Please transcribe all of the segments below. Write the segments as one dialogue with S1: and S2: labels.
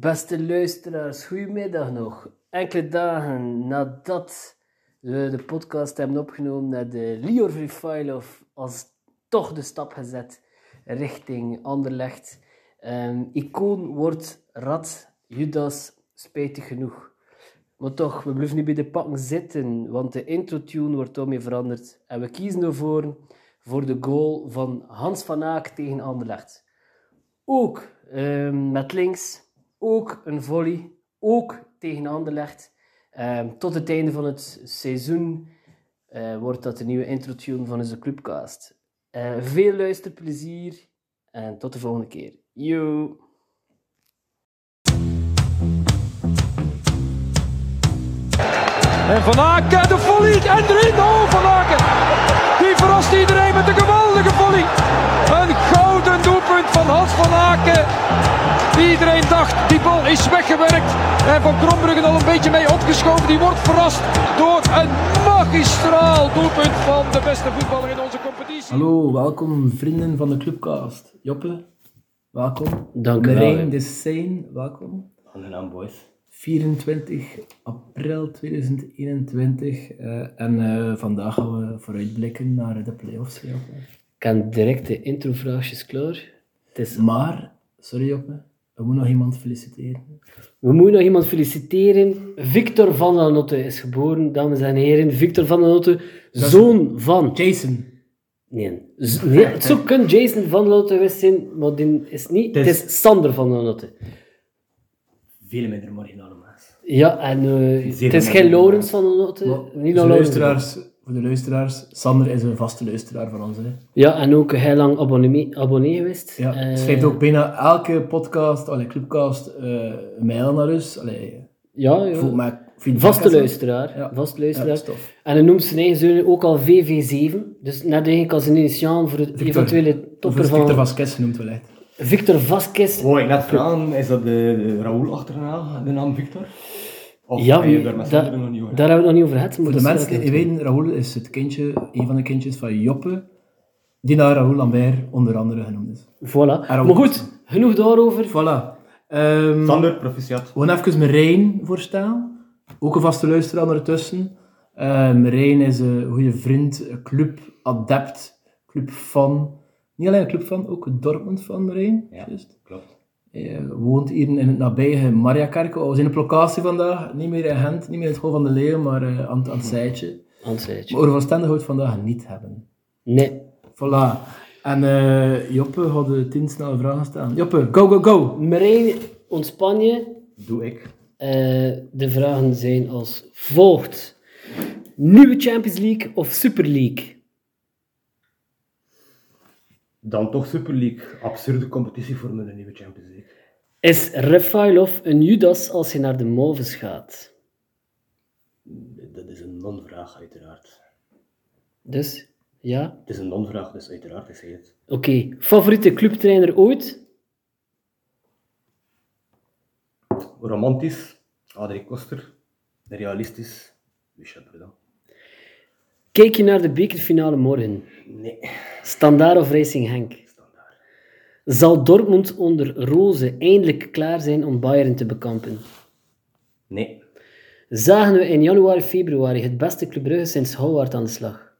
S1: Beste luisteraars, goedemiddag nog. Enkele dagen nadat we de podcast hebben opgenomen naar de Lior Vrifailov als toch de stap gezet richting Anderlecht. Ehm, icoon wordt Rad Judas, spijtig genoeg. Maar toch, we blijven niet bij de pakken zitten, want de intro-tune wordt daarmee veranderd. En we kiezen ervoor voor de goal van Hans van Aak tegen Anderlecht. Ook ehm, met links, ook een volley, ook tegen Anderlecht. Ehm, tot het einde van het seizoen eh, wordt dat de nieuwe intro-tune van onze clubcast. Eh, veel luisterplezier en tot de volgende keer. Yo!
S2: En Van Aken, de volley, en erin, oh Van Aken. Die verrast iedereen met een geweldige volley. Een gouden doelpunt van Hans Van Aken. Iedereen dacht, die bal is weggewerkt. En Van Krombruggen al een beetje mee opgeschoven. Die wordt verrast door een magistraal doelpunt van de beste voetballer in onze competitie.
S3: Hallo, welkom vrienden van de Clubcast. Joppe, welkom.
S1: Dank u wel, hè.
S3: Merijn de Sein, welkom.
S4: Aangenaam, boys.
S3: 24 april 2021. eh, en eh, vandaag gaan we vooruitblikken naar de playoffs. hè, Joppe.
S1: Ik heb direct de introvraagjes klaar. Het is,
S3: Maar, sorry Joppe, we moeten nog iemand feliciteren.
S1: we moeten nog iemand feliciteren. Victor van der Notte is geboren, dames en heren. Victor van der Notte,
S3: is-
S1: zoon van...
S3: Jason,
S1: Nee, z- nee, het zou kunnen Jason van der Notte geweest zijn, maar die is niet. Het
S4: Het
S1: is,
S4: is-
S1: Sander van der Notte.
S4: Veel minder marginale maas.
S1: Ja, en eh,
S4: Zeer
S1: het is
S4: van der
S1: geen Laurens van der Notte.
S3: Maar
S1: Eh, niet
S3: voor
S1: naar
S3: de
S1: Laurens.
S3: dus luisteraars, voor de luisteraars, Sander is een vaste luisteraar van ons. Hè.
S1: Ja, en ook heel lang abonnee, abonnee geweest.
S3: Ja,
S1: Eh,
S3: schrijft ook bijna elke podcast, allee, Clubcast, eh, een mail naar ons. Allee,
S1: Ja, ja.
S3: voel mij feedback en
S1: Vaste
S3: zo.
S1: luisteraar.
S3: Ja.
S1: Vaste
S3: Ja,
S1: luisteraar.
S3: dat is tof.
S1: en hij noemt zijn eigen zoon ook al VV7. Dus net eigenlijk als een initiaal voor het eventuele
S3: Of
S1: topper
S3: is Victor
S1: van
S3: Vasquez genoemd wellicht.
S1: Victor Vasquez.
S4: Hoor ik net vragen, is dat de, de Raoul achterna, de naam Victor?
S3: Oh,
S4: Of
S1: ja,
S4: heb je
S1: wie-
S4: daar met
S1: da-
S4: Sander nog niet over?
S1: daar hebben we het nog niet over gehad. maar
S3: Voor de
S1: dat is
S3: mensen die
S1: wel
S3: niet weten, Raoul is het kindje, een van de kindjes van Joppe, die naar Raoul Lambert onder andere genoemd is.
S1: Voilà.
S3: Aaron
S1: Maar goed,
S3: Watson.
S1: genoeg daarover.
S3: Voilà. Ehm
S4: Sander, proficiat.
S3: we gaan even Merijn voorstellen. Ook een vaste luisteraar ondertussen. Eh Merijn is een goede vriend, een clubadept, clubfan. Niet alleen een clubfan, ook een Dortmund-fan Merijn.
S4: Ja.
S3: juist.
S4: Klopt.
S3: Je woont hier in het nabije Mariakerke. We zijn op locatie vandaag. Niet meer in Gent, niet meer in het School van de Leeuw, maar eh, aan, het- aan het zijtje.
S1: Antwoordje.
S3: Maar over van Stende gaan we het vandaag niet hebben.
S1: Nee.
S3: Voilà. En eh, Joppe had de tien snelle vragen staan. Joppe, go, go, go!
S1: Marijn, ontspan je.
S4: Doe ik.
S1: Eh, de vragen zijn als volgt. Nieuwe Champions League of Super League?
S4: Dan toch Super League. Absurde competitie voor mijn nieuwe Champions League.
S1: Is Refailov een Judas als je naar de Moves gaat?
S4: Dat is een non-vraag, uiteraard.
S1: Dus, ja.
S4: Het is een non-vraag, dus uiteraard is hij het.
S1: Oké. Favoriete clubtrainer ooit?
S4: Romantisch, Adrie Koster. Realistisch, Michel Prudhomme.
S1: Kijk je naar de bekerfinale morgen?
S4: Nee,
S1: Standaard of Racing Henk?
S4: standaard.
S1: Zal Dortmund onder Roze eindelijk klaar zijn om Bayern te bekampen?
S4: Nee,
S1: Zagen we in januari, februari het beste Club Brugge sinds Howard aan de slag?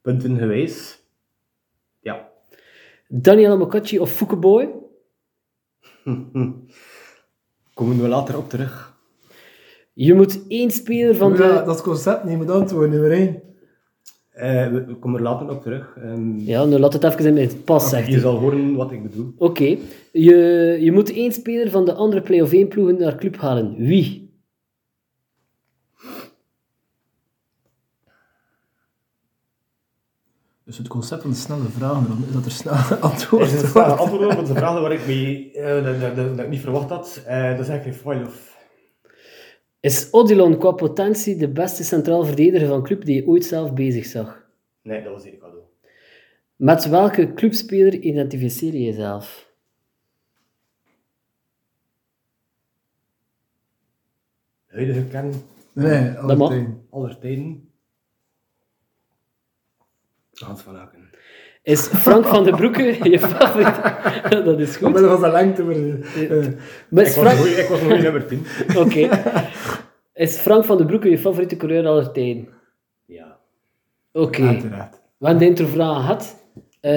S4: punten geweest. Ja,
S1: Daniel Mokacci of Foucaboy?
S4: komen we later op terug.
S1: Je moet één speler van de...
S3: Ja, dat concept niet moet antwoorden, nummer 1.
S4: Eh, we, we komen er later op terug. Ehm,
S1: Ja, nu laat het even in het pas, zegt
S4: je
S1: hij.
S4: zal horen wat ik bedoel.
S1: Oké, je, je moet één speler van de andere play-off 1 ploegen naar club halen. Wie?
S3: Dus het concept van de snelle vragen, Ron, is dat er snel antwoord
S4: Is een vraag, antwoord op onze vraag waar ik mee, eh, dat, dat, dat, dat ik niet verwacht had. Eh, dat is eigenlijk geen foil of...
S1: Is Odilon qua potentie de beste centraal verdediger van club die je ooit zelf bezig zag?
S4: Nee, dat was hier cadeau.
S1: Met welke clubspeler identificeer je jezelf?
S4: Huidige kern,
S3: Nee,
S1: Dat mag.
S3: altijd.
S4: aller tijden. Hans van Aken.
S1: Is Frank van den Broeke je favoriet? dat is goed.
S3: Omwille van zijn lengte. Maar, eh, eh,
S1: Maar
S4: Ik was
S1: is
S4: een
S1: Frank...
S4: goeie- ik was een goede nummer 10.
S1: Oké. Is Frank van den Broeke je favoriete coureur aller tijden?
S4: Ja.
S1: Oké.
S3: Uiteraard.
S1: We hebben de introvraag gehad. Eh,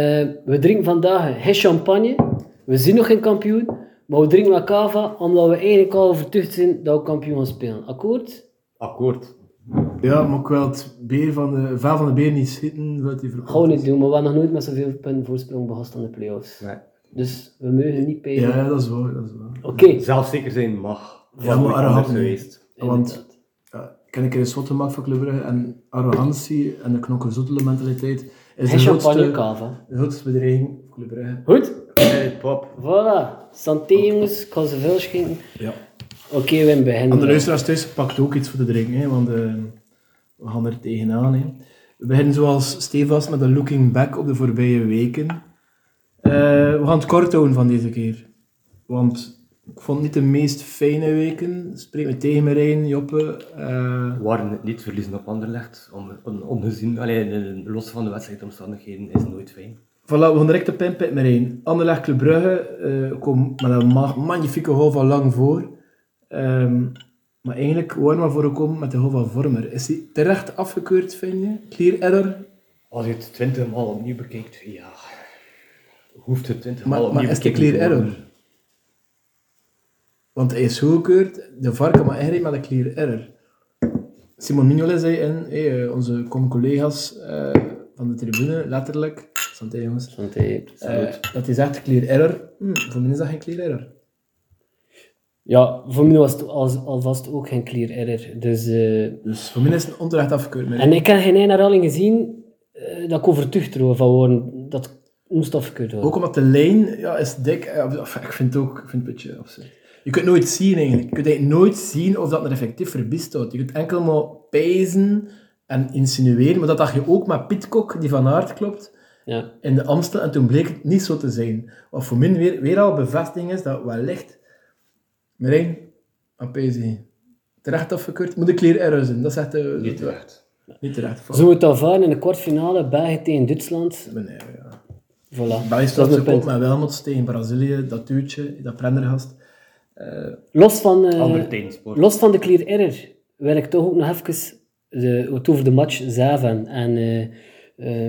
S1: we drinken vandaag geen champagne. We zien nog geen kampioen. Maar we drinken wel cava, omdat we eigenlijk al overtuigd zijn dat we kampioen gaan spelen. Akkoord?
S4: Akkoord.
S3: Ja, maar ik wil het beer van de, vaal van de beer niet schieten, wil die verkopen.
S1: Gewoon niet doen, maar we hebben nog nooit met zoveel punten voorsprong behast aan de play-offs.
S4: Nee.
S1: Dus we mogen niet peilen.
S3: Ja, ja, dat is waar. Dat is waar.
S1: Oké.
S4: Zelfzeker zijn mag.
S3: Ja, maar
S4: Wat moet
S3: arrogant
S4: anders
S3: niet.
S4: geweest.
S3: Want ja, ik heb een keer een swat gemaakt voor Club Brugge en arrogantie en de knokkenzoetele mentaliteit is de
S1: En champagne
S3: grootste,
S1: cava.
S3: de grootste bedreiging voor Club Brugge.
S1: Goed?
S4: Hey, pop.
S1: Voilà. Santé jongens, ik ga ze veel schenken.
S3: Ja.
S1: Oké, we hebben
S3: En de
S1: beginnen.
S3: luisteraars thuis pakt ook iets voor te drinken, hè, want eh, we gaan er tegenaan. Hè. We beginnen zoals stevast met een looking back op de voorbije weken. Eh, we gaan het kort houden van deze keer. Want ik vond het niet de meest fijne weken. Spreek me tegen Marijn, Joppe. eh,
S4: We waren het niet verliezen op Anderlecht. Om, on- ongezien, alleen eh, los van de wedstrijdomstandigheden is nooit fijn.
S3: Voilà, we gaan direct de pinpit mee heen. Anderlecht Club Brugge eh kwam met een ma- magnifieke goal van Lang voor. Ehm, maar eigenlijk waren we voorgekomen met de goal van Vormer. Is die terecht afgekeurd, vind je? Clear error?
S4: Als je het twintig maal opnieuw bekijkt, ja. Hoeft het twintig maal
S3: Maar,
S4: opnieuw
S3: maar is het een
S4: bekeken
S3: clear
S4: te worden.
S3: error? Want hij is goedgekeurd, de VAR kan maar inrijden met een clear error. Simon Mignolet zei in, hey, eh, onze collega's eh, van de tribune, letterlijk, santé jongens,
S1: Santé.
S3: eh, dat hij zegt clear error. Hm, voor mij is dat geen clear error.
S1: Ja, voor mij was het als, alvast ook geen clear error. Dus... eh,
S3: Dus voor mij is het een onterecht afgekeurd. maar-
S1: En ik heb geen één herhaling gezien eh, dat ik overtuigd erover van worden. Dat moest afgekeurd worden.
S3: Ook omdat de lijn ja, is dik. eh, of- Ik vind het ook ik vind het een beetje absurd. Je kunt nooit zien eigenlijk. Je kunt eigenlijk nooit zien of dat er effectief verbiest houdt. Je kunt enkel maar pijzen en insinueren. Maar dat dacht je ook met Pitcock, die van Aert klopt,
S1: Ja.
S3: in de Amstel. En toen bleek het niet zo te zijn. Wat voor min weer, weer al bevestiging is dat wellicht... Marijn, aan pijzen. Terecht afgekeurd. Moet een clear error zijn. Dat zegt de...
S4: Niet
S3: de-
S4: terecht.
S3: Niet terecht. Voilà.
S1: Zo het afvaren in de kwartfinale, België tegen Duitsland.
S3: Nee, ja.
S1: Voilà.
S3: België
S1: Dat
S3: staat
S1: is
S3: ze
S1: mijn
S3: op
S1: punt.
S3: met Welmots tegen Brazilië, dat duwtje, dat prendergast.
S1: Los van, eh,
S4: Ander tijdsport.
S1: los van de clear error wil ik toch ook nog even de, het over de match zelf hebben. En eh,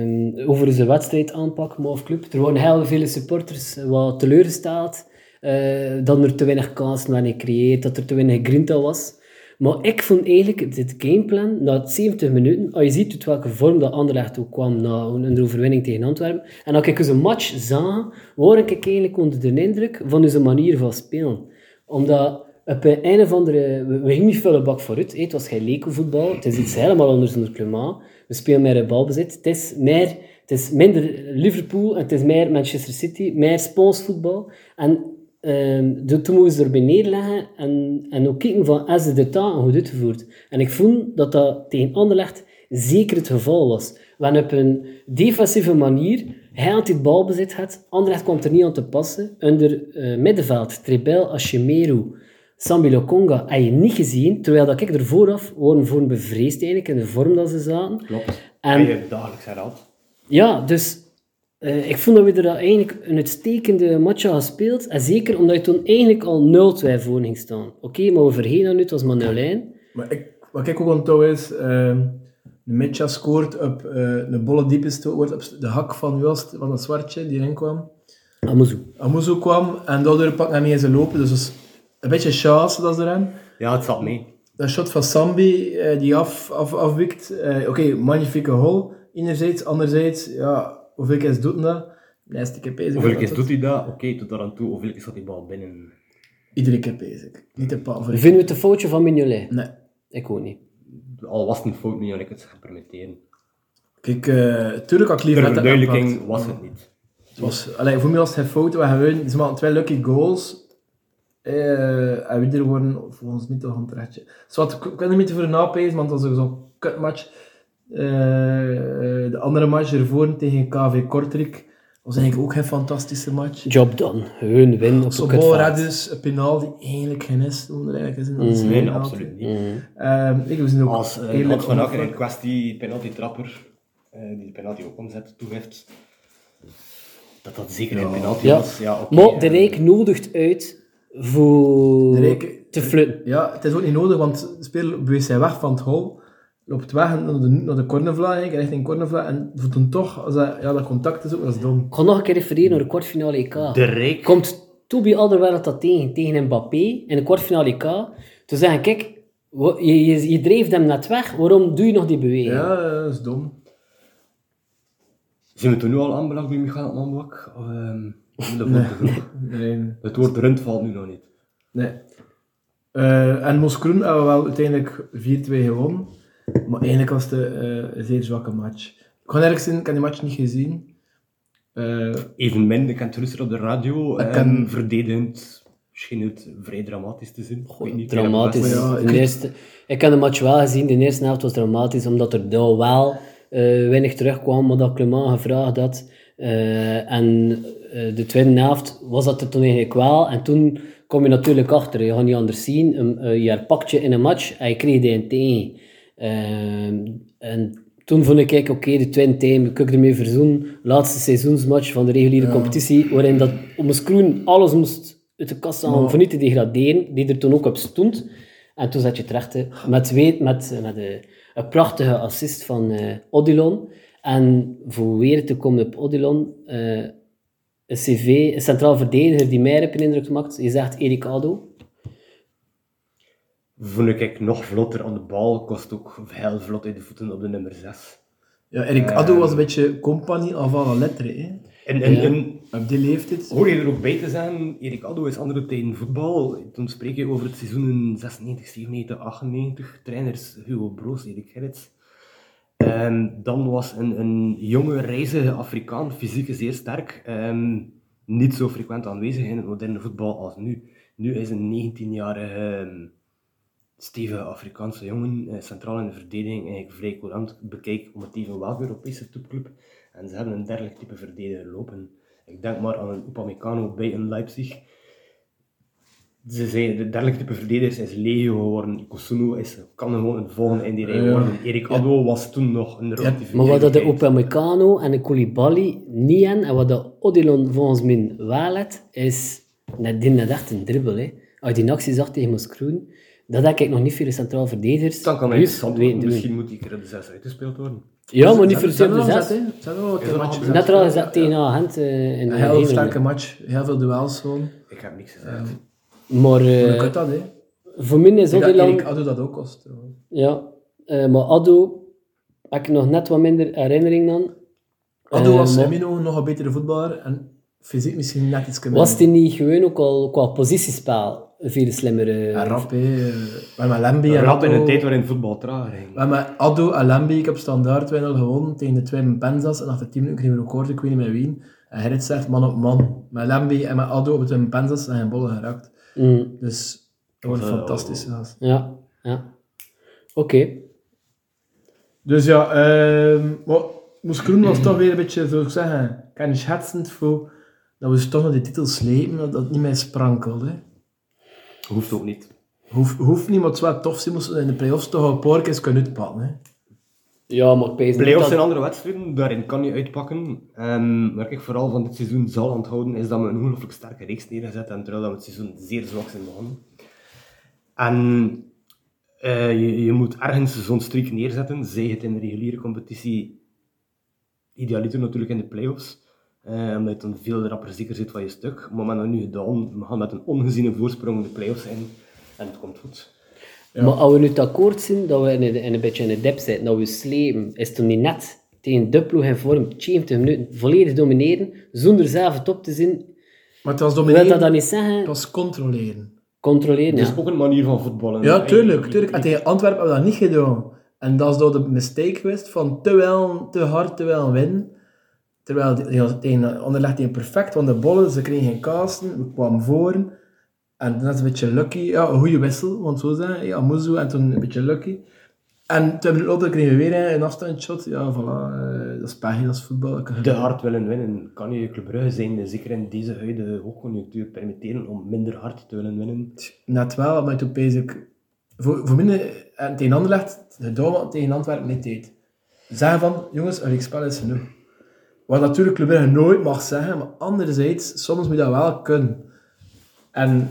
S1: ehm, over onze wedstrijd aanpak, maar of club. Er waren heel veel supporters wat teleurgesteld. eh, dat er te weinig kansen werden gecreëerd, dat er te weinig grinta was. Maar ik vond eigenlijk dit gameplan, na 70 minuten, als je ziet uit welke vorm dat Anderlecht ook kwam na een overwinning tegen Antwerpen, en als ik een match zag, word ik eigenlijk onder de indruk van onze manier van spelen. Omdat op een, een of andere... We, we gingen niet veel bak vooruit, hè. het was geen lekenvoetbal, het is iets helemaal anders dan het klimaat. We spelen meer in balbezit, het is meer... Het is minder Liverpool en het is meer Manchester City, meer Spaans voetbal. En Ehm, dus toen moesten ze erbij neerleggen en, en ook kijken van is de taal goed uitgevoerd. En ik voel dat dat tegen Anderlecht zeker het geval was. Wanneer op een defensieve manier hij had het balbezit had, Anderlecht kwam er niet aan te passen. Onder eh, middenveld, Trebel, Ashimeru, Sambi Lokonga, had je niet gezien, terwijl dat ik er vooraf waren voor bevreesd eigenlijk in de vorm dat ze zaten.
S4: Klopt.
S1: En-
S4: En
S5: Ah,
S4: je dagelijks herhaalt.
S1: Ja, dus eh, ik vond dat we er eigenlijk een uitstekende match hadden gespeeld. En zeker omdat je toen eigenlijk al 0-2 voor ging staan. Oké, maar we vergeten dat nu, het was maar 0-1.
S3: Maar ik, wat ik ook onthoud is, ehm Mitja scoort op eh een bolle diepe stoot, wordt op de hak van Jost, van een zwartje die erin kwam.
S1: Amazu.
S3: Amuzo kwam en daardoor pak naar niet eens lopen, dus dat is een beetje chance dat ze erin.
S4: Ja, het zat mee.
S3: Dat shot van Sambi, eh, die af, af, afwikt. eh, Oké, magnifieke hol. Enerzijds, anderzijds, ja, hoeveel keer doet hij dat? Nee, is die keer bezig.
S4: Hoeveel keer
S3: Dat-
S4: doet hij dat? Oké, tot daar aan toe. Hoeveel keer zat die bal binnen?
S3: Iedere keer bezig. Niet een paar voor
S1: Vinden we het een foutje van Mignolet?
S3: Nee.
S1: Ik ook niet.
S4: Al was het een fout, niet, had ik het zou permitteren.
S3: Kijk, eh tuurlijk had ik liever
S4: Ter
S3: dat dat
S4: verduidelijking
S3: aanpakt.
S4: was het niet.
S3: Het was, allee, voor mij was het geen fout. We hebben ze maken twee lucky goals. Eh, en we worden volgens mij toch een trechtje. Zwart, ik ik kan er niet voor napezen, want dat was zo'n kutmatch. Eh, eh, de andere match ervoor tegen KV Kortrijk was eigenlijk ook geen fantastische match.
S1: Job done. Hun win op een
S3: Sobol
S1: kutveld.
S3: redde dus een penal die eigenlijk geen is. Toen er eigenlijk is in dat is een
S4: Nee,
S3: penalty.
S4: absoluut niet.
S1: Mhm.
S3: Ehm, ik was nu ook
S4: Als eh
S3: Mm. eerlijk
S4: Hans van Akker
S3: onafhankelijk.
S4: in kwestie penalty trapper, eh, die de penalty ook omzet, toegeeft,
S5: Dat dat zeker een penalty
S1: Ja.
S5: was. Ja, oké.
S1: Maar
S4: eh,
S1: de Rijk nodigt uit voor
S3: De Rijk-
S1: te fluiten.
S3: Ja, het is ook niet nodig, want de speler beweegt zijn weg van het hol, loopt weg naar de, naar de cornervlag, eigenlijk, richting cornervlag, en voelt dan toch, als dat, ja, dat contact is ook, dat is dom.
S1: Ik ga nog een keer refereren naar de kwartfinale EK.
S5: De Rijk.
S1: Komt Toby Alderweireld dat tegen, tegen Mbappé in de kwartfinale EK. Toen zeggen, kijk, wa- je, je, je drijft hem net weg, waarom doe je nog die beweging?
S3: Ja, eh, dat is dom.
S5: Zijn we toen nu al aanbeland bij Michael Manbak? Of, ehm, dat wordt te vroeg.
S3: Nee.
S5: Het woord rund valt nu nog niet.
S3: nee. Eh, en Moskroen hebben we wel uiteindelijk 4-2 gewonnen, maar eigenlijk was het eh, een zeer zwakke match. Ik kan ergens in, ik heb die match niet gezien. Eh,
S5: Even minder, ik kan het rustig op de radio.
S3: Ik
S5: en
S3: ken-
S5: verdedigend. Misschien het vrij dramatisch te zien. Ik weet niet,
S1: Dramatisch.
S5: Ja,
S3: Ja, ik-
S1: De eerste, ik heb de match wel gezien, de eerste helft was dramatisch, omdat er daar wel eh, weinig terugkwam, maar dat Clement gevraagd had. Eh, en eh, de tweede helft was dat er toen eigenlijk wel. En toen kom je natuurlijk achter, je gaat niet anders zien. Een- eh, je herpakt je in een match en je kreeg die een tegen. Ehm, en toen vond ik, kijk, oké, de tweede time, ik ermee verzoen. Laatste seizoensmatch van de reguliere competitie, waarin dat om een scroen alles moest uit de kast halen om voor niet te degraderen, die er toen ook op stond. En toen zat je terecht hè, met, weet, met, eh, met eh, een prachtige assist van eh Odilon. En voor weer te komen op Odilon, eh, een CV, een centraal verdediger die mij op een indruk maakt. Je zegt Erik Ado.
S5: Vond ik ik nog vlotter aan de bal. Kost ook heel vlot uit de voeten op de nummer 6.
S3: ja, Erik
S1: Eh.
S3: Addo was een beetje compagnie af alle letteren. hè.
S5: En, en,
S1: Ja.
S5: en
S3: Op die leeftijd.
S5: hoor je er ook bij te zijn, Erik Addo is andere tijden voetbal. Toen spreek je over het seizoen in 96, 97, 98. Trainers Hugo Broos, Erik Gerrits. En dan was een, een jonge, reizige Afrikaan, fysiek zeer sterk, ehm, niet zo frequent aanwezig in het moderne voetbal als nu. Nu is een 19-jarige ehm, stevige Afrikaanse jongen, eh, centraal in de verdediging, eigenlijk vrij courant. Bekijk om het even welke Europese topclub. En ze hebben een dergelijk type verdediger lopen. Ik denk maar aan een Upamecano bij een Leipzig. Ze zijn, de dergelijke type verdedigers is legio geworden. Kosuno is, kan gewoon een volgende in die rij
S3: Ja.
S5: worden. Erik Addo was toen nog een relatief...
S1: Maar wat dat de
S5: jonge tijd.
S1: Upamecano en de Koulibaly niet hebben, en wat de Odilon volgens mij wel heeft, is nadien net echt een dribbel. Hè. Als je die actie zag tegen Moskroen, dat heb ik nog niet voor de centraal verdedigers.
S5: Dus Dan kan hij
S1: Plus,
S5: interessant
S1: weet-
S5: worden. Misschien moet die keer op de 6 uitgespeeld worden.
S1: Ja, maar niet voor de
S3: Ze hebben
S1: zes.
S3: wel gezet, hè. Ze hebben wel wat
S5: Is er nog
S3: matchen
S5: een-
S1: Net
S3: gezet.
S1: er al gezet tegen Gent eh, in de
S3: Een heel
S1: herinnering.
S3: sterke match, heel veel duels gewoon.
S5: Ik heb niks gezegd.
S1: Maar eh,
S3: Dat kan dat, hè.
S1: voor mij is
S3: Ik denk dat
S1: Odilon...
S3: Erik Addo dat ook kost. hè.
S1: Ja, eh, maar Addo heb ik nog net wat minder herinnering aan.
S3: Addo
S1: Eh,
S3: was
S1: maar-
S3: in mijn ogen nog een betere voetballer en fysiek misschien net iets minder.
S1: Was die niet gewoon ook al qua positiespel een veel slimmere...
S3: Ja, rap, hè. Eh, We hebben Lembi en
S5: Rap in
S3: Addo.
S5: een tijd waarin voetbal trager ging.
S3: We hebben Addo en Lembi, ik heb standaard 2-0 gewonnen tegen de twee Penzas en achter 10 minuten kregen we een record, ik weet niet met wie. En Gerrit zegt man op man. Met Lembi en met Addo op de twee Penzas en geen bollen geraakt.
S1: Mm,
S3: Dus dat wordt
S5: Eh,
S3: fantastisch. gast.
S1: ja, ja. Oké.
S3: Dus ja, ehm maar Moes Kroen was toch weer een beetje, zou ik zeggen, kennischetsend voor dat we ze toch naar die titel slepen, dat dat niet meer sprankelde.
S5: Hoeft ook niet.
S3: Hoeft hoef niet, maar het is wel tof, ze moesten in de play-offs toch al een paar keer kunnen uitpakken. Hè.
S1: Ja, maar ik pijs niet
S5: Playoffs
S1: dat-
S5: zijn andere wedstrijden, daarin kan je uitpakken. En waar ik vooral van dit seizoen zal onthouden, is dat we een ongelooflijk sterke reeks neergezet hebben, terwijl dat we het seizoen zeer zwak zijn begonnen. En eh, je, je moet ergens zo'n streak neerzetten, zij het in de reguliere competitie, idealiter natuurlijk in de play-offs, eh, omdat je dan veel rapper zeker zit van je stuk. Maar we hebben dat nu gedaan, we gaan met een ongeziene voorsprong de play-offs in, en het komt goed.
S1: Maar als we nu het akkoord zijn dat we in een, in een beetje in een dip zitten, dat we slepen, is het toen niet net tegen de ploeg in vorm 70 minuten volledig domineren, zonder zelf het op te zien.
S3: Maar het was
S1: Wil
S3: domineren,
S1: dat dan niet
S3: het
S1: zeggen?
S3: was controleren.
S1: Controleren,
S5: Het
S1: ja.
S5: is ook een manier van voetballen.
S3: Ja, tuurlijk,
S5: Je-
S3: tuurlijk. En tegen Antwerpen hebben we dat niet gedaan. En dat is door de mistake geweest van te, wel, te hard, te wel winnen. Terwijl die- die- tegen Anderlecht tegen perfect, want de bollen, ze kregen geen kasten, we kwamen voor. En dat is een beetje lucky. Ja, een goede wissel, want zo zijn. Ja, Moezu en toen een beetje lucky. En toen minuten later kregen we weer een afstandshot. Ja, voilà, eh, dat is pech, dat is voetbal. Dat kan
S5: te
S3: gebeuren.
S5: hard willen winnen. Kan je Club Brugge zijn, zeker in deze huidige hoogconjunctuur, permitteren om minder hard te willen winnen?
S3: Net wel, maar toen bezig. Voor, voor minder, en tegen Anderlecht, de Doma tegen Antwerpen niet deed. Zeggen van, jongens, een reeks spel is genoeg. Wat natuurlijk Club Brugge nooit mag zeggen, maar anderzijds, soms moet je dat wel kunnen. En,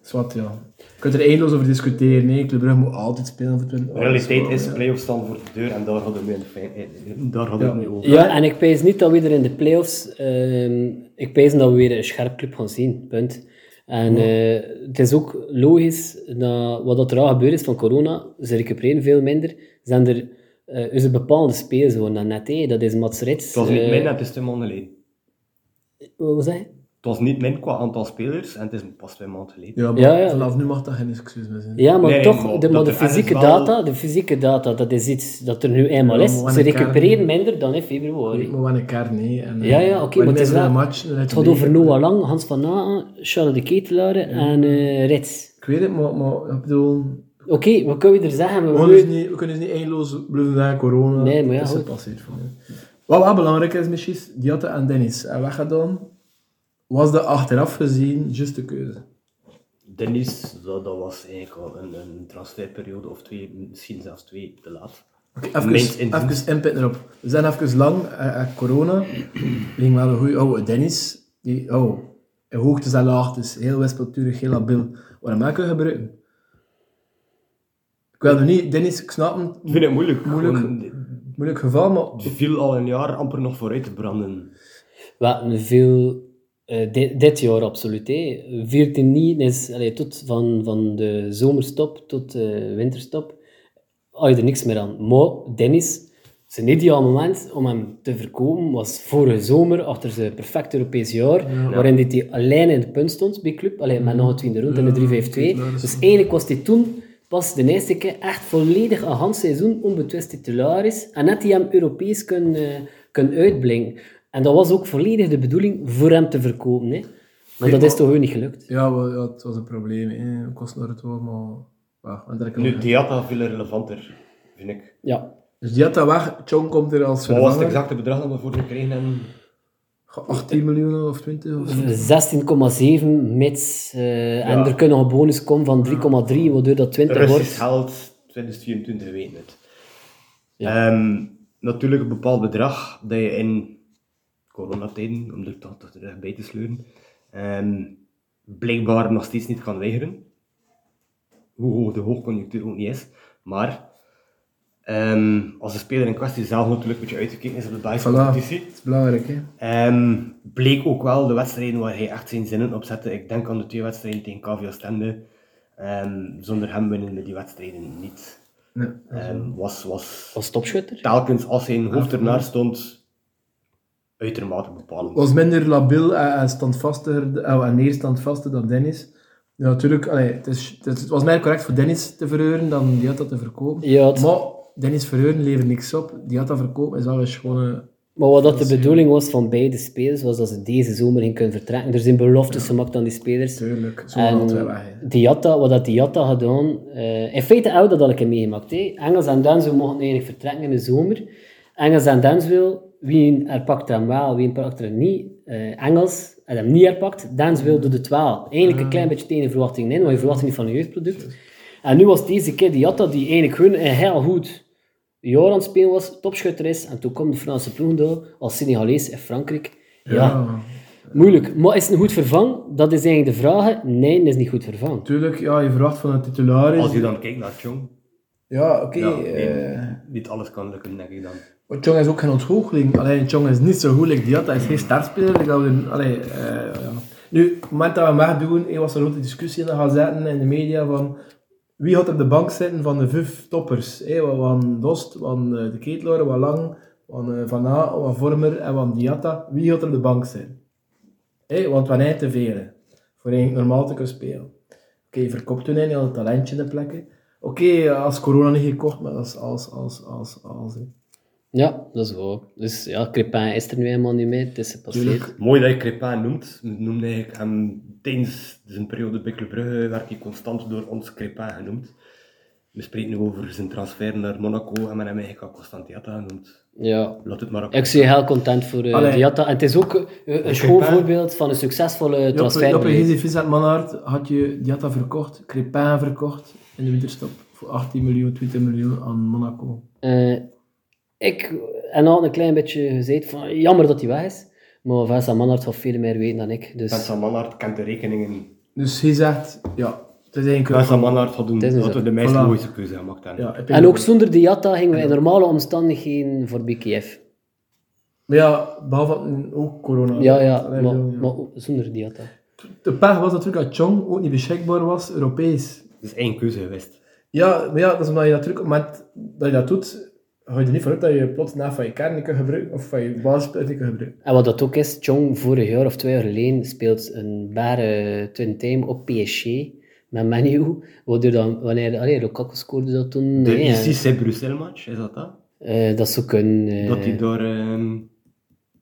S3: zwart ja. Je kunt er eindeloos over discussiëren. Nee, Club Brugge moet altijd spelen voor 20
S5: De realiteit is,
S3: Ja.
S5: play-offs staan voor de deur en daar hadden we in feite- eh, eh, daar hadden we het
S3: Ja.
S5: nu over.
S1: Ja, en ik pees niet dat we er in de play-offs... ehm, ik pees dat we weer een scherp club gaan zien, punt. En eh, het is ook logisch, dat wat dat er al gebeurd is van corona, ze recupereren veel minder. Zijn er, eh is een bepaalde speelzone dan net, hé. dat is Mats Rits.
S5: Het was niet
S1: eh,
S5: min en het is twee maanden geleden.
S1: Wat was dat?
S5: Het was niet min qua aantal spelers en het is pas twee maanden geleden.
S3: Ja, maar
S1: Ja, ja.
S3: vanaf nu mag dat geen excuus meer zijn.
S1: Ja, maar
S5: Nee,
S1: toch,
S5: maar
S1: de, maar
S5: dat
S1: de
S5: er ergens
S1: fysieke
S5: wel-
S1: data, de fysieke data, dat is iets dat er nu eenmaal
S3: Ja,
S1: is.
S3: maar we
S1: Ze
S3: hebben
S1: recupereren
S3: elkaar-
S1: minder dan in februari.
S3: Maar we elkaar nee. En, eh,
S1: Ja, ja, oké,
S3: wanneer
S1: maar het is
S3: mensen
S1: wel-
S3: een match, dan
S1: Het gaat
S3: weet je-
S1: over Noah Lang, Hans van Naten, Charles de Ketelaar en eh, Rits.
S3: Ik weet het, maar, maar ik bedoel...
S1: Oké, wat kun je er zeggen? We
S3: We kunnen dus
S1: willen-
S3: niet, we kunnen dus niet eindeloos blijven zeggen corona.
S1: Nee, maar ja,
S3: dat is
S1: goed.
S3: gepasseerd voor mij. Wat wel belangrijk is misschien, die had aan Dennis en weggedaan, was de achteraf gezien juiste keuze.
S5: Dennis, dat, dat was eigenlijk al een, een transferperiode of twee, misschien zelfs twee te laat.
S3: Even,
S5: Mijns inziens.
S3: even inpitten erop. We zijn even lang, eh, eh, corona. We gingen wel een goede oude Dennis. Die, oh, in hoogtes en laagtes, dus heel wispelturig, heel labiel. Waarom maken we gebruiken? Ik wil nog niet, Dennis, ik snap hem,
S5: Ik vind het moeilijk.
S3: Moeilijk.
S5: Gewoon,
S3: moeilijk geval, maar
S5: Het viel al een jaar amper nog vooruit te branden.
S1: We hadden veel, eh, dit, dit jaar absoluut. hè. 14 niet is allee, tot van, van de zomerstop tot de winterstop. Had je er niks meer aan. Maar Dennis, zijn ideaal moment om hem te verkopen was vorige zomer, achter zijn perfect Europees jaar, waarin dit hij alleen in de punt stond bij club, alleen met nog een tweede rond in
S3: Ja,
S1: de 3-5-2.
S3: dat is
S1: Dus
S3: waar.
S1: eigenlijk was hij toen pas de eerste keer echt volledig een hand seizoen onbetwist titularis. En net die hem Europees kunnen, eh, kunnen uitblinken. En dat was ook volledig de bedoeling voor hem te verkopen. Hè. Maar dat
S3: maar-
S1: is toch gewoon niet gelukt.
S3: ja, wel, ja, het was een probleem. hè. Kost naar het wel, maar... Wacht, want daar kan
S5: Nu,
S3: ik-
S5: Diata veel relevanter, vind ik.
S1: Ja.
S3: Dus die had dat weg, Chong komt er als
S5: Wat was het
S3: vervanger.
S5: exacte bedrag dat we voor gekregen hebben?
S3: 18 miljoen of 20 of zo.
S1: 16,7 mits. eh, En er kunnen nog een bonus komen van 3,3, waardoor dat 20
S5: Russisch
S1: wordt.
S5: geld, 2024, weet het.
S1: Ja.
S5: Ehm, natuurlijk een bepaald bedrag dat je in coronatijden, om er toch, toch terug bij te sleuren, ehm, blijkbaar nog steeds niet kan weigeren. Hoe hoog de hoogconjunctuur ook niet is. Maar ehm, als de speler in kwestie zelf natuurlijk een beetje uitgekeken is op de Belgische
S3: Voilà.
S5: competitie,
S3: Dat is belangrijk, hè.
S5: Ehm, bleek ook wel de wedstrijden waar hij echt zijn zinnen op zette. Ik denk aan de twee wedstrijden tegen KVO Stende. Ehm, zonder hem winnen we die wedstrijden niet.
S3: Nee.
S5: Ehm, was, was
S1: Als topschutter.
S5: telkens als zijn hoofd ernaar stond, uitermate bepalend.
S3: was minder labiel en, en standvastiger, eh, en neerstandvaster dan Dennis. Ja, natuurlijk, allee, het, is, het, is- het was mij correct voor Dennis te verhuren dan die had dat te verkopen.
S1: Ja, het-
S3: Maar Dennis verhuren levert niks op. Die had dat verkopen is eh, wel een schone...
S1: Maar wat dat de bedoeling was van beide spelers, was dat ze deze zomer ging kunnen vertrekken. Er zijn beloftes gemaakt aan die spelers.
S3: Tuurlijk, zo
S1: En
S3: altijd weg. hè.
S1: Diatta, wat dat Diatta gedaan... eh, in feite had dat al een keer meegemaakt. hè. Engels en Denzel mochten eigenlijk vertrekken in de zomer. Engels en Denzel, wie herpakt hem wel, wie herpakt hem niet. Eh, Engels had hem niet herpakt, Denzel doet het wel. Eigenlijk een klein beetje tegen de verwachting in, want je verwacht niet van een jeugdproduct. En nu was deze keer Diatta, die eigenlijk gewoon een heel goed jaar aan het spelen was, topschutter is. En toen kwam de Franse ploeg daar, als Senegalees in Frankrijk. ja. Moeilijk. Maar is het een goed vervang? Dat is eigenlijk de vraag. Nee, dat is niet goed vervang.
S3: Tuurlijk, ja, je verwacht van een titularis...
S5: Als je dan kijkt naar Chong,
S3: Ja, oké.
S5: ja, nee,
S3: eh,
S5: niet alles kan lukken, denk ik dan.
S3: Maar Chong is ook geen ontgoocheling. Alleen Chong is niet zo goed als Diatta. Hij is geen startspeler. like dat we- allee, eh, ja. Nu, op het moment dat we hem wegdoen, eh, was er een grote discussie in de gazetten en de media van wie gaat op de bank zitten van de vijf toppers. Eh, wa- van Dost, van eh, de Ketelaar, van Lang, van eh, Van A, van Vormer en van Diatta. Wie gaat op de bank zitten? Eh, want wanneer te velen. Voor eigenlijk normaal te kunnen spelen. Oké, je verkoopt toen eigenlijk al een talentje in de plekken. Oké, als corona niet gekocht, maar dat is als, als, als, als. hè.
S1: Ja, dat is waar. Dus ja, Crepin is er nu helemaal niet meer. Het is gepasseerd.
S5: Mooi dat je Crépin noemt. Noemde ik hem tijdens zijn periode bij Club Brugge werd hij constant door ons Crépin genoemd. We spreken nu over zijn transfer naar Monaco en men hem eigenlijk al constant Diatta genoemd.
S1: Ja.
S5: Laat het maar op.
S1: Ik ben heel content voor eh,
S3: Allee.
S1: Diatta. En het is ook eh, een schoon voorbeeld van een succesvolle
S3: Ja, op- Op een
S1: transfer.
S3: gegeven Vincent Manhart had je die had dat verkocht, Crépin verkocht in de winterstop voor 18 miljoen, 20 miljoen aan Monaco.
S1: Eh, ik en al een klein beetje gezegd van jammer dat hij weg is. Maar Vincent Manhart zal veel meer weten dan ik. Dus
S5: Vincent Manhart kent de rekeningen.
S3: Dus hij zegt, ja, het is eigenlijk...
S5: Vincent Manhart had,
S1: Het is
S5: een,
S1: dus
S5: had
S1: zo.
S5: de meest
S3: Voilà.
S5: mooiste keuze gemaakt. daar.
S3: Ja, ik denk
S1: en ook
S3: dat-
S1: zonder Diatta gingen we in normale omstandigheden voor BKF.
S3: Maar ja, behalve dat nu ook corona.
S1: Ja, ja,
S3: Dat is
S1: maar,
S3: wel, ja.
S1: maar ook zonder Diatta.
S3: De pech was natuurlijk dat Chong ook niet beschikbaar was, Europees.
S5: Het is één keuze geweest.
S3: Ja, maar ja, dat is omdat je natuurlijk, op het moment dat je dat doet, ga je er niet vanuit dat je plots na van je kern niet kunt gebruiken, of van je basispunt niet kunt gebruiken.
S1: En wat dat ook is, Chong vorig jaar of twee jaar geleden speelt een bare twin time op PSG met Manu. Waardoor dan, wanneer, allee, Lukaku scoorde dat toen.
S5: De
S1: nee,
S5: ICC Brussel match, is dat dat?
S1: eh, eh, dat zou kunnen. eh,
S5: Dat hij door ehm,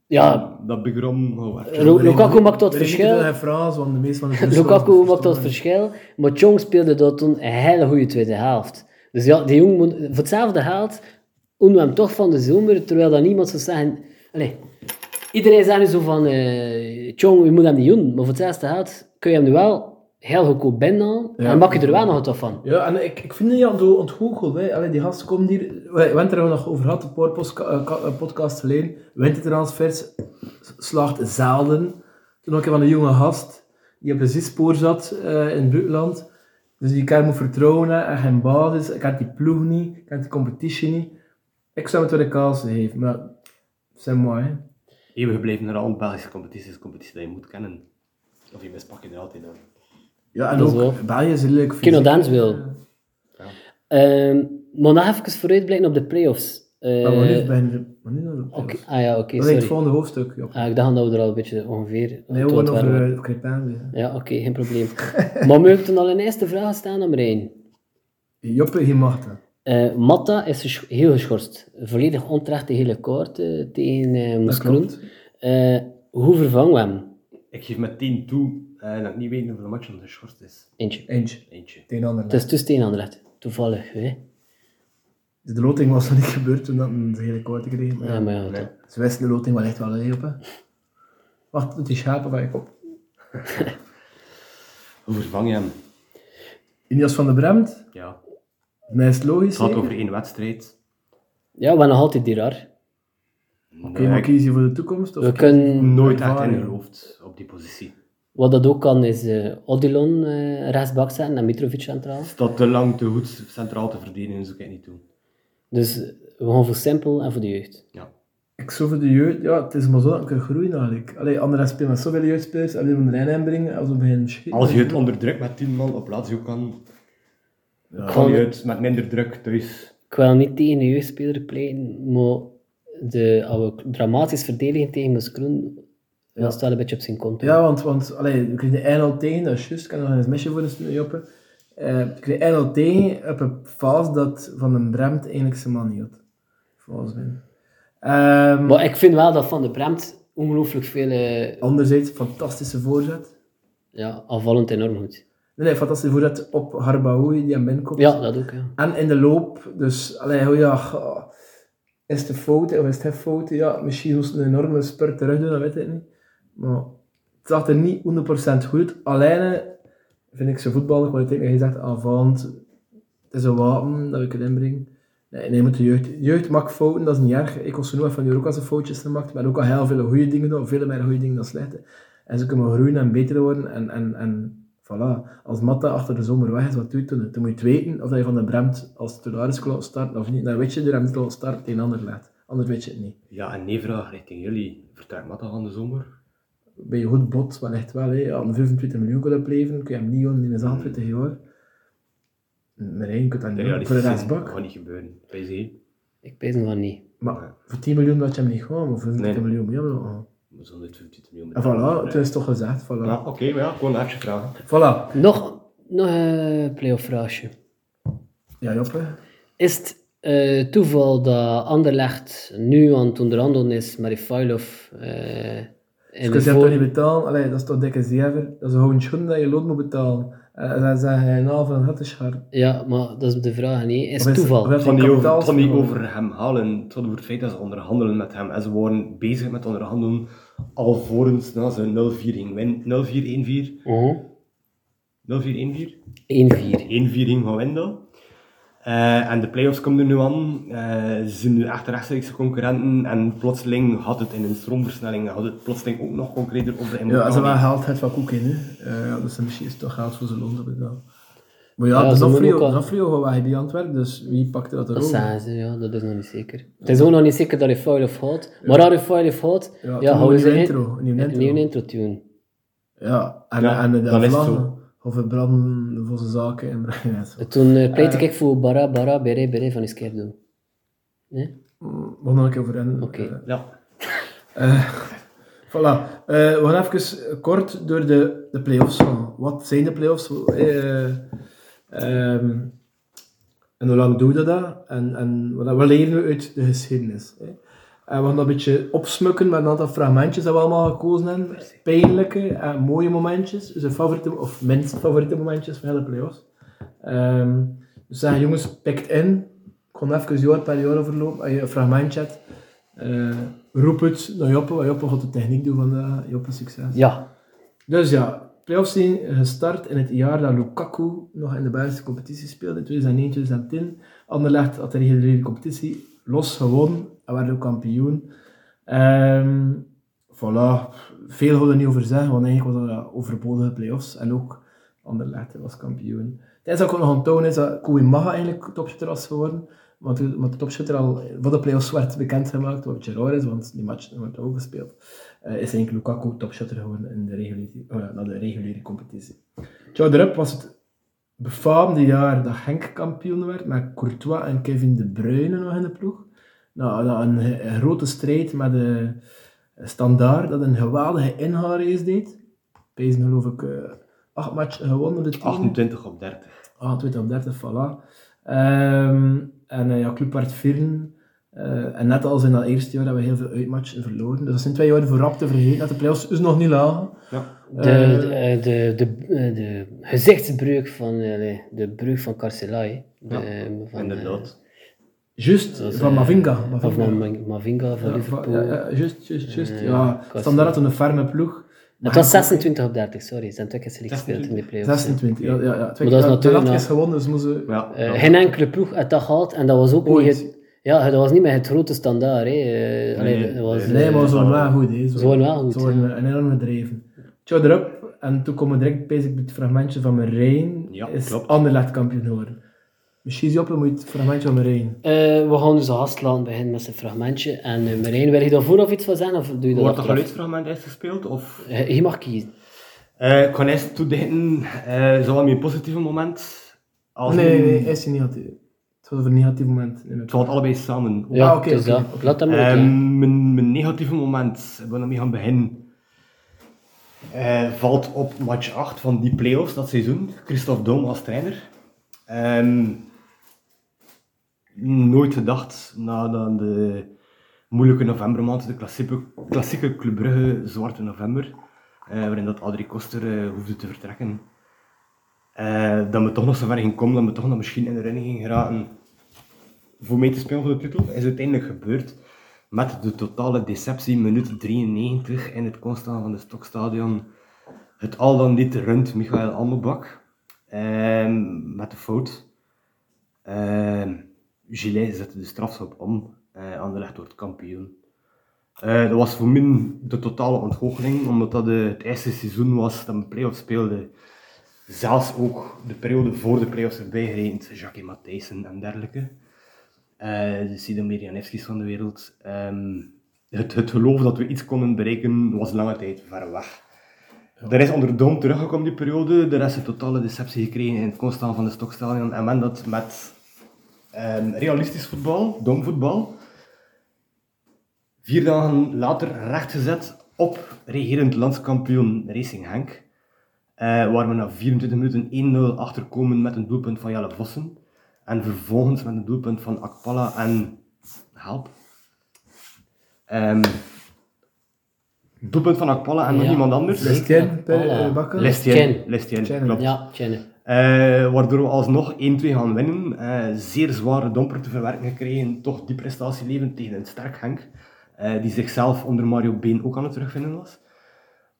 S1: ja,
S5: dat Oh, begrom gewerkt.
S1: Lu- Lukaku maakt dat
S3: Er is
S1: verschil.
S3: niet veel in Frans, want de meeste van de Fransen-
S1: Lukaku maakt dat verschil, maar Chong speelde dat toen een hele goede tweede helft. Dus ja, die jongen moet voor hetzelfde geld doen we hem toch van de zomer, terwijl dan niemand zou zeggen... Allee, iedereen zegt nu zo van, eh Chong, je moet hem niet doen, maar voor hetzelfde geld kun je hem nu wel heel goedkoop binnen
S3: Ja.
S1: en maak je er wel nog wat van.
S3: Ja, en ik, ik vind het ja, zo ontgoocheld. hè. Allee, die gasten komen hier... We hebben het er nog over gehad, een paar postka- eh, ka- eh, podcasts geleden. Wintertransfers slaagt zelden. Toen ook een van de jonge gast, die op een zijspoor zat eh, in het buitenland. Dus die kan moet vertrouwen hè, en geen basis. Ik had die ploeg niet, ik had die competitie niet. Ik zou het wel de kaas geven, maar... Het zijn mooi, hè.
S5: Eeuwig gebleven naar alle Belgische competities, is een competitie die je moet kennen. Of je mispak je er altijd aan.
S3: Ja, en
S1: Dat is
S3: ook,
S1: wel.
S3: België is een leuk
S1: Kino
S3: fysiek.
S1: Dans wil. Ehm, maar nog even vooruitblikken op de playoffs. Eh,
S3: Maar we nu bij de... Maar nu naar de...
S1: oké, ah ja, oké,
S3: dat is het
S1: sorry.
S3: volgende hoofdstuk. Ja.
S1: Ah, ik dacht dat we er al een beetje ongeveer...
S3: Nee,
S1: op
S3: we gaan
S1: het waren.
S3: over uh, Crepin.
S1: Ja, oké, geen probleem. maar we moeten al een eerste vraag staan nummer 1.
S3: Joppe, je mag dat.
S1: Eh, Matta is gesch- heel geschorst. Volledig onterecht de hele kaart eh, tegen eh Moeskroen.
S3: klopt.
S1: Eh, hoe vervangen we hem?
S5: Ik geef met 10 toe eh, dat ik niet weet hoeveel matchen er schort is.
S1: Eentje.
S3: Eentje.
S5: Eentje.
S3: Tegen ander.
S1: Het is dus tegen Anderlecht. Toevallig, hè?
S3: Dus De loting was nog niet gebeurd toen dat een hele korte kreeg. Maar
S1: Ja, maar ja, dat-
S3: Ze wisten de loting wel echt wel hè, Joppe. Wacht, doet die schapen van je kop.
S5: Hoe vervang je hem?
S3: Inias van de Bremt,
S5: Ja.
S3: mij is het logisch.
S5: Het gaat
S3: zeker?
S5: over één wedstrijd.
S1: ja, we hebben nog altijd die raar.
S3: Kun je maar kiezen voor de toekomst? Of
S1: We
S3: kies-
S1: kunnen,
S5: nooit echt in
S3: ervaring.
S5: geloofd op die positie.
S1: wat dat ook kan, is eh Odilon eh, rechtsbak zetten en Mitrovic centraal.
S5: Is dat te lang te goed centraal te verdedigen, zoek ik niet toe.
S1: Dus eh, we gaan voor simpel en voor de jeugd.
S5: Ja.
S3: Ik zo voor de jeugd, ja, het is maar zo dat ik kan groeien eigenlijk. Allee, andere spelen met zoveel jeugdspelers, alleen van de lijn inbrengen, als we beginnen misschien.
S5: Als je het onder druk met 10 man op Lazio kan, kan
S1: Gewoon-
S5: je het met minder druk thuis.
S1: Ik wil niet tegen een jeugdspeler pleiten, maar de, als we dramatisch verdedigen tegen Moeskroen, dan staat een beetje op zijn kont.
S3: Ja, want, want allee, we kregen de 1 al tegen, dat is juist, ik kan nog eens mesje voor een Joppe. Eh we kregen 1 al tegen op een fase dat Van den Bremt eigenlijk zijn man niet had. Volgens mij. Ehm,
S1: Maar ik vind wel dat Van de Bremt ongelooflijk veel... eh,
S3: anderzijds, fantastische voorzet.
S1: ja, aanvallend enorm goed.
S3: Nee, nee, fantastische voorzet op Harbaoui die aan binnenkomt.
S1: Ja, dat ook, ja.
S3: En in de loop, dus allee, oh ja, goh, is het een fout of is het een fout? Ja, misschien moest een enorme spurt terug doen, dat weet ik niet. Maar het zag er niet 100% goed uit. Alleen eh, vind ik zijn voetbalkwaliteit, maar je zegt aanvallend, het is een wapen dat ik het inbreng. Nee, nee, moet de jeugd. Jeugd maakt fouten, dat is niet erg. Ik was genoeg van die ook als ze foutjes gemaakt, maar ook al heel veel goede dingen doen, veel meer goede dingen dan slechte. En ze kunnen groeien en beter worden. En, en, en voilà. Als Matta achter de zomer weg is, wat doe je toen? Dan moet je het weten of dat je van de Bremt als titularis kan starten of niet. Dan weet je er hem niet kan starten tegen ander laat. Anders weet je het niet.
S5: Ja, en nee, vraag richting jullie. Vertrekt Matta van de zomer?
S3: Bij je goed bot, maar echt wel. Hè. Ja, om 25 miljoen kunnen blijven, kun je hem niet gewoon in de zaal
S5: Hmm.
S3: 20 jaar. Maar één, je kunt dat niet doen. voor de
S5: Realistisch gezien,
S3: rechtsbak.
S5: kan niet gebeuren. Bij ze.
S1: Ik weet het van niet.
S3: Maar voor 10 miljoen dat je hem niet gewoon, maar voor 25
S5: Nee.
S3: miljoen moet je hem nog gaan.
S5: Zo'n 150 miljoen.
S3: En ah. voilà, het is toch gezegd. Voilà.
S5: Ja, oké, maar ja, gewoon een hartje vragen.
S3: voilà.
S1: Nog, nog een playoff vraagje.
S3: Ja, Joppe.
S1: Is het eh, toeval dat Anderlecht nu aan het onderhandelen is met Rifailov eh in
S3: Dus
S1: de
S3: je
S1: voor...
S3: hebt toch niet betalen? Allee, dat is toch dikke zever? Dat is gewoon schoen dat je lood moet betalen. Eh, En dan zeggen hij nou van het is haar.
S1: Ja, maar dat is de vraag niet. Is
S3: Of
S1: het
S3: is-
S1: toeval?
S3: of is-
S5: Het gaat niet over, het gaat niet
S3: kapitaal-
S5: over hem halen, het gaat over het feit dat ze onderhandelen met hem. En ze waren bezig met onderhandelen alvorens na ze 0-4 ging winnen. 0-4-1-4.
S1: Mhm.
S5: 0-4-1-4?
S1: 1-4.
S5: 1-4 ging gaan winnen. dan. Eh, en de playoffs komen er nu aan. Eh, ze zijn nu echt rechtstreeks concurrenten. En plotseling had het in een stroomversnelling had het plotseling ook nog concreter op de
S3: Ja, als ze wel
S5: inbound.
S3: geld heeft van Koek in, hè. Eh, dus misschien is het toch geld voor zijn loon te betalen. Maar ja, dus
S1: Ja,
S3: de
S1: ze moeten
S3: Zafrio
S1: ook al-
S3: gaat weg bij Antwerpen, dus wie pakt dat er
S1: Dat
S3: ook?
S1: zijn ze, ja, dat is nog niet zeker. Het is ook nog niet zeker dat hij foul of houdt. Maar als hij foul of houdt,
S3: Ja,
S1: ja,
S3: toen
S1: houden
S3: een
S1: ze
S3: nieuwe
S1: in-
S3: intro, een nieuwe
S1: een
S3: intro.
S1: nieuwe intro tune.
S3: Ja, en,
S5: Ja,
S3: en de
S5: dan is het
S3: vlaggen.
S5: zo.
S3: Of we branden voor zijn zaken en brengen het zo.
S1: En Toen eh, pleit ik voor Bara Bara Bere Bere van Izquierdo. Nee?
S3: We gaan nog een keer over in.
S1: Oké.
S3: Eh,
S5: Ja.
S3: Voilà. Eh, we gaan even kort door de, de play-offs gaan. Wat zijn de play-offs? Eh, ehm, en hoe lang doen we dat? dan? En, en wat, wat leren we uit de geschiedenis? Hè? En we gaan dat een beetje opsmukken met een aantal fragmentjes dat we allemaal gekozen hebben. Pijnlijke en mooie momentjes. Dus de favoriete, of minst favoriete momentjes van de play-offs. Ehm, dus zeggen jongens, pikt in. Ik ga even jaar per jaar overlopen. Als je een fragmentje hebt, eh, roep het naar Joppe. want Joppe gaat de techniek doen vandaag. Joppe, succes.
S1: Ja.
S3: Dus ja, playoffs zijn gestart in het jaar dat Lukaku nog in de Belgische competitie speelde, 2009, 2010. Anderlecht had de reguliere competitie los gewonnen en werd ook kampioen. Ehm voilà, veel hadden er niet over zeggen, want eigenlijk was dat een overbodige playoffs. En ook Anderlecht was kampioen. Tijdens dat ik ook nog aan het tonen is dat Koei Maga eigenlijk topschutter was geworden. Want de, want de topschutter al voor de playoffs werd bekendgemaakt, wat een beetje raar is, want die match wordt ook gespeeld eh, is eigenlijk Lukaku topshutter geworden in de reguliere, oh ja, na de reguliere competitie. Het jaar erop was het befaamde jaar dat Henk kampioen werd met Courtois en Kevin De Bruyne nog in de ploeg. Nou, na een, ge- een grote strijd met de Standaard dat een geweldige inhaalrace deed. Pezen geloof ik eh, acht matchen gewonnen. De team.
S5: 28 op 30.
S3: 28 Ah, op 30, voilà. Ehm, en eh, ja, Club werd vieren. Eh, en net als in dat eerste jaar hebben we heel veel uitmatchen verloren. Dus dat zijn twee jaar voorop te vergeten dat de playoffs dus nog niet lagen.
S5: Ja.
S1: De, de,
S3: Eh,
S1: de, de, eh, de gezichtsbreuk van, eh, nee, de breuk van Carcelai. De, eh, van,
S5: Inderdaad.
S3: Juist,
S1: Dat is,
S3: van
S1: eh,
S3: Mavinga.
S1: eh,
S3: Mavinga.
S1: van Ma- Mavinga van
S3: Ja, van-
S1: Liverpool.
S3: ja, ja, juist, juist, juist.
S1: Eh,
S3: ja,
S1: Kast-
S3: standaard had een ferme ploeg. Maar
S1: Het was
S3: Henk-
S1: 26 op 30, sorry. Ze zijn twee keer slecht gespeeld in de playoffs.
S3: 26, ja. ja, ja. Twee
S1: Maar dat is
S3: keer-
S1: natuurlijk
S3: de laatste
S1: nog-
S3: is gewonnen, dus moesten ze...
S5: Ja.
S1: Eh, geen enkele ploeg had dat gehad en dat was ook
S3: Ooit.
S1: niet het, ja, dat was niet met het grote standaard. Hè. Eh, allee,
S5: nee,
S1: dat was,
S3: Nee,
S1: eh,
S3: maar ze waren wel goed. Hè.
S1: Ze waren wel goed,
S3: Ze waren een enorm gedreven. Tja, erop. En toen komen we direct bezig met het fragmentje van Marijn.
S5: Ja,
S3: is
S5: klopt.
S3: Anderlecht kampioen geworden. Misschien is Joppe, moet je het fragmentje van Marijn.
S1: Eh, we gaan dus de gast laten beginnen met zijn fragmentje. En eh, Marijn, wil je daar vooraf iets van zeggen of doe je dat
S5: Wordt dat
S1: achteraf?
S5: geluidsfragment eerst gespeeld? Of?
S1: Eh, Je mag kiezen.
S5: Eh, ik ga eerst toedenken, eh zo aan mijn positieve moment. Als
S3: nee,
S5: in-
S3: nee, nee, is hij niet negatief. Het was over een negatief moment. Nee,
S5: Het valt allebei samen.
S1: Ja,
S3: Ah, oké,
S1: het is
S3: oké,
S1: dat.
S3: oké.
S1: Laat dat maar
S5: Ehm,
S1: uitleggen.
S5: mijn, mijn negatieve moment, waar we daarmee gaan beginnen, eh, valt op match 8 van die play-offs dat seizoen. Christophe Dom als trainer. Ehm, nooit gedacht na, na de moeilijke novembermaand, de klassieke, klassieke Club Brugge Zwarte November, eh, waarin dat Adrie Koster eh, hoefde te vertrekken. Eh, dat we toch nog zo ver gingen komen, dat we toch nog misschien in de running gingen geraken voor mee te spelen voor de titel, is uiteindelijk gebeurd met de totale deceptie, minuut 93 in het constaan van de Stokstadion. Het al dan niet rund Michael Andelbak ehm, met de fout. Ehm Gillet zette de strafschop om, eh Anderlecht wordt kampioen. Eh, dat was voor mij de totale ontgoocheling, omdat dat eh, het eerste seizoen was dat mijn play-off speelde. Zelfs ook de periode voor de play-offs erbij gerekend, Jacques Matthijssen en dergelijke eh de Sidemir Janevskis van de wereld. Ehm, het, het geloof dat we iets konden bereiken was lange tijd ver weg. Er is onder Dom teruggekomen die periode. Er is een totale deceptie gekregen in het constaan van de Stokstadion. En men dat met ehm, realistisch voetbal, domvoetbal, vier dagen later rechtgezet op regerend landskampioen Racing Henk. Eh, waar we na 24 minuten 1-0 achterkomen met een doelpunt van Jelle Vossen. En vervolgens met een doelpunt van Akpala en Help. Ehm, doelpunt van Akpala en nog
S1: Ja.
S5: iemand anders.
S1: Zeker.
S3: Lestien,
S1: Voilà.
S3: eh, Bakker.
S5: Lestien.
S1: Ken.
S5: Lestien,
S3: Ken,
S5: klopt.
S1: Ja, Jenny.
S5: Eh, waardoor we alsnog 1-2 gaan winnen. Eh, zeer zware domper te verwerken gekregen. Toch die prestatie levend tegen een sterk Henk. eh, die zichzelf onder Mario Been ook aan het terugvinden was.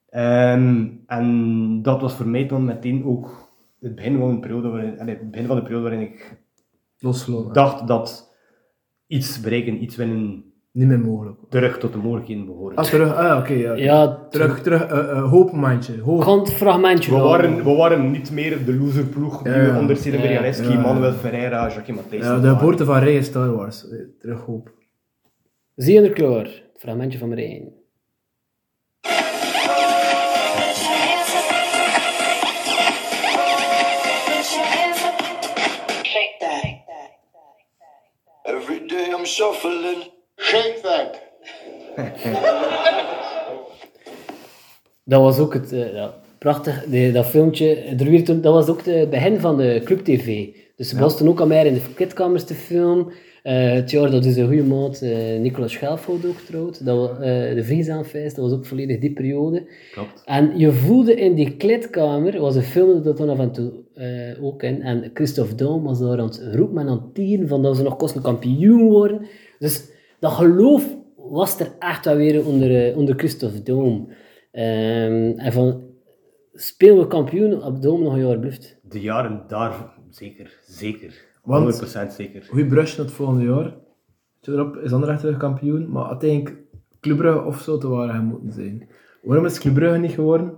S5: Ehm, en dat was voor mij dan meteen ook het begin van, een periode waarin, allee, het begin van de periode waarin ik
S3: Losgelopen.
S5: dacht dat iets bereiken, iets winnen,
S3: Niet meer mogelijk.
S5: terug tot de mogelijkheden behoren.
S3: Ah, terug. Ah, ja, oké. ja.
S1: Ja,
S3: Terug, terug. eh eh, hopen, mandje. Hopen.
S1: Gewoon het fragmentje.
S5: We
S1: wel.
S5: waren, we waren niet meer de loserploeg die
S3: Ja.
S5: we onder Silver
S1: Ja.
S5: Jaleski,
S3: Ja.
S5: Manuel Ferreira, Jacques Matthijs.
S3: Ja, de geboorte van Rey is Star Wars. Eh, Terug hoop.
S1: Zie je de kleur? Het fragmentje van Marijn.
S6: Shake that.
S7: Every day I'm shuffling.
S6: Shake that.
S1: Dat was ook het... eh, ja, prachtig, die- dat filmpje. Er werd toen, dat was ook het begin van de Club TV. Dus ze was toen ook aan mij in de kitkamers te film. Eh, het jaar dat is een goede maat eh Nicolas Schelfhout ook trouwt. Dat, wa- eh de Vriesaanfeest, dat was ook volledig die periode.
S5: Klopt.
S1: En je voelde in die kleedkamer, was een film dat dan af en toe eh, ook in, en Christophe Daum was daar aan het roepen en aan het tieren van dat ze nog kosten kampioen worden. Dus dat geloof was er echt wel weer onder, eh, onder Christophe Daum. Ehm, en van, spelen we kampioen op Daum nog een jaar blijft.
S5: De jaren daarvoor, zeker, zeker.
S3: Want-
S5: 100% zeker.
S3: Goeie brush naar het volgende jaar. Erop is Anderlecht terug kampioen. Maar uiteindelijk Club Brugge of zo te waren gaan moeten zijn. Waarom is Club Brugge niet geworden?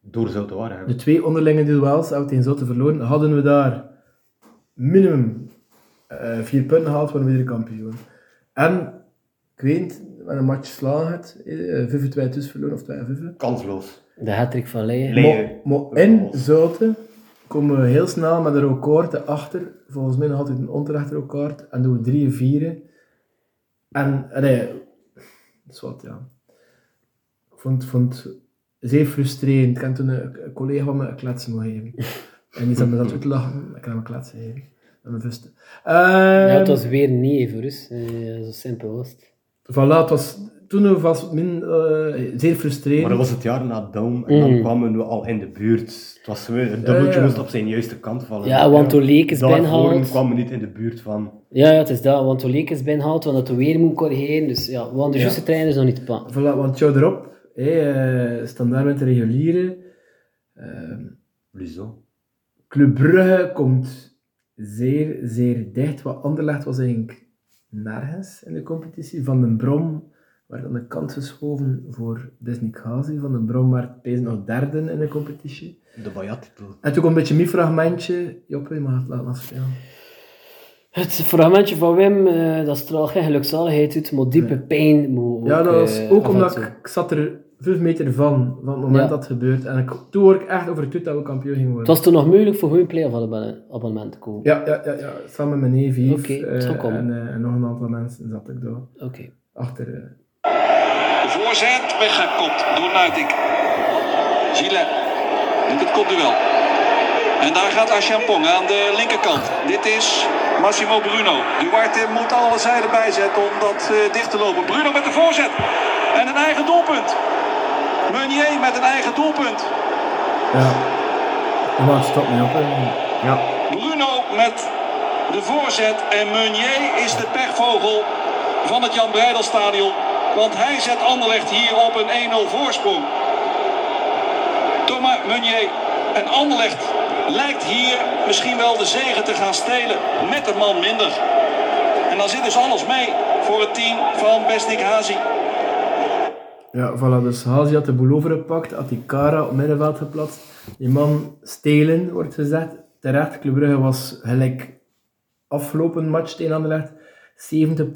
S5: Door zou te waren.
S3: De twee onderlinge duels hebben we tegen Zotte verloren. Hadden we daar minimum eh, vier punten gehaald, waren we weer kampioen. En, ik weet niet, met een match slagen het. eh, Vijf of twee tussen verloren, of twee vijf.
S5: Kansloos.
S1: De hattrick van Leijen.
S5: Leijen.
S3: Maar, maar in Zouten komen we heel snel met een record erachter. Volgens mij nog altijd een onterecht record. En doen we drieën, vieren. En, en nee, dat is wat, ja. Ik vond, vond het zeer frustrerend. Ik heb toen een, een collega van me een klets mogen geven. En die zat me dat uit te lachen. Ik heb hem een klets gegeven. Met mijn vusten.
S1: Ja,
S3: Ehm,
S1: het was weer niet voor ons. Eh, zo simpel was het.
S3: Voilà, het was toen was min, eh, zeer frustrerend.
S5: Maar dat was het jaar na Daum en
S1: Mm.
S5: dan kwamen we al in de buurt. Het was weer, het dubbeltje
S3: ja.
S5: moest op zijn juiste kant vallen.
S1: Ja, want Oleek is
S5: Daarvoor
S1: binnengehaald.
S5: kwamen we niet in de buurt van.
S1: Ja, ja, het is dat. Want Oleek is binnengehaald, want dat we weer moet corrigeren. Dus ja, we hadden de juiste trainers nog niet te pakken.
S3: Voilà, want jou erop, hey, standaard met de reguliere. ehm,
S5: Luzo.
S3: Club Brugge komt zeer, zeer dicht. Wat Anderlecht was eigenlijk nergens in de competitie. Van den Brom werd aan de kant geschoven voor Disney Gazi. Van den Brom werd deze nog derde in de competitie.
S5: De Bayat-titel.
S3: En toen komt een beetje mijn fragmentje. Joppe, je mag het laten afspelen.
S1: Het fragmentje van Wim, eh, dat straalt geen gelukzaligheid uit, maar diepe pijn moet
S3: Ja, dat was
S1: eh,
S3: ook
S1: af en
S3: omdat
S1: toe.
S3: ik, ik zat er vijf meter van, van het moment
S1: Ja.
S3: dat het gebeurt. En ik, toen word ik echt overtuigd dat we kampioen gingen
S1: Het
S3: worden.
S1: was toen nog moeilijk voor goede play-off abonne- abonnement te kopen.
S3: Ja, ja, ja, ja, samen met mijn neef Yves,
S1: Oké,
S3: eh,
S1: het zal komen.
S3: en, eh, en nog een aantal mensen zat ik daar
S1: Oké.
S3: achter. eh,
S8: Voorzet, weggekopt door Nuiting. Gillet doet het kopduel. En daar gaat Achampong aan de linkerkant. Dit is Massimo Bruno. Duarte moet alle zijden bijzetten om dat eh, dicht te lopen. Bruno met de voorzet. En een eigen doelpunt. Meunier met een eigen doelpunt.
S3: Ja. Maar stop me op. hè.
S8: Bruno met de voorzet. En Meunier is de pechvogel van het Jan Breidelstadion. Want hij zet Anderlecht hier op een 1-0 voorsprong. Thomas Meunier en Anderlecht lijkt hier misschien wel de zegen te gaan stelen met een man minder. En dan zit dus alles mee voor het team van Besnik Hazi.
S3: Ja, voilà. Dus Hazi had de boel overgepakt, had die Cara op middenveld geplaatst. Die man stelen, wordt gezegd. Terecht, Club Brugge was gelijk afgelopen match tegen Anderlecht. 70%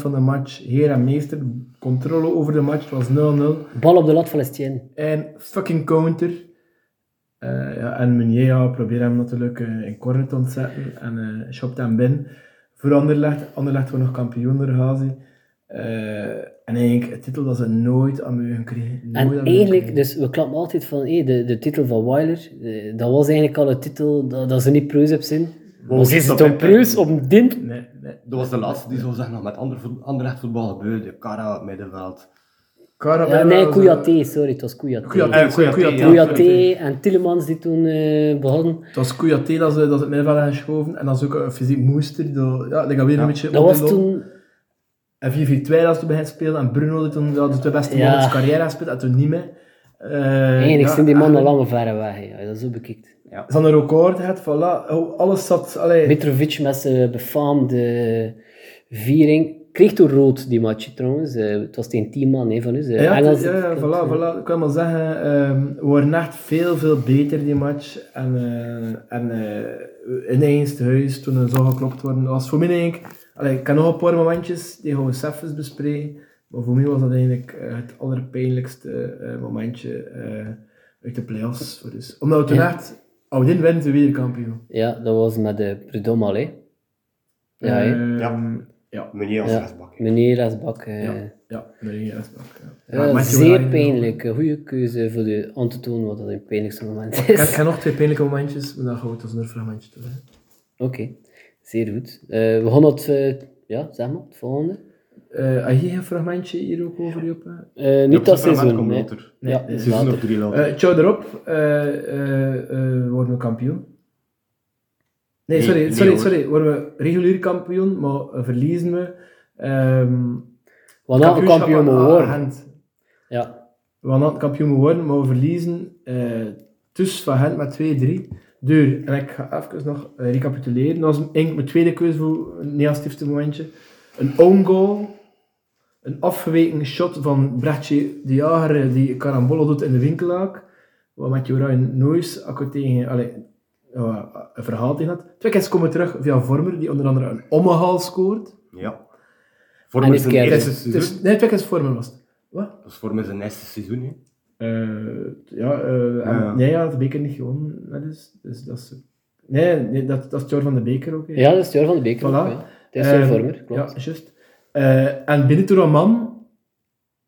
S3: van de match, heer en meester. Controle over de match, het was 0-0.
S1: Bal op de lat van Estienne.
S3: En fucking counter. Eh, ja, en Meunier ja, probeert hem natuurlijk eh, in corner te ontzetten en eh shopt hem binnen. Voor Anderlecht, Anderlecht wordt nog kampioen door Hazi. Eh, en eigenlijk, een titel dat ze nooit aan me gekregen. nooit aan
S1: En
S3: Meugen
S1: eigenlijk,
S3: gekregen.
S1: dus we klappen altijd van hé, de, de titel van Weiler, eh, dat was eigenlijk al een titel dat, dat ze niet preus op zijn. Maar ze is het om preus, om dint.
S3: Nee, nee.
S5: Dat was de laatste die zou zeggen nog met ander, voet- ander echt voetbal gebeurde. Cara, middenveld.
S3: Karel
S1: Ja,
S3: Meulen
S1: nee,
S3: was-
S1: Kouyaté, sorry, het was Kouyaté.
S3: Kouyaté,
S5: Eh, Kouyaté,
S3: Kouyaté,
S5: ja.
S1: Kouyaté en Tillemans die toen eh begonnen.
S3: Het was Kouyaté dat ze, dat ze het middenveld hadden geschoven. En dat is ook een fysiek moester. Dat, ja, dat gaat weer een beetje
S1: Dat was
S3: opgelopen.
S1: toen
S3: En 4-4-2 als toen begint te spelen. En Bruno die toen ja, de twee beste
S1: Ja.
S3: mannen zijn carrière gespeeld. En toen niet meer.
S1: Uh,
S3: Eh,
S1: Enig
S3: ja,
S1: zijn die mannen
S3: eigenlijk-
S1: lange verre weg, hè, als je dat zo bekijkt.
S3: Ja. Ze hadden een record gehad, voilà. Oh, alles zat... Allee,
S1: Mitrovic met zijn befaamde viering. Kreeg toen rood die match trouwens. Eh, het was tegen tien man hè, van eh, u.
S3: ja, het- ja, ja, voilà,
S1: eh,
S3: voilà. Ik kan wel zeggen, ehm, we waren echt veel, veel beter die match. En, eh en eh, ineens te huis, toen er zo geklopt worden, dat was voor mij denk ik... Allee, ik kan nog een paar momentjes die gaan we zelf eens bespreken. Maar voor mij was dat eigenlijk eh, het allerpijnlijkste eh, momentje eh, uit de play-offs. Dus, omdat we toen
S1: Ja.
S3: echt... Als we dit winnen, zijn we weer kampioen.
S1: Ja, dat was met de Predomal. Hè. Ja, hè.
S3: Ehm,
S4: Ja.
S3: ja.
S4: Meneer als
S1: Ja.
S4: rechtsbak.
S1: meneer Lesbak. eh,
S3: Ja, ja, nee, dat is wel. Ja.
S1: ja,
S3: Ja, Matthew
S1: zeer
S3: Ryan.
S1: pijnlijk. Een goede keuze voor de, aan te tonen wat dat een pijnlijkste moment
S3: Ik heb, ik
S1: is.
S3: heb nog twee pijnlijke momentjes, maar dan gaan we het als een fragmentje doen. hè.
S1: Oké, zeer goed. Eh, we gaan het, eh, ja, zeg maar, het volgende.
S3: Eh, had je een fragmentje hier ook over, Joppe?
S1: Eh,
S4: Ja, op
S1: niet dat
S4: zo'n moment
S1: seizoen.
S4: komt
S1: nee.
S4: later.
S3: Nee,
S1: ja,
S3: dit
S4: Seizoen
S1: later.
S4: of drie later.
S3: Eh ciao erop, eh, eh, eh, worden we kampioen. Nee,
S4: Nee,
S3: sorry,
S4: nee,
S3: sorry,
S4: hoor.
S3: sorry, worden we regulier kampioen, maar eh, verliezen we. Ehm
S1: Want dan
S3: kampioenschap ah,
S1: kampioen
S3: aan-
S1: moet
S3: aan
S1: worden.
S3: Gent.
S1: Ja,
S3: We hadden het kampioen geworden, maar we verliezen eh dus van Gent met 2-3. Duur. En ik ga even nog eh, recapituleren. Dat was eigenlijk mijn tweede keuze voor het negatiefste momentje. Een own goal. Een afgeweken shot van Bratje de Jager eh, die Carambolo doet in de winkelhaak. Wat met Jorijn Noyes akkoord tegen... Allee, ja, een verhaal tegen had. Twee keer komen we terug via Vormer, die onder andere een ommehaal scoort.
S5: Ja.
S4: Voor
S1: En
S4: mij
S1: ik
S4: zijn
S1: kijk.
S4: eerste
S3: Het
S4: seizoen.
S3: is, nee, twee keer Vormer was het. Wat?
S5: Dat is voor mij zijn eerste seizoen. Hè.
S3: Eh, ja, eh en-
S5: Ja.
S3: nee, ja, de beker niet gewonnen. Dat is, dus dat is, nee, nee dat, dat is het jaar van de beker ook. hè.
S1: ja dat is het jaar van de beker.
S3: Voilà.
S1: ook, ja. Het is
S3: Eh,
S1: voor vormer, klopt.
S3: Ja, juist. Eh, en binnen Touraman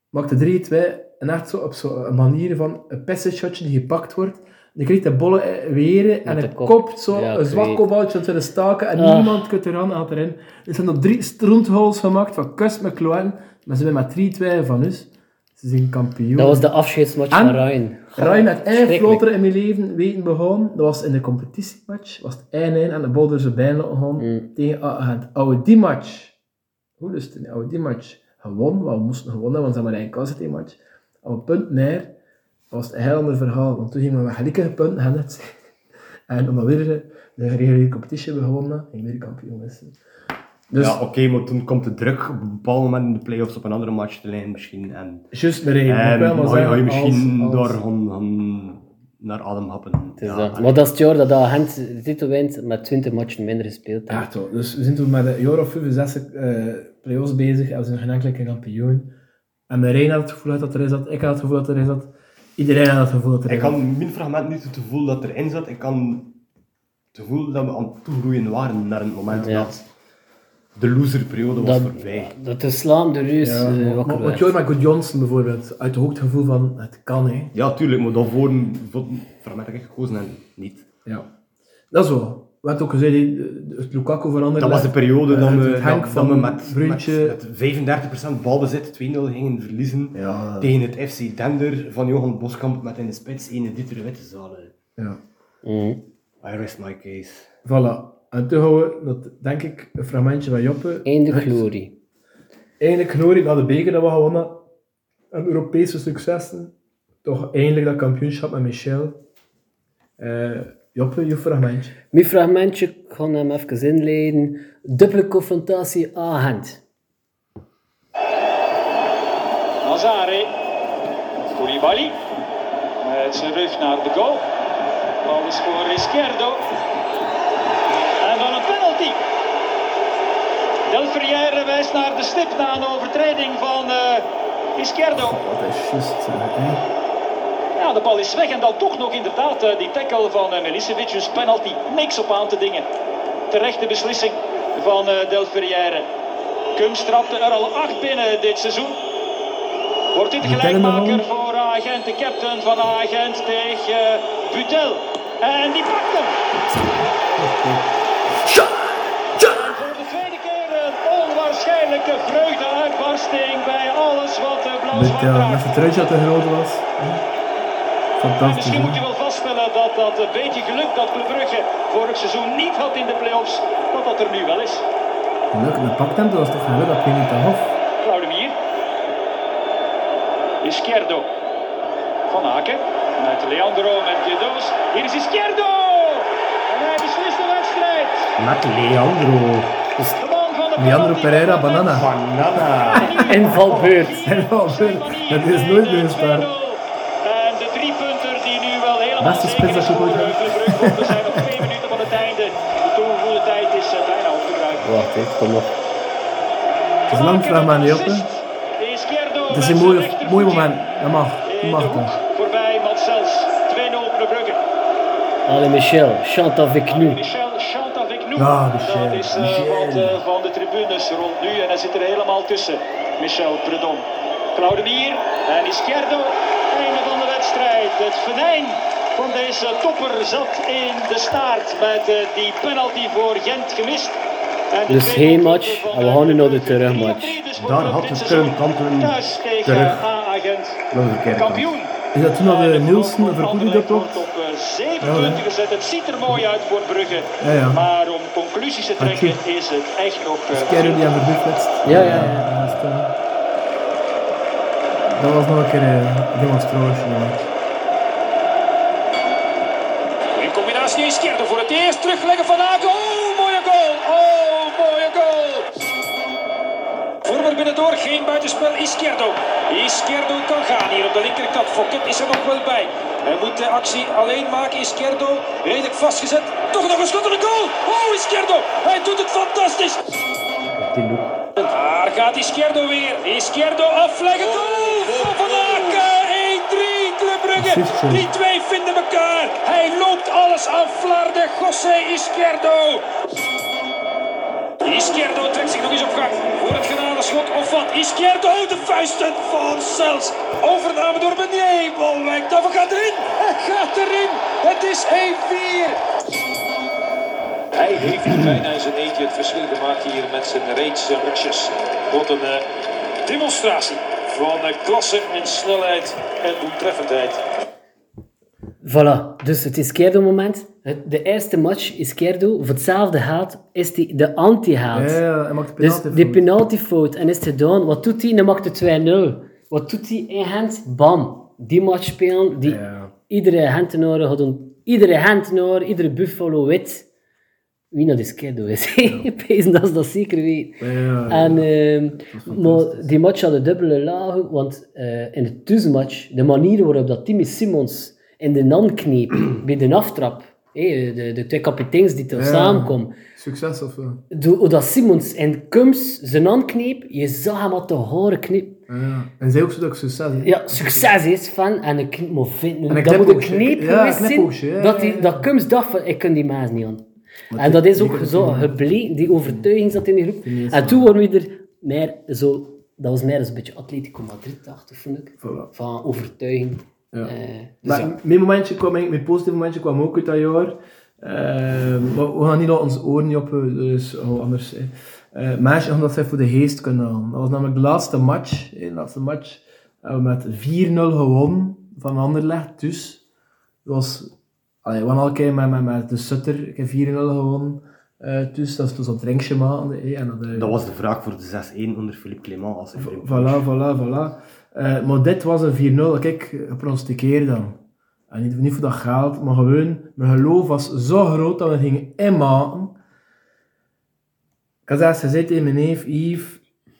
S3: maakte 3-2 en echt zo op zo'n manier van een pissenshotje die gepakt wordt. Je krijgt de bollen eh, weer en
S1: Met de
S3: het
S1: kop.
S3: kopt zo
S1: Ja,
S3: een
S1: ik
S3: zwak
S1: weet.
S3: kopballetje tussen de staken en
S1: Ah.
S3: niemand kunt eraan aan erin. Er zijn nog drie strontholes gemaakt van Kus met Kloen, maar ze zijn met 3-2 van ons. Ze zijn kampioen.
S1: Dat was de afscheidsmatch
S3: En-
S1: van Ryan.
S3: Ryan had één
S1: Schrikkelijk.
S3: floter in mijn leven weten behouden. Dat was in de competitiematch. was het 1-1 en de bal door zijn been laten gaan
S1: Mm.
S3: tegen Agent. Oude die match. Hoe lust het? Oude die match. Gewonnen, want we moesten gewonnen, want ze hadden maar één kans in die match. Op een punt neer. Dat was een heel ander verhaal, want toen gingen we met gelijke punten gaan het. En omdat we de de reguliere competitie hebben gewonnen, gingen we weer kampioen zijn. Dus,
S5: ja, oké, maar toen komt de druk op een bepaald moment in de play-offs op een andere match te lijnen misschien. En
S3: juist maar één.
S5: ehm,
S3: Ik wil maar
S5: ga je- ga je
S3: zeggen,
S5: misschien
S3: als- als-
S5: daar gaan, gaan naar adem happen.
S1: Het is
S5: Ja,
S1: dat.
S5: en-
S1: Maar dat is het jaar dat de Gent de titel wint met 20 matchen minder gespeeld.
S3: Ja, toch. Dus we zijn toen met de Euro 65 eh play-offs bezig en we zijn nog geen enkele keer kampioen. En Marijn had het gevoel dat er is dat, ik had het gevoel dat er is dat, iedereen had het gevoel dat er
S5: Ik
S3: is dat.
S5: had mijn fragment niet het gevoel dat erin zat. Ik had het gevoel dat we aan het toegroeien waren naar het moment
S1: Ja.
S5: dat de loserperiode was
S1: Dat-
S5: voorbij.
S1: Dat de slaam de reus
S5: dus,
S3: Ja,
S1: eh,
S3: maar-
S1: wakker
S3: maar- maar
S1: werd.
S3: Jorma Good Johnson bijvoorbeeld, uit de hoogte gevoel van het kan hè.
S5: Ja, tuurlijk, maar daarvoor voor het fragment heb ik gekozen en niet.
S3: Ja. Dat is wel. We hebben ook gezegd, eh, het Lukaku veranderde.
S5: Dat was de periode dat
S3: Eh,
S5: we,
S3: het Henk
S5: dat, dat
S3: van
S5: we met,
S3: Bruntje.
S5: met, met 35% balbezit 2-0 gingen verliezen
S3: Ja.
S5: tegen het FC Dender van Johan Boskamp met in de spits ene Dieter Wittezalen.
S3: Ja.
S1: Mhm.
S5: I rest my case.
S3: Voilà. En toen gaan we, dat, denk ik, een fragmentje van Joppe.
S1: Einde glorie.
S3: eindelijk Nori naar de beker dat we gewonnen. En Europese successen. Toch eindelijk dat kampioenschap met Michel. Eh Joppe, je fragmentje.
S1: Mijn fragmentje, ik ga hem even inleiden. Dubbele confrontatie Agent.
S8: Nazare. Koulibaly. Met zijn rug naar de goal. Bal is voor Risquerdo. En dan een penalty. Del Ferrière wijst naar de stip na een overtreding van eh Risquerdo.
S3: Dat is juist. hè.
S8: Ja, de bal is weg en dan toch nog inderdaad eh, die tackle van eh, Milicevic, dus penalty, niks op aan te dingen. Terechte beslissing van eh, Del Ferrière. Kums trapte er al acht binnen dit seizoen. Wordt dit
S3: Butel in
S8: de
S3: de
S8: gelijkmaker
S3: handen.
S8: voor Agent, de captain van Agent tegen eh, Butel. En die pakt hem. Voor de tweede keer een onwaarschijnlijke vreugdeuitbarsting bij alles wat eh, blauw-zwart
S3: Met, eh,
S8: draagt.
S3: met het truitje dat te groot was. hè.
S8: Maar
S3: Fantastisch.
S8: misschien moet je
S3: hè.
S8: wel vaststellen dat dat een beetje geluk dat Club Brugge vorig seizoen niet had in de play-offs, dat dat er nu wel is.
S3: Leuk, en dat pakt hem, dat was toch geluk, dat ging niet te hof.
S8: Claudemier. Izquierdo.
S9: Van Aken. Met Leandro, met Gedoos. Hier is Izquierdo! En hij beslist de wedstrijd.
S4: Met Leandro.
S9: De man van de
S3: Dus Leandro
S9: penalty-
S3: Pereira, banana.
S4: Banana.
S1: Invalbeurt.
S3: En dan weer, dat is nooit meer
S9: En
S3: waar.
S9: de drie punter die nu wel helemaal
S3: Beste spits
S9: zeker
S3: dat
S9: is
S3: je
S9: voor
S3: ooit
S9: eh,
S3: hebt.
S9: Club Brugge. We zijn nog twee minuten van het einde. De toegevoegde tijd is eh, bijna opgebruikt.
S3: Wacht, ik kom nog. Het is een lang vraag, maar niet op, hè. Het is een mooi,
S9: mooi
S3: mooi moment. Dat mag. Dat mag dan.
S9: Voorbij Mansels. 2-0 voor de Brugge.
S1: Allez Michel, chante avec nous.
S9: Michel chant avec
S4: Nou,
S9: nous.
S3: Ah, Michel,
S9: Dat is eh,
S3: Michel.
S9: wat eh, van de tribunes rond nu. En hij zit er helemaal tussen. Michel Predom. Claudemir en Izquierdo. Einde van de wedstrijd. Het venijn van deze topper zat in de staart. Met eh, die penalty voor Gent gemist. En de
S1: Dus
S9: tweede
S1: geen
S9: doelpunt
S1: match,
S9: van eh,
S1: en we gaan nu naar de
S9: Brugge.
S1: terugmatch.
S9: 4-3 dus voor
S4: Daar
S9: Club
S4: had
S9: dit
S4: de
S9: seizoen.
S4: turnkanten
S9: Thuis tegen
S4: terug.
S9: A-agent.
S4: Dat is een keer.
S9: Kampioen.
S3: Is dat toen al
S9: En de
S3: de
S9: knop
S3: Nielsen
S9: van
S3: voor Koedi
S9: Anderlecht
S3: dat
S9: wordt
S3: klopt?
S9: op eh,
S3: Ja,
S9: 7
S3: hè?
S9: punten gezet. Het ziet er mooi uit voor Brugge.
S3: Ja, ja.
S9: Maar om conclusies te trekken is het echt nog... eh,
S3: Kerry die aan de buurt flitst.
S1: Ja, ja, ja.
S3: dat is toch- Dat was nog een keer eh, een demonstratie. ja.
S9: In combinatie is Kerde voor het eerst terugleggen van Aken. Oh, mooie goal. Oh, mooie goal. Voorwaarts binnendoor, geen buitenspel. Izquierdo. Izquierdo kan gaan hier op de linkerkant. Foket is er nog wel bij. Hij moet de actie alleen maken. Izquierdo redelijk vastgezet. Toch nog een schot en een goal. Oh, Izquierdo. Hij doet het fantastisch. Daar gaat Izquierdo weer. Izquierdo afleggen. Goal van Van Aken. 1-3 Club Brugge. Die twee vinden elkaar. Hij loopt alles aan flarden. José Izquierdo. Izquierdo trekt zich nog eens op gang. Voor het genadeschot of wat? Izquierdo, de vuisten van Cels. Overname door Benier. Bolwijk, Daven gaat Oh, erin. Hij gaat erin. Het is 1-4. Hij heeft nu bijna in zijn eentje het verschil gemaakt hier met zijn reeds rushes. Wat een eh, demonstratie van eh, klasse en snelheid en doeltreffendheid.
S1: Voilà, dus het Izquierdo moment. Het, de eerste match Izquierdo, voor hetzelfde haat, is die de
S3: Ja,
S1: anti-haat.
S3: ja, hij maakt de
S1: dus
S3: penalty.
S1: die
S3: fout.
S1: penaltyfout en is het gedaan. Wat doet hij? Dan maakt de 2-0. Wat doet hij in Gent? Bam. Die match spelen die
S3: Ja.
S1: iedere Gentenaar had een- Iedere Gentenaar, iedere Buffalo weet wie dat Izquierdo is. Pezen dat ze dat zeker weten.
S3: Ja, ja, ja.
S1: En, ehm, maar die match had een dubbele laag, want eh, in de tussenmatch, de manier waarop dat Timmy Simmons in de nan kneep bij de aftrap, hé, de, de twee kapiteins die tot
S3: Ja.
S1: samenkomen,
S3: Succes of eh, zo.
S1: de- hoe dat Simmons in Kums zijn hand kneep, je zag hem al te horen knip.
S3: Ja, ja. En zij ook zo dat ik succes heb.
S1: Ja, succes is van, en een kniep, maar vindt
S3: En een
S1: dat moet een
S3: knipoogje.
S1: kneep
S3: Ja,
S1: geweest
S3: een
S1: zijn,
S3: knipoogje, ja,
S1: dat,
S3: ja,
S1: die,
S3: ja.
S1: dat Kums dacht van, ik kan die maas niet aan. En
S3: dit-
S1: dat is ook
S3: dit-
S1: zo gebleken, die overtuiging zat in die groep.
S3: Die is-
S1: En toen waren we er meer zo, dat was meer eens een beetje Atletico Madrid-achtig, vond ik.
S3: Voilà.
S1: Van overtuiging.
S3: Ja.
S1: Eh, dus
S3: Maar
S1: ja.
S3: mijn momentje kwam eigenlijk, mijn positieve momentje kwam ook uit dat jaar. Ehm, maar we gaan niet al onze oren niet op, eh, dus oh, anders. eh. Eh, maar je dat zij voor de geest kunnen halen. Dat was namelijk de laatste match. eh, de laatste match hebben we met 4-0 gewonnen van Anderlecht. Dus dat was, allee, we hadden al een keer met, met, met de Sutter een keer 4-0 gewonnen. eh dus dat is dus dat drinkje maken. eh, en dat, eh,
S5: Dat was de vraag voor de 6-1 onder Philippe Clément als interim.
S3: Voilà, voilà, voilà. Eh, maar dit was een 4-0. Kijk, gepronosticeerd dan. En niet, niet voor dat geld, maar gewoon, mijn geloof was zo groot dat we gingen inmaken. Ik had zelfs gezegd tegen mijn neef, Yves, ik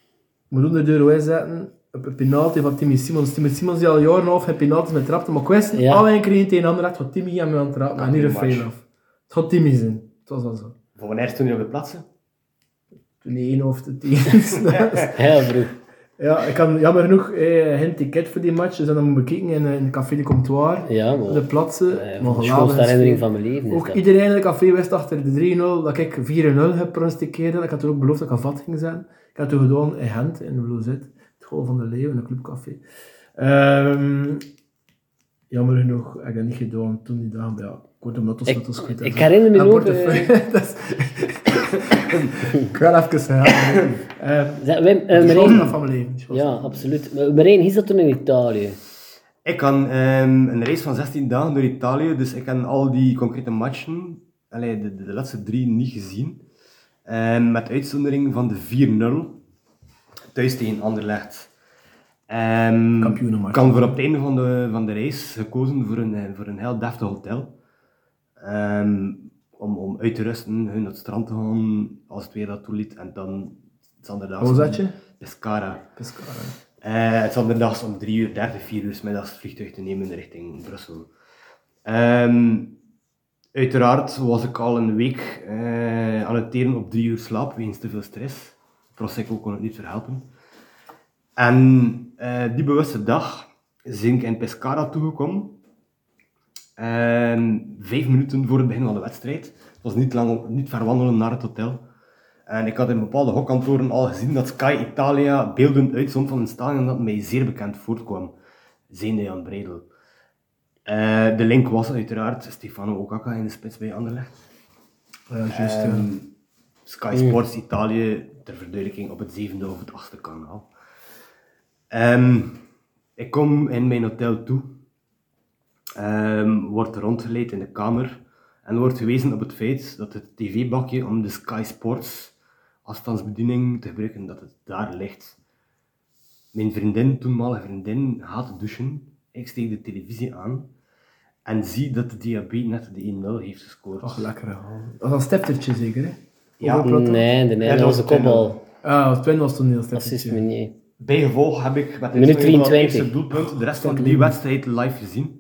S3: moet 100 euro inzetten op een penalty van Timmy Simons. Timmy Simons die al jaren en een half geen penalty met trapte, maar ik wist,
S1: Ja.
S3: alle een kreeg tegen ander echt wat Timmy aan mij aan het trappen,
S5: Ja,
S3: en niet
S5: Ah, die
S3: een
S5: match.
S3: fail af. Het gaat Timmy zijn. Het was al zo.
S5: Van wanneer is toen hij op de plaatsen?
S3: Toen die 1 of de 10.
S1: Heel vroeg.
S3: Ja, ik had jammer genoeg eh, geen ticket voor die match. Dus dan hebben we bekeken in, eh, in Café de Comptoir.
S1: Ja,
S3: op
S1: maar...
S3: De plaatsen.
S1: eh,
S3: maar
S1: de
S3: geweldig
S1: schoonste herinnering
S3: gespeeld.
S1: van mijn leven. is
S3: Ook
S1: dat.
S3: iedereen in het café wist achter de 3-0 dat ik 4-0 gepronosticeerd Ik had toen ook beloofd dat ik aan vat ging zijn. Ik had toen gedaan in Gent, in de Blozet. Het Goal van de Leeuw, in een clubcafé. Ehm, jammer genoeg heb ik dat niet gedaan toen die dag. Maar ja, kort omdat het
S1: Ik-
S3: was goed.
S1: ik herinner me eh,
S3: En
S1: nog,
S3: portefeuille, dat is- ik wil even herhalen. Eh,
S1: Zeg, Wim, eh,
S3: de
S1: Marijn-
S3: chance dat van mijn leven. de chance
S1: ja, absoluut. Maar Marijn, hier zat toen in Italië.
S5: Ik had ehm, een race van 16 dagen door Italië, dus ik heb al die concrete matchen, allee, de, de, de laatste drie, niet gezien. Ehm, met uitzondering van de 4-0, thuis tegen Anderlecht. Ehm,
S3: Kampioenenmarkt.
S5: kan voor op het einde van de, van de race gekozen voor een, eh, voor een heel deftig hotel. Ehm, om, om uit te rusten, hun naar het strand te gaan, als het weer dat toeliet. En dan zanderdags...
S3: Wat was dat je?
S5: Pescara.
S3: Pescara.
S5: Eh, het zanderdags om 3 uur, 30, 4 uur 's middags het vliegtuig te nemen richting Brussel. Ehm, uiteraard was ik al een week eh, aan het teren op 3 uur slaap, wegens te veel stress. Prosecco kon het niet verhelpen. En eh, die bewuste dag zijn ik in Pescara toegekomen. En vijf minuten voor het begin van de wedstrijd. Het was niet, lang, niet ver wandelen naar het hotel. En ik had in bepaalde hokkantoren al gezien dat Sky Italia beelden uitzond van een stadion dat mij zeer bekend voortkwam. Zijnde Jan Breidel. Eh, de link was uiteraard Stefano Okaka in de spits bij Anderlecht.
S3: Ja, juist. ja.
S5: Ehm, Sky Sports Italië ter verduidelijking op het zevende of het achtste kanaal. Ehm, ik kom in mijn hotel toe, Ehm word rondgeleid in de kamer en wordt gewezen op het feit dat het tv-bakje om de Sky Sports afstandsbediening te gebruiken, dat het daar ligt. Mijn vriendin, toenmalige vriendin, gaat douchen. Ik steek de televisie aan en zie dat de DAB net de 1-0 heeft gescoord.
S3: Och, lekker. hè. Dat was een steptertje zeker, hè?
S5: Ja.
S3: Of een platte?
S1: Nee, de nee,
S5: dat
S1: dat was de
S5: was het einde.
S1: kopbal.
S3: Ah, Twin was toen heel
S1: Assist
S3: steptertje.
S1: Meunier.
S5: Bijgevolg heb ik met
S1: Minuut
S5: instelling van het
S1: 23.
S5: eerste doelpunt de rest van die wedstrijd live gezien.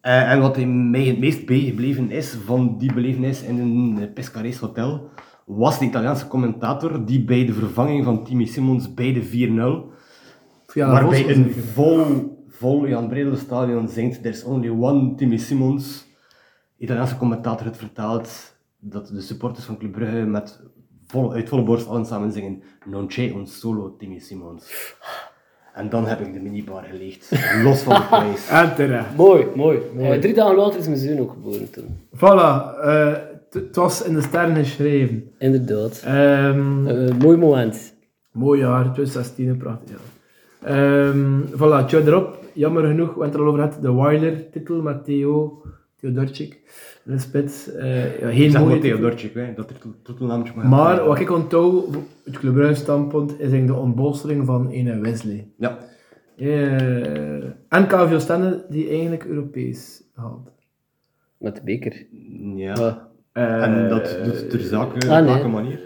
S5: Eh, en wat in mij het meest bijgebleven is van die belevenis in een eh, Pescarese hotel, was de Italiaanse commentator die bij de vervanging van Timmy Simmons bij de 4-0,
S3: Ja, dat was
S5: waarbij
S3: wel
S5: een
S3: zeker.
S5: vol, vol Jan Bredel stadion zingt There's only one Timmy Simmons, Italiaanse commentator het vertaalt dat de supporters van Club Brugge met vol, uit volle borst allen samen zingen Non c'è un solo Timmy Simmons. En dan heb ik de minibar geleegd, los van de prijs.
S3: En terecht.
S1: Mooi, mooi. Eh, drie dagen later is mijn zoon ook geboren toen.
S3: Voilà. eh, t- Het was in de sterren geschreven.
S1: Inderdaad.
S3: Ehm,
S1: Eh, mooi moment.
S3: Mooi jaar, 2016, een prachtig jaar. Ehm voilà, tja erop. Jammer genoeg, we hebben het er al over gehad. De Wilder-titel met Theo, Theodorczyk. De spits. eh, ja, heel
S5: zeg
S3: mooi.
S5: maar Theodorczyk, hè, dat er toetelnaamtje mag
S3: Maar wat ik onthoud, het Club Brugge standpunt, is eigenlijk de ontbolstering van een Wesley.
S5: Ja,
S3: Eh, en KVO Stende, die eigenlijk Europees had.
S1: Met de beker.
S5: ja.
S3: Eh,
S5: en dat doet ter zake, op
S1: Ah, nee.
S5: welke manier?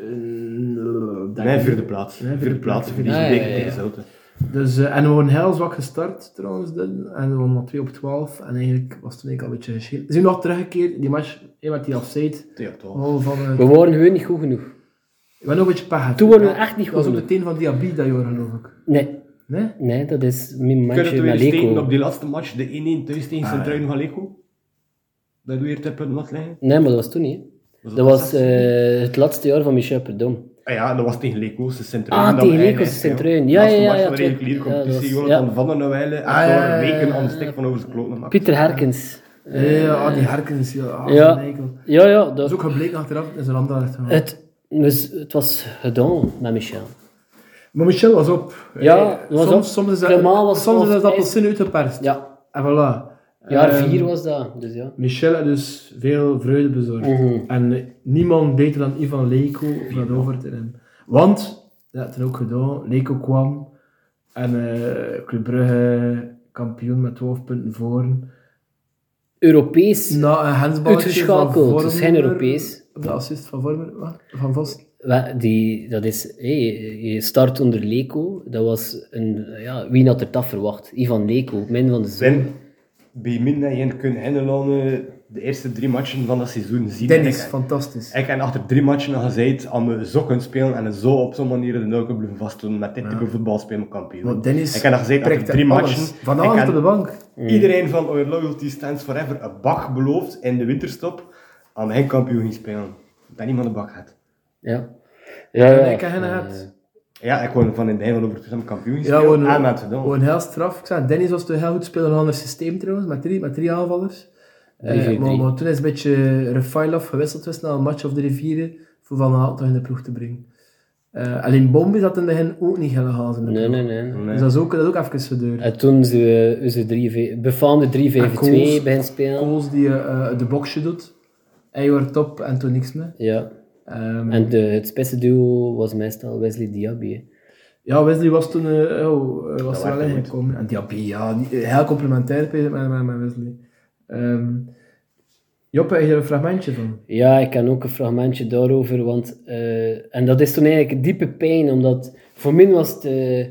S3: eh,
S5: Nee, vierde plaats.
S3: Nee,
S5: Vierde plaats,
S1: plaats.
S3: vierde
S5: verlies beker
S1: Ah, ja, ja,
S5: tegen
S1: ja.
S5: Zouten.
S3: Dus, eh, en we waren heel zwak gestart trouwens. dan. En we waren nog 2 op 12. En eigenlijk was toen eigenlijk al een beetje geschil. Ze zijn nog teruggekeerd, die match eh, met die afzijde.
S5: Twee op twaalf.
S3: Van, eh
S1: We waren gewoon niet goed genoeg.
S3: we hebben ook een beetje pech gehad.
S1: Toen waren we
S3: Ja,
S1: echt niet
S3: Dat was
S1: goed
S3: ook
S1: genoeg.
S3: meteen van Diaby dat jaar geloof ik.
S1: Nee,
S3: Nee?
S1: nee, dat is mijn
S5: Kunnen
S1: matje
S5: we
S1: met
S5: weer steken
S1: Leko.
S5: op die laatste match, de 1-1 thuis
S3: Ah,
S5: tegen Centruiden van Leko? Dat weer te punten wat liggen?
S1: Nee, maar dat was toen niet. hè.
S5: Was
S1: Dat was
S5: 16?
S1: eh, het laatste jaar van Michel Perdom.
S5: Ah ja, dat was tegen Leko's de Centruiden.
S1: Ah, tegen Leko's Centruiden. Ja, ja, ja.
S5: Laatste
S1: ja,
S5: match van de
S1: twee-
S5: reguliere
S1: ja, dat
S5: competitie,
S1: was-
S5: Jonathan
S1: ja.
S5: van den Weijlen. Echt
S3: Ah, ja,
S5: door weken
S3: ja,
S5: aan de
S3: ja.
S5: stik van over zijn kloten gemaakt.
S1: Pieter Herkens.
S3: Eh, ja, die Herkens. Ja, ah,
S1: Ja.
S3: nee, ik- dat
S1: Ja, ja. Dat,
S3: is ook gebleken achteraf. Dat is een ander echt.
S1: het, dus, het was gedaan met Michel.
S3: Maar Michel was op.
S1: Ja,
S3: Eh,
S1: was
S3: soms,
S1: op.
S3: Soms is dat,
S1: Clément was
S3: soms is dat
S1: op-
S3: appelsin uitgeperst.
S1: Ja,
S3: En voilà.
S1: jaar
S3: Ehm,
S1: 4 was dat. Dus ja.
S3: Michel had dus veel vreugde bezorgd.
S5: Mhm.
S3: En niemand beter dan Ivan Leko om dat over te nemen. Want, dat had er ook gedaan, Leko kwam en eh Club Brugge kampioen met 12 punten voor.
S1: Europees.
S3: Na een hensballetje
S1: Uitgeschakeld,
S3: van
S1: het is geen
S3: Vormer,
S1: Europees.
S3: De assist van Vormer, wat? van Vos.
S1: Wel, Die, dat is, hey, je start onder Leko. Dat was een, ja, wie had er dat verwacht? Ivan Leko, min van de zon.
S5: Ben, bij min dat je kunt Hennelan eh, de eerste drie matchen van dat seizoen zien.
S3: Dennis,
S5: En ik-
S3: fantastisch.
S5: Ik en achter drie matchen al gezegd aan me zo kunnen spelen en zo op zo'n manier de nul kunnen blijven vastdoen. Met dit type voetbal spelen we kampioen.
S3: Want Dennis
S5: ik heb al gezegd achter
S3: prikte
S5: drie
S3: alles.
S5: matchen.
S3: Vanavond
S5: ik heb
S3: op de bank.
S4: Mm.
S5: Iedereen van Our Loyalty Stands Forever een bak beloofd in de winterstop aan mijn kampioen ging spelen. Dat niemand een bak had.
S1: Ja. Ja, ja.
S3: En ik heb hen
S1: eh,
S3: gehad.
S5: Ja, ik word van in het begin van overtuigd dat mijn kampioen ging
S3: Ja,
S4: Ah,
S5: spelen.
S3: gewoon,
S5: en dat gedaan.
S3: gewoon heel straf. Ik zei, Dennis was toen heel goed spelen in een ander systeem trouwens, met drie, met drie aanvallers. Eh,
S1: 3-4-3.
S3: maar, maar toen is een beetje Refailov gewisseld was na een match op de rivieren voor Van Haal toch in de ploeg te brengen. Eh, alleen Bombi zat in het begin ook niet heel haas in de
S1: Eh, Nee,
S3: ploeg.
S1: nee, nee.
S5: Nee.
S3: Dus dat is ook, dat is ook even gedeurd.
S1: En toen ze, ze drie, vij- befaamde 3-5-2
S3: Akkoos.
S1: bij spelen.
S3: Kools die eh, de boxje doet, hij wordt top en toen niks meer.
S1: Ja.
S3: Ehm,
S1: En de, het spitsenduo was meestal Wesley Diaby. hè.
S3: Ja, Wesley was toen eh, oh, eh, was
S4: Dat
S3: er wel
S4: werkte
S3: in
S4: goed.
S3: gekomen. En Diaby, ja, die- eh, heel complementair met, met, met Wesley. Ehm Joppe, heb je er een fragmentje van?
S1: Ja, ik ken ook een fragmentje daarover, want... eh, en dat is toen eigenlijk een diepe pijn, omdat... Voor mij was het... eh,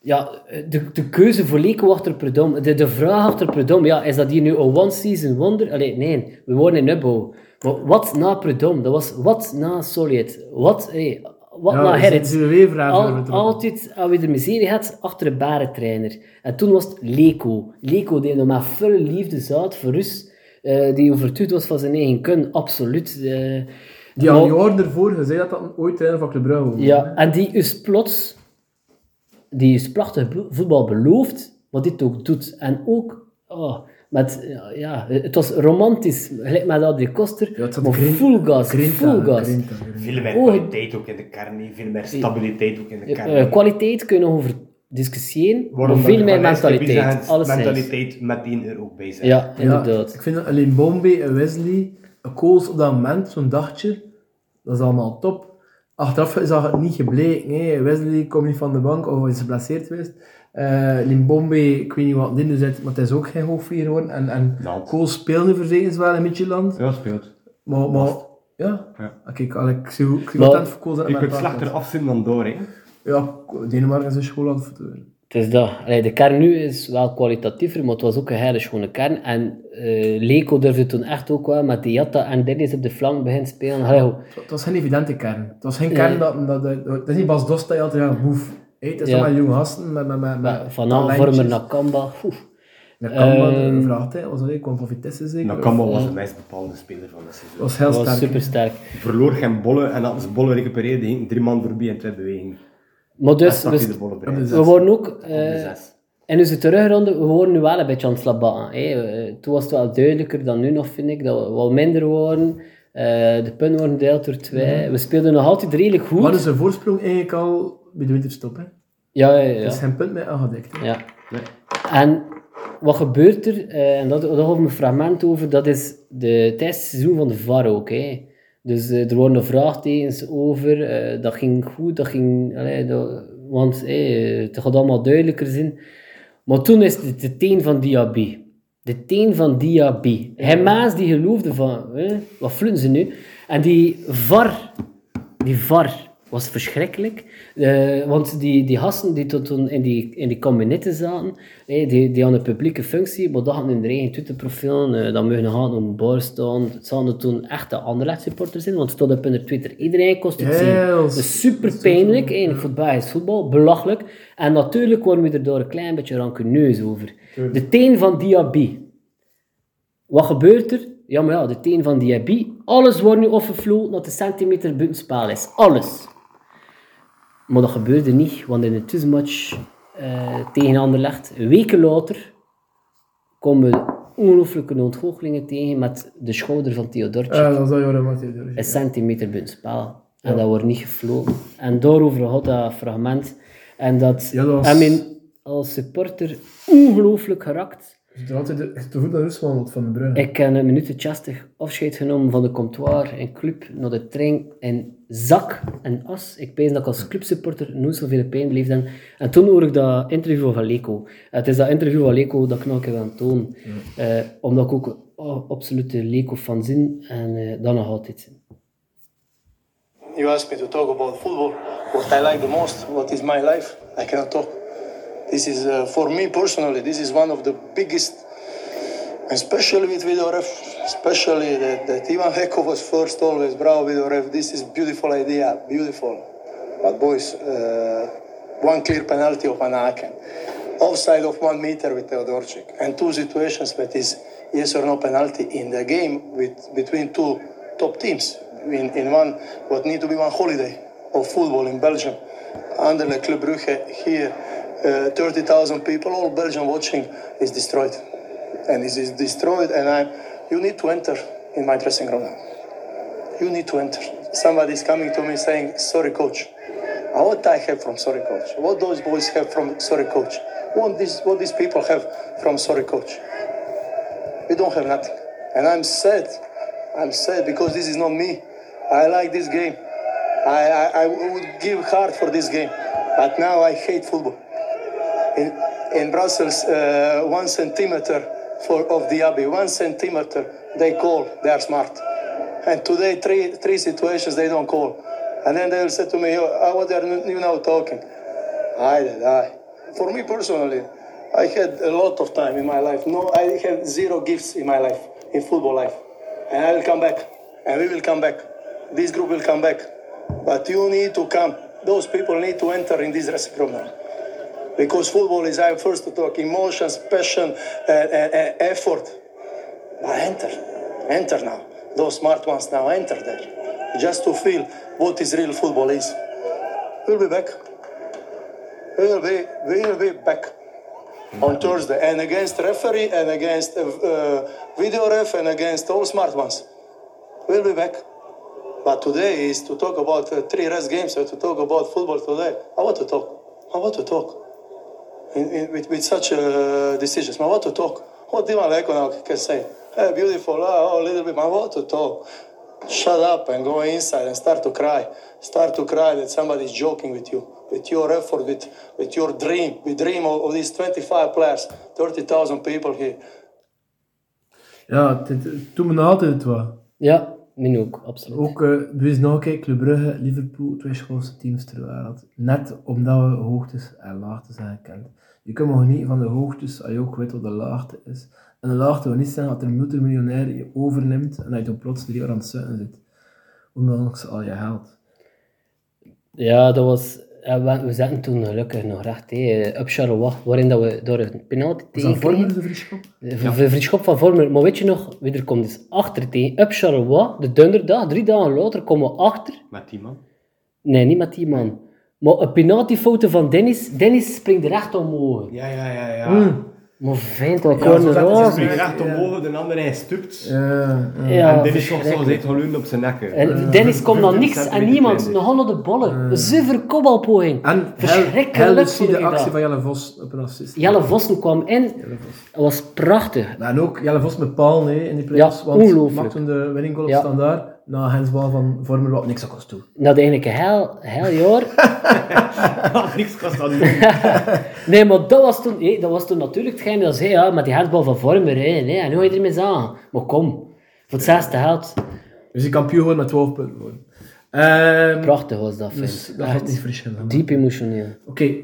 S1: ja, de, de keuze voor Leko achter Predom, de, de vraag achter Predom, ja, is dat hier nu een one-season wonder? Allee, nee, we wonen in Ubbo. Maar wat na Predom? Dat was wat na Solid? Wat, hey, wat na
S3: ja, is-
S1: Nou,
S3: eh,
S1: Gerrit?
S3: is er weer vragen
S1: Al-
S3: over betrokken?
S1: altijd, als we de miserie had, achter een barentrainer. En toen was het Leko. Leko deed nog maar veel liefde zout voor Rus. eh, die overtuigd was van zijn eigen kun, absoluut. eh.
S3: Die al
S1: Maar-
S3: jaren ervoor gezegd dat dat ooit trainer van Club Brugge was.
S1: ja, en die is plots, die is prachtig bo- voetbal beloofd, wat dit ook doet. En ook, oh, met, ja, ja, het was romantisch, gelijk met Adrie Koster,
S3: Ja, het zat
S1: maar
S3: Grin-
S1: full gas,
S3: Grinta,
S1: full gas.
S3: Grinta, Grinta.
S4: Veel meer
S1: Oh,
S4: kwaliteit ook in de kern, veel meer stabiliteit ook in de
S1: Eh,
S4: kern.
S1: eh, kwaliteit kun je nog over discussiëren, maar
S4: dat
S1: veel
S4: er
S1: meer
S4: van is,
S1: mentaliteit.
S4: Ibiza en
S1: alles mentaliteit.
S4: mentaliteit met 1 euro ook bij zijn.
S1: Ja,
S3: Ja,
S1: inderdaad.
S3: ik vind dat alleen Bombay en Wesley, Kools op dat moment, zo'n dagje, dat is allemaal top. Achteraf is dat niet gebleken. hè. Wesley komt niet van de bank of is geblesseerd geweest. Eh Limbombe, ik weet niet wat dit nu zit, maar het is ook geen hoofdvlier geworden. En, en
S4: Nou.
S3: Kools speelde verzekerd wel in Midtjylland.
S4: Ja, speelt.
S3: Maar, maar ja,
S4: Ja.
S3: Ah, kijk, Alex, ik zie hoe- ik zie
S1: Maar-
S3: content voor Kools dat
S4: Je
S3: het
S4: kunt
S3: met elkaar
S4: slechter
S3: komt.
S4: afzien dan door, hè.
S3: Ja, Denemarken is een school aan het voeten.
S1: Het is dat. Allee, de kern nu is wel kwalitatiever, maar het was ook een hele schone kern. En eh Leko durfde toen echt ook wel met Diatta en Dennis op de flank begint spelen. Allee,
S3: Het was geen evidente kern. Het was geen kern
S1: Nee.
S3: dat, dat, dat, dat is niet Bas Dost dat je altijd gaat boef. Hey, het is
S1: Ja.
S3: allemaal jonge gasten met, met, met, met
S1: van Aanvormer naar Kamba. Oeh.
S3: Dat kan wel
S1: Ehm,
S3: een vraag, hè. Was dat, ik kwam van Vitesse zeker?
S5: Nou,
S4: Nakamba Nou, was de meest bepalende speler van de seizoen.
S3: Dat was heel
S1: Dat was
S3: sterk.
S1: supersterk.
S4: Verloor geen bollen en hadden ze bollen recupereerd, hing drie man voorbij in twee bewegingen.
S1: Maar
S4: Daar
S1: dus,
S4: stak hij
S1: we,
S4: de bollen bij.
S3: op de zes.
S1: we worden ook...
S4: Op de
S1: eh
S4: zes.
S1: in onze terugronde, we worden nu wel een beetje aan het slabbatten. hè. Eh, Toen was het wel duidelijker dan nu nog, vind ik. Dat we wel minder worden. Eh, de punten worden gedeeld door twee. We speelden nog altijd redelijk goed.
S3: Wat is de voorsprong eigenlijk al bij de winterstop, hè?
S1: Ja, ja, ja.
S3: Er is geen punt meer aangedekt, hè.
S1: Ja. En wat gebeurt er, eh, en dat, daar hadden we een fragment over, dat is de, tijdens het seizoen van de VAR ook. Hè. Dus eh, er worden vraagtekens over, eh, dat ging goed, dat ging, allee, dat- want eh, het gaat allemaal duidelijker zijn. Maar toen is het de teen van Diaby. De teen van Diaby. Hij maas die geloofde van, hè, wat fluiten ze nu? En die VAR die VAR was verschrikkelijk. Eh, want die, die gasten die tot toen in die, in die kabinetten zaten, eh, die, die aan een publieke functie, maar dat hadden in hun eigen Twitterprofiel, eh dat mogen gaan om bar staan. Het zouden toen echte Anderlecht supporters zijn, want het stond op hun Twitter. Iedereen kost het zien.
S3: Heel
S1: Dat is super pijnlijk. Eigenlijk voor Belgisch voetbal, belachelijk. En natuurlijk worden we er door een klein beetje rancuneus over. De teen van Diaby. Wat gebeurt er? Ja, maar ja, de teen van Diaby. Alles wordt nu offenvloot dat de centimeter buitenspaal is. Alles. Maar dat gebeurde niet, want in de tussenmatch eh, tegen Anderlecht, weken later, komen we ongelooflijke ontgoochelingen tegen met de schouder van Theodortje.
S3: Ja, Eh, dat zou Joran Matthijs doen.
S1: Een centimeter buiten spel. En dat wordt niet gefloten. En daarover had dat fragment. En dat,
S3: Ja, dat was-
S1: I mean, als supporter ongelooflijk geraakt.
S3: Je doet altijd de- je doet goed naar Rusland want van de Brugge.
S1: Ik heb een minuut en 60 afscheid genomen van de comptoir en club naar de trein en zak en as. Ik peins dat ik als clubsupporter nooit zoveel pijn beleefd heb. En toen hoor ik dat interview van Leko. Het is dat interview van Leko dat ik nog een keer wil tonen. Eh, omdat ik ook een a- absolute Leko-fan zin en eh dat nog altijd zin.
S10: You asked me to talk about football, what I like the most, what is my life. I cannot talk. This is, uh, for me personally, this is one of the biggest, especially with Vidoref, especially that, that Ivan Heko was first always, bravo Vidoref, this is beautiful idea, beautiful. But boys, uh, one clear penalty of Anaken, offside of one meter with Teodorczyk, and two situations that is yes or no penalty in the game with between two top teams. In, in one, what need to be one holiday of football in Belgium. Anderlecht, Club Brugge, here, uh, 30,000 people, all Belgium watching, is destroyed. And this is destroyed, and I'm, you need to enter in my dressing room now you need to enter. Somebody is coming to me saying, sorry, coach. Uh, What I have from sorry, coach? What those boys have from sorry, coach? What, this, what these people have from sorry, coach? We don't have nothing. And I'm sad. I'm sad because this is not me. I like this game. I, I, I would give heart for this game. But now I hate football. In, in Brussels, uh, one centimeter for of the abbey, one centimeter they call, they are smart. And today, three three situations they don't call, and then they will say to me, oh, "What are you now talking?" I did I. For me personally, I had a lot of time in my life. No, I had zero gifts in my life, in football life, and I will come back, and we will come back. This group will come back, but you need to come. Those people need to enter in this dressing room now because football is our first to talk emotions, passion, uh, uh, uh, effort. But enter, enter now. Those smart ones now enter there, just to feel what is real football is. We'll be back. We'll be, we'll be back on Thursday, and against referee, and against uh, video ref, and against all smart ones. We'll be back. But today is to talk about uh, three rest games, or to talk about football today. I want to talk. I want to talk. in, in, with, with such uh, decisions. Maar what to talk? What Dima Lekonak can say? Hey, beautiful, oh, oh, little bit, maar what to talk? Shut up and go inside and start to cry. Start to cry that somebody is joking with you, with your effort, with, with your dream. We dream of, of these 25 players, 30,000 people here.
S3: Ja, het doet me nog altijd het wat.
S1: Ja, min ook, absoluut.
S3: Ook, uh, wees nog een keer, Club Brugge, Liverpool, twee grootste teams ter wereld. Net omdat we hoogtes en laagtes zijn gekend. Je kunt nog niet van de hoogtes, als je ook weet wat de laagte is. En de laagte wil niet zeggen dat er een multimiljonair je overneemt en dat je dan plots drie jaar aan het zutten zit. Ondanks al je geld.
S1: Ja, dat was... We, we zaten toen gelukkig nog recht hé, op Charleroi, waarin dat we door een penalty tegen...
S3: Was dat de vriendschap?
S1: De v- vriendschap van Vormer. Maar weet je nog, wie er komt dus achter tegen op Charleroi, de donderdag, drie dagen later, komen we achter...
S5: Met die man?
S1: Nee, niet met die man. Maar een penaltyfoto van Dennis, Dennis springt recht omhoog.
S5: Ja, ja, ja, ja. Mm.
S1: Maar vindt wel corner
S5: ja, springt recht omhoog, de andere hij stupt.
S3: Ja, ja.
S1: Ja,
S5: en Dennis komt zo zit gewoon op zijn nek.
S3: Eh,
S1: En Dennis komt dan niks en niemand, nogal naar de bollen. Zuiver kopbalpoging.
S3: En
S1: Verschrikkelijk
S3: Hel, zie
S1: vond
S3: de
S1: ik dat.
S3: actie van Jelle Vos op een assist.
S1: Jelle Vossen kwam in,
S3: Jelle Vos.
S1: dat was prachtig.
S3: Maar en ook Jelle Vos met paal nee, in die playoffs.
S1: Ja,
S3: want
S1: ongelooflijk.
S3: maakt toen de winning goal op
S1: Ja.
S3: standaard. Na hensbal van Vormer wat niks aan kost toe.
S1: Dat eigenlijk een heel, heel jaar.
S5: Niks kost aan doen.
S1: Nee, maar dat was toen, hé, dat was toen natuurlijk hetgeen dat zei, ja, met die handbal van Vormer, hé, nee, en hoe je ermee aan? Maar kom, voor het zesde geld,
S3: Dus die kampioen gewoon met 12 punten worden. Ehm,
S1: prachtig was dat, vind
S3: dus
S1: ik.
S3: dat gaat niet verschillen.
S1: Diep emotioneel.
S3: Oké,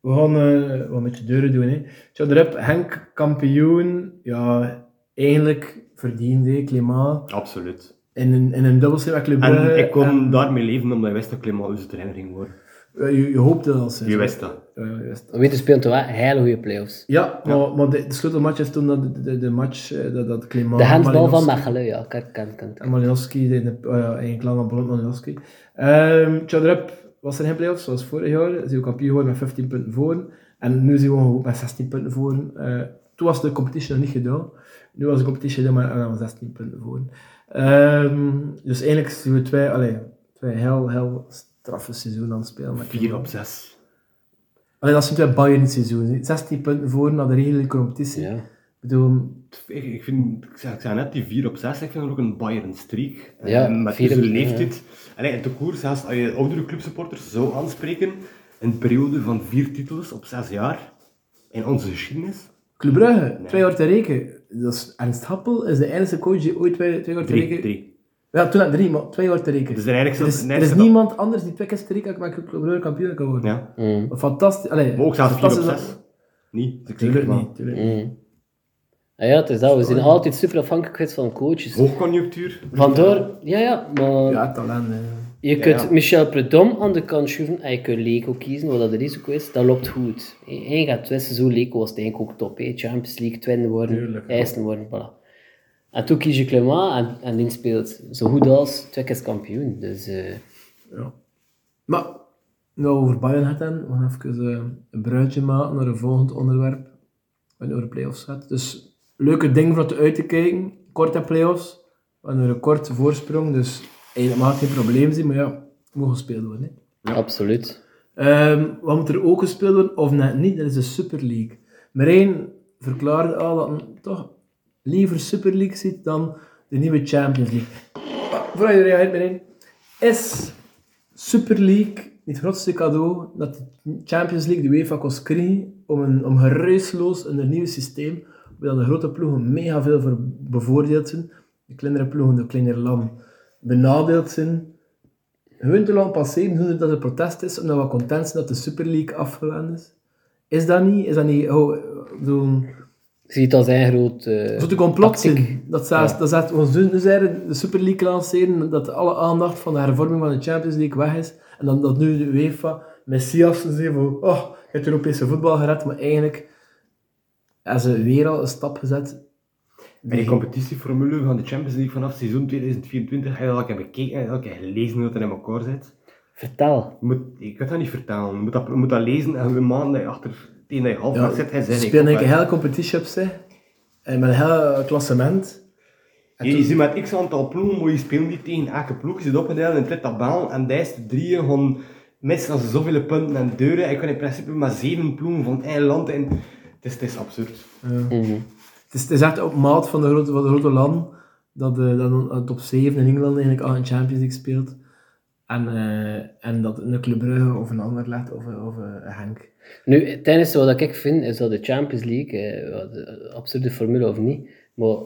S3: we gaan eh wat met je deuren doen. Hè. Tja, erop, Henk, kampioen. Ja, eigenlijk verdiende Klimaat.
S5: Absoluut.
S3: In een, in een dubbelstreep met Club Brugge.
S5: En ik kon
S1: ehm,
S3: en,
S5: daarmee leven omdat ik wist dat Clement onze trainer ging worden.
S3: eh, je, je hoopte dat ze.
S5: Je wist dat.
S3: Ja, je wist dat.
S1: Witte speelt toch wel hele goede playoffs.
S3: Ja, maar, maar de, de sleutelmatch is toen dat de, de, de match eh, dat, dat Klimaat...
S1: De handbal van Mechelen, ja, kan, kan, kan.
S3: En Malinowski, de, de, oh ja, eigenlijk lang aan Bolland Malinowski. Ehm tja, erop was er geen playoffs zoals vorig jaar. Ze zijn kampioen geworden met 15 punten voor. En nu zijn we gewoon met 16 punten voor. Eh, toen was de competition nog niet gedaan. Nu was de competition gedaan, maar eh, met 16 punten voor. Ehm, dus eigenlijk zijn we twee, allee, twee heel, heel straffe seizoenen aan het spelen. met
S5: Vier op zes.
S3: Allee, dat zijn twee Bayern seizoenen. 16 punten voor na de reguliere competitie.
S1: Ja.
S3: Ik bedoel,
S5: Ik, ik vind, ik zei, ik zei net, die 4 op 6, ik vind dat ook een Bayern-streak.
S1: Ja,
S5: Eh, met
S1: vier
S5: deze
S1: op-
S5: leeftijd. En En de koers, zelfs als je oudere clubsupporters zou aanspreken, een periode van vier titels op zes jaar, in onze geschiedenis,
S3: Club Brugge, twee jaar te rekenen. Dus Ernst Happel is de enige coach die ooit twee, twee jaar te
S5: drie.
S3: rekenen...
S5: drie.
S3: Ja, toen had drie, maar twee jaar te rekenen.
S5: Dus er eigenlijk
S3: er
S5: zelfs-
S3: is,
S5: nee,
S3: er is
S5: dat-
S3: niemand anders die twee keer te rekenen kan met Club Brugge kampioen kan worden.
S5: Ja.
S3: Fantastisch. Allee,
S5: Maar ook zelfs 4 op
S3: fantastisch dat- dus
S5: 6. Niet, ik
S3: Tuurlijk
S5: zeker maar.
S3: niet, tuurlijk niet.
S1: Mm. Ja, ja, het is dat. We zijn altijd super afhankelijk geweest van coaches.
S5: Hoogconjunctuur.
S1: Vandoor, ja, ja, maar
S3: Ja, talent. hè.
S1: je kunt Michel Predom aan de kant schuiven en je kunt Leko kiezen, wat dat de risico is. Dat loopt goed. Eén gaat twee seizoen, Leko was het eigenlijk ook top. hè. Champions League, twin worden,
S3: Tuurlijk, ja.
S1: eerste worden, voilà. En toen kies je Clément en, en die speelt zo goed als twee keer kampioen. Dus eh,
S3: Maar, nou over Bayern gaat dan. We gaan even eh, een bruidje maken naar een volgend onderwerp. Wat over de playoffs gaat. Dus, leuke ding voor te uit te kijken. Korte playoffs. We hebben een korte voorsprong, dus eigenlijk maakt geen probleem zijn. Maar ja, het moet gespeeld worden. hè.
S1: absoluut.
S3: Ehm wat moet er ook gespeeld worden, of net niet, dat is de Super League. Marijn verklaarde al dat hij toch liever Super League ziet dan de nieuwe Ah, Champions League. Maar, voordat je reageert, Marijn, is Super League niet het grootste cadeau dat de Champions League de UEFA kost krijgen om, een, om geruisloos een nieuw systeem, waar de grote ploegen mega veel voor bevoordeeld zijn, de kleinere ploegen door kleiner land benadeeld zijn, gewoon te laten passeren zonder dat er protest is, omdat we content zijn dat de Super League afgewend is. Is dat niet? Is dat niet oh, zo'n...
S1: Ziet dat zijn groot... Uh,
S3: Zo'n complot zijn. Dat zelfs, dat zelfs, ons doen dus eigenlijk de Super League lanceren, dat alle aandacht van de hervorming van de Champions League weg is, en dan dat nu de UEFA Messias zijn van, oh, je hebt Europese voetbal gered, maar eigenlijk hebben ze weer al een stap gezet.
S5: En die competitieformule van de Champions League vanaf seizoen 2024 heb je dat hebben bekeken en elke gelezen dat er in elkaar zit.
S1: Vertel.
S5: Je moet, ik kan dat niet vertalen. Je moet dat, je moet dat lezen en de maand dat je achter tegen dat je half zit, hij
S3: Ze
S5: zegt
S3: spelen een hele competitie op zich, en met een heel klassement.
S5: Je, je ziet met x aantal ploegen, moet je spelen die tegen elke ploeg. Je zit opgedeeld in drie tabellen en daar is de drieën gewoon mis als zoveel punten en deuren. En je kan in principe maar zeven ploegen van één land in. Het is, het is absurd.
S3: Het is, het is echt op maat van de grote, van de grote landen dat de, dat de top 7 in Engeland eigenlijk al een Champions League speelt. En, eh, en dat een Club Brugge of een ander legt of, een- of een Henk.
S1: Nu, tennis, wat ik vind, is dat de Champions League, eh, wat, eh, absurde formule of niet, maar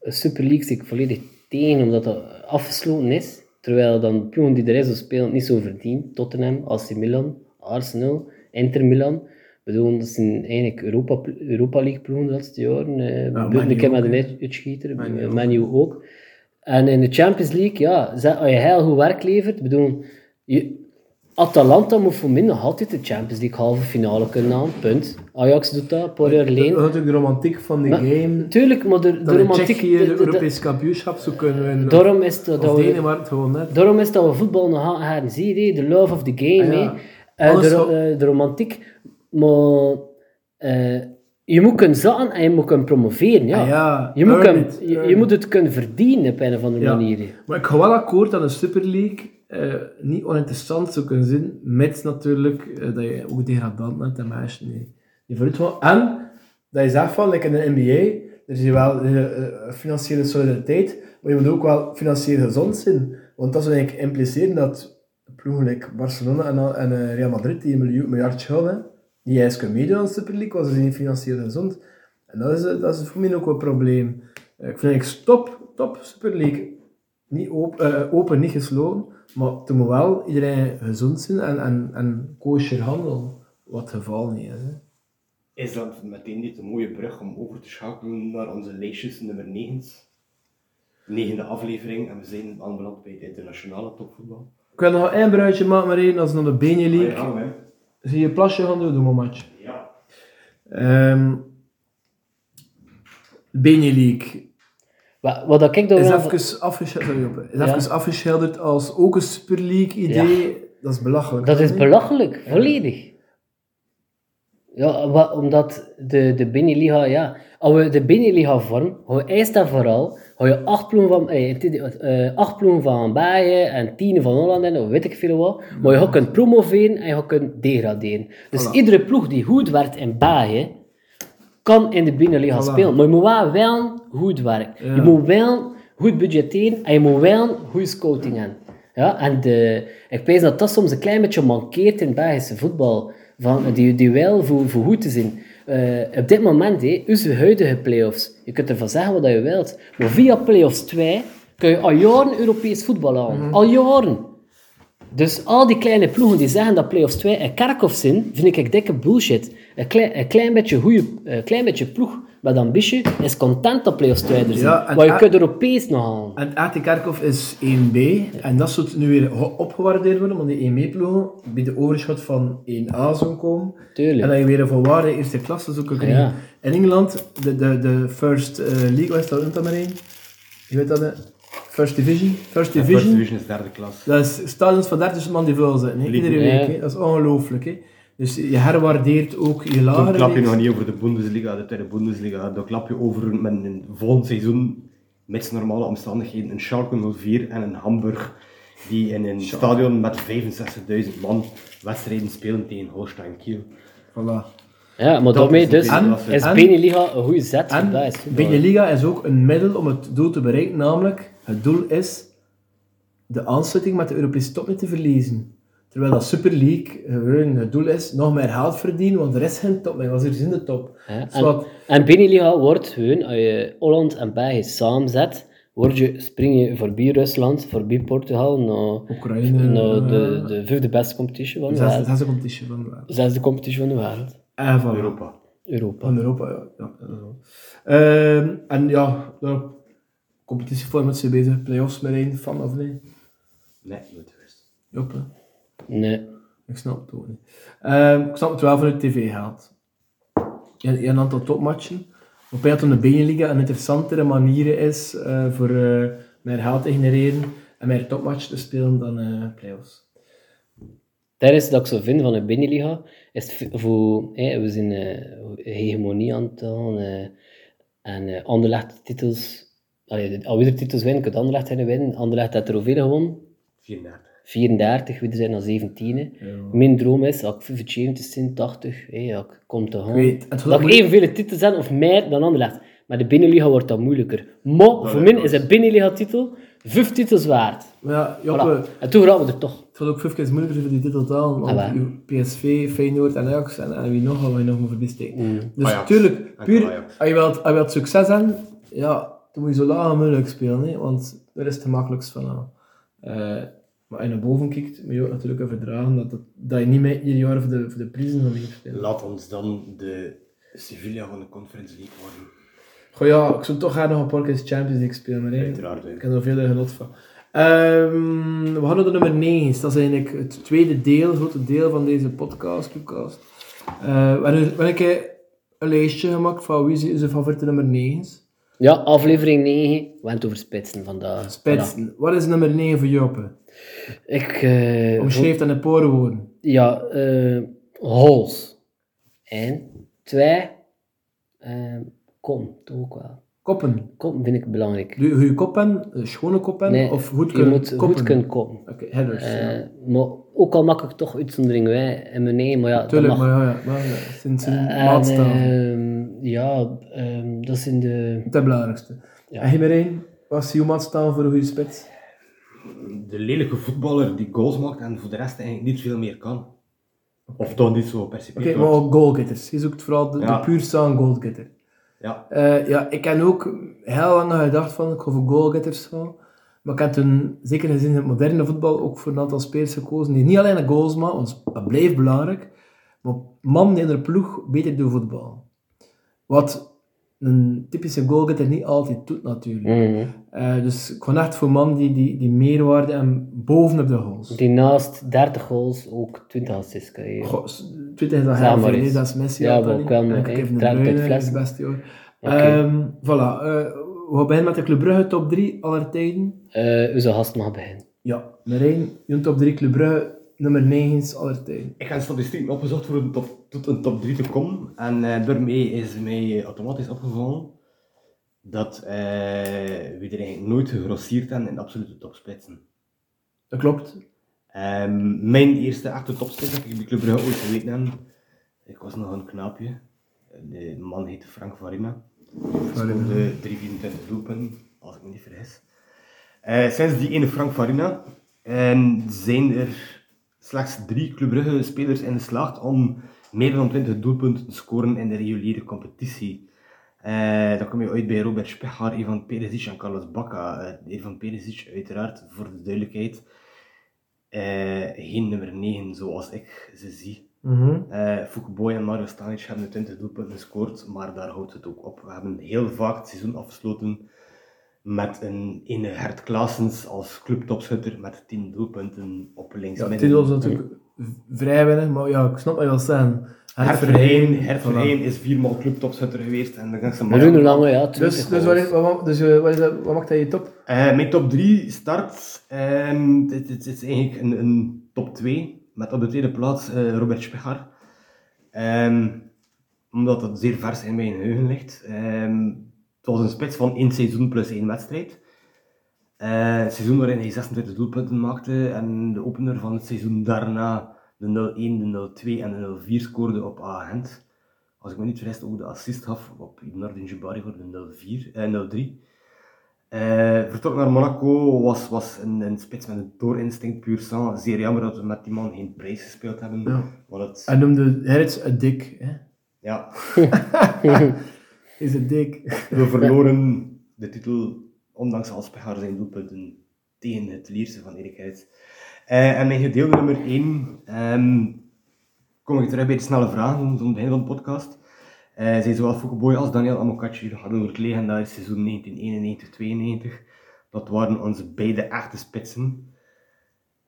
S1: een Super League zie ik volledig tegen, omdat dat afgesloten is. Terwijl dan de ploegen die er is, spelen het niet zo verdiend. Tottenham, AC Milan, Arsenal, Inter Milan. Ik bedoel, dat zijn eigenlijk Europa, Europa League ploegen de laatste jaren. eh
S3: Man
S1: Blut-
S3: U
S1: een keer met
S3: ook,
S1: een
S3: hè.
S1: uit- uitschieter, eh, Man U ook. En in de Champions League, ja, zet- als je heel goed werk levert, ik bedoel, je, Atalanta moet voor mij nog altijd de Champions League halve finale kunnen halen, punt. Ajax doet dat, een paar jaar
S3: Dat is
S1: geleden.
S3: natuurlijk de romantiek van de
S1: Maar-
S3: game.
S1: Tuurlijk, maar de, de
S3: Eh, Dat in
S1: romantiek... de-
S3: Tsjechië de
S1: de- de-
S3: Europese kampioenschap zo kunnen winnen. Of-
S1: daarom is dat, dat
S3: Of
S1: we,
S3: Denemarken gewoon net.
S1: daarom is dat we voetbal nog aan gaan zien, hè. de love of the game,
S3: Ah, ja.
S1: hè. Eh,
S3: Alles
S1: de, ro-
S3: wat-
S1: eh, de romantiek. Maar eh, je moet kunnen zaten en je moet kunnen promoveren, ja.
S3: Ah, ja.
S1: Je, moet,
S3: Earn
S1: kunnen-
S3: it,
S1: je, je
S3: earn it.
S1: moet het kunnen verdienen op een of andere
S3: Ja.
S1: manier. hè.
S3: Maar ik ga wel akkoord dat een Super League eh, niet oninteressant zou kunnen zijn, mits natuurlijk eh, dat je ook degradant bent en meisjes nee. Je vooruit wel. En dat je zegt van, like in de NBA, er is hier wel eh, eh, financiële solidariteit, maar je moet ook wel financieel gezond zijn. Want dat zou eigenlijk impliceren dat ploegen like Barcelona en, al- en eh, Real Madrid, die een miljoen, miljard schulden, hebben, die juist kunnen meedoen aan de Super League, want ze zijn niet financieel gezond. En dat is, eh, dat is voor mij ook wel een probleem. Eh, Ik vind eigenlijk top, top Super League niet op, eh, open, niet gesloten, maar het moet wel iedereen gezond zijn en, en, en kosher handelen, wat het geval niet is. Hè.
S5: Is dat meteen niet een mooie brug om over te schakelen naar onze lijstjes nummer 9? Negende aflevering en we zijn aanbeland bij het internationale topvoetbal.
S3: Ik wil nog één bruidje maken, maar één, als naar de Benje League.
S5: Ah, ja, hè.
S3: Zie je plasje gaan doen, doe maar match.
S5: Ja.
S3: Ehm Benje League
S1: Wat, wat dat ik dan
S3: is
S1: wel-
S3: even, afgesche- sorry, Joppe. is
S1: Ja.
S3: even afgeschilderd als ook een Super League idee. Dat is belachelijk.
S1: Dat is
S3: hè?
S1: belachelijk, volledig. Ja, wa- omdat de, de Beneliga, ja, als we de Beneliga vormen, hou je eerst en vooral, hou je acht ploegen van, eh, het is- eh, acht ploegen van Bayern en tien van Holland en weet ik veel wat, maar je gaat kunt promoveren en je gaat kunt degraderen. Dus
S3: Voilà.
S1: iedere ploeg die goed werd in Bayern, kan in de Beneliga
S3: Voilà.
S1: spelen, maar je moet wel, wel goed werken.
S3: Ja.
S1: Je moet wel goed budgetteren en je moet wel goede scouting hebben. Ja, en de, ik weet dat dat soms een klein beetje mankeert in Belgische voetbal. Van, die, die wel voor, voor goed te zien. Eh, op dit moment, hé, onze huidige play-offs, je kunt ervan zeggen wat je wilt, maar via play-offs 2 kun je al jaren Europees voetbal aan.
S3: Mhm.
S1: Al jaren. Dus al die kleine ploegen die zeggen dat play-offs 2 een kerkhof zijn, vind ik dikke bullshit. Een klein, een klein, beetje, goeie, een klein beetje ploeg met ambitie is content dat play-offs 2 er zijn.
S3: Ja, en
S1: maar je
S3: a-
S1: kunt Europees nog halen.
S3: En RT Kerkhoff is 1B. En dat zou nu weer ho- opgewaardeerd worden, want die 1B-ploegen bij de overschot van 1A zou komen.
S1: Tuurlijk.
S3: En dan je weer een volwaardige eerste klasse zou kunnen krijgen.
S1: Ja.
S3: In Engeland, de, de, de First eh, League, wat is dat? Noemt dat maar één? Je weet dat, hè? First Division? First
S5: De First
S3: Division.
S5: Division is derde klas.
S3: Dat is stadions van 30 man die vuil zitten, hè,
S1: Ja.
S3: iedere week. hè. Dat is ongelooflijk. hè. Dus je herwaardeert ook je
S5: Dan
S3: lagere
S5: klap je
S3: leagues.
S5: nog niet over de Bundesliga, de tweede Bundesliga. Dan klap je over met een volgend seizoen, met normale omstandigheden, een Schalke 04 en een Hamburg. Die in een stadion met 65.000 man wedstrijden spelen tegen Holstein Kiel.
S3: Voilà.
S1: Ja, maar
S5: Dat
S1: daarmee
S5: is
S1: dus
S5: een
S3: en-
S1: is
S3: en-
S1: Beneliga een goede zet voor
S3: En
S1: Belgisch voetbal.
S3: Beneliga is ook een middel om het doel te bereiken, namelijk het doel is de aansluiting met de Europese top niet te verliezen. Terwijl dat Super League gewoon het doel is, nog meer geld verdienen, want er is geen top, maar was er in de top.
S1: Ja,
S3: Dus
S1: en,
S3: wat-
S1: en Beneliga wordt gewoon, als je Holland en België samenzet, word je, spring je voorbij Rusland, voorbij Portugal, naar,
S3: Oekraïne,
S1: naar de,
S3: eh,
S1: de vijfde beste competitie van de
S3: zesde,
S1: wereld.
S3: zesde competitie van de wereld.
S1: Zesde competitie van de wereld.
S3: En van
S5: Europa.
S1: Europa.
S3: Van Europa, ja. ja, ja, ja. Ehm, en ja, daar competitieformat zijn bezig, playoffs met één van of nee.
S5: Nee, nooit geweest.
S3: Jop, hè.
S1: Nee.
S3: ik snap het ook niet. Ehm, ik snap het wel vanuit tv geld. Je hebt je hebt een aantal topmatchen. Op een dat de Beneliga een interessantere manier is eh, voor eh, meer geld te genereren en meer topmatch te spelen dan eh playoffs.
S1: Daar is dat ik zo vind van de Beneliga, is v- voor, hè, we zijn eh, hegemonie aan het doen, eh, en eh Anderlecht titels, allee, de- alweer de titels winnen, kunt Anderlecht gaan winnen. Anderlecht heeft er hoeveel gewonnen?
S5: 34.
S1: 34, we zijn al 17. hè. Mijn droom is, als ik 75 zijn, 80, hé, als ik kom te gaan,
S3: weet, het is wel
S1: dat ik
S3: moeilijk.
S1: evenveel titels heb of meer dan Anderlecht. Maar de Binnenliga wordt dan moeilijker. Maar voor mij is een Binnenliga-titel vijf titels waard.
S3: Maar ja, Joppe,
S1: Voilà. En toen raken we er toch.
S3: het wordt ook vijf keer moeilijker voor die titel te halen, want
S1: Ah, wel.
S3: uw PSV, Feyenoord en Ajax en, en wie nog, gaan we nog maar voorbij steken.
S1: Mm.
S3: Dus
S5: Ajax.
S3: tuurlijk,
S5: Enkel
S3: puur,
S5: Ajax.
S3: als je, wilt, als je wilt succes hebben, ja, dan moet je zo laag mogelijk spelen, hè, want daar is het gemakkelijkst van aan. Eh, maar als je naar boven kijkt, moet je ook natuurlijk even verdragen dat, het- dat je niet meer ieder jaar voor de, voor de prijzen gaat meespelen.
S5: Laat ons dan de Sevilla van de Conference League worden.
S3: Goh ja, ik zou toch graag nog een paar keer Champions League spelen, maar hè,
S5: Uiteraard, hè.
S3: ik heb er veel genot van. Ehm, we gaan naar de nummer 9. Dat is eigenlijk het tweede deel, het grote deel van deze podcast, Lucas. Eh, we hebben we hebben een keer een lijstje gemaakt van wie zijn zijn favoriete nummer 9's.
S1: Ja, aflevering 9, we hebben het over spitsen vandaag. Voilà.
S3: Spitsen. Wat is nummer 9 voor Joppe?
S1: Ik, eh,
S3: Omschreef dat in een paar woorden.
S1: Ja, eh hols. En twee, eh, kom, toch ook wel.
S3: Koppen.
S1: Kom vind ik belangrijk.
S3: Doe je goede koppen, eh, schone koppen,
S1: Nee,
S3: of goed
S1: je
S3: kunnen
S1: moet
S3: koppen?
S1: goed kunnen kopen.
S3: Oké, headers.
S1: Eh,
S3: ja.
S1: maar ook al maak ik toch uitzondering wij en mijn nee, maar ja,
S3: Tuurlijk,
S1: dat mag. Eh,
S3: maar ja, ja, maar, ja, het zijn, het zijn
S1: En,
S3: maatstaven.
S1: ehm, ja, ehm, dat zijn de...
S3: Het is het belangrijkste.
S1: Ja.
S3: En Himmerijn, wat is jouw staan voor een goede spits?
S5: De lelijke voetballer die goals maakt en voor de rest eigenlijk niet veel meer kan. Of toch niet zo
S3: Oké,
S5: percipieel.
S3: maar ook goalgetters. Je zoekt vooral de, de
S5: Ja.
S3: puur staan goalgetter.
S5: Ja,
S3: Eh, ja, ik heb ook heel lang gedacht van, ik ga voor goalgetters gaan. Maar ik heb toen, zeker gezien in het moderne voetbal, ook voor een aantal spelers gekozen die niet alleen de goals maken, want dat blijft belangrijk, maar man in de ploeg beter door voetbal. Wat een typische goalgetter niet altijd doet natuurlijk.
S1: Mhm.
S3: Eh, dus ik ga echt voor man die, die, die meerwaarde en bovenop de goals.
S1: Die naast 30 goals ook 20 assists krijgen.
S3: Goh, s- Twitter is dat
S1: Ja,
S3: heel
S1: maar
S3: veel, hè.
S1: is-
S3: dat is Messi.
S1: ja,
S3: had dat
S1: maar
S3: niet.
S1: ook wel,
S3: En
S1: hè.
S3: Kevin De
S1: Trent uit
S3: Bruyne is
S1: Flessen.
S3: het beste hoor.
S1: Oké.
S3: Ehm, voilà, eh, we gaan beginnen met de Club Brugge top 3 aller tijden.
S1: Eh, onze gast mag beginnen.
S3: Ja, Marijn, je top 3 Club Brugge, nummer 9 aller tijden.
S5: ik heb statistieken opgezocht voor een top, tot een top 3 te komen. En eh, daarmee is mij automatisch opgevallen dat eh, we er eigenlijk nooit gegrosseerd hebben in de absolute topspitsen.
S3: Dat klopt.
S5: Ehm, mijn eerste echte topspits dat ik bij Club Brugge ooit geweten heb, ik was nog een knaapje. De man heette Frank Varima. Scoorde 324 doelpunten, als ik me niet vergis. Eh, sinds die ene Frank Varina ehm, zijn er slechts drie Club Brugge spelers in geslaagd om meer dan 20 doelpunten te scoren in de reguliere competitie. Eh, dan kom je uit bij Robert Spechar, Ivan Perisic en Carlos Bacca. Eh, Ivan Perisic uiteraard, voor de duidelijkheid, eh, geen nummer 9 zoals ik ze zie.
S3: Mhm.
S5: Eh Boy en Mario Stanic hebben de 20 doelpunten gescoord, maar daar houdt het ook op. We hebben heel vaak het seizoen afgesloten met een ene Hert Klaasens als clubtopschutter met 10 doelpunten op links
S3: Ja,
S5: midden.
S3: Tidal is natuurlijk v- vrij weinig, maar ja, ik snap wat je wil zeggen.
S5: Hert
S3: Verheyen,
S5: Verheyen- Hert
S3: voilà.
S5: Verheyen is viermaal clubtopschutter geweest en de ganse
S1: Bruno Lange, ja, 20
S3: Dus, dus, wat,
S1: goals.
S3: is- wat, dus eh, wat, is dat- wat maakt dat je top?
S5: Eh, mijn top 3 start. ehm, dit dit is eigenlijk een, een top 2. Met op de tweede plaats eh, Robert Spechar. Ehm, omdat dat zeer vers in mijn geheugen ligt. Ehm, het was een spits van één seizoen plus één wedstrijd. Eh, het seizoen waarin hij 26 doelpunten maakte. En de opener van het seizoen daarna de 0-1, de 0-2 en de 0-4 scoorde op Agent. Als ik me niet vergis, ook de assist gaf op Nardin Jubari voor de 0-4, eh, 0-3. Eh, vertrok naar Monaco, was, was een, een spits met een doorinstinct puur sang. Zeer jammer dat we met die man geen prijs gespeeld hebben.
S3: Ja.
S5: Want het-
S3: Hij noemde Hertz een dik. Hè?
S5: ja,
S3: Is een dik.
S5: we verloren de titel, ondanks Alspechaar zijn doelpunten, tegen het Lierse van Erik Hertz. Eh, en mijn gedeelte nummer 1, kom ik terug bij de snelle vragen, zo aan het einde van de podcast. Eh, zijn zowel Foucault als Daniel Amokatje hadden over het legendarische seizoen 1991-92. Dat waren onze beide echte spitsen.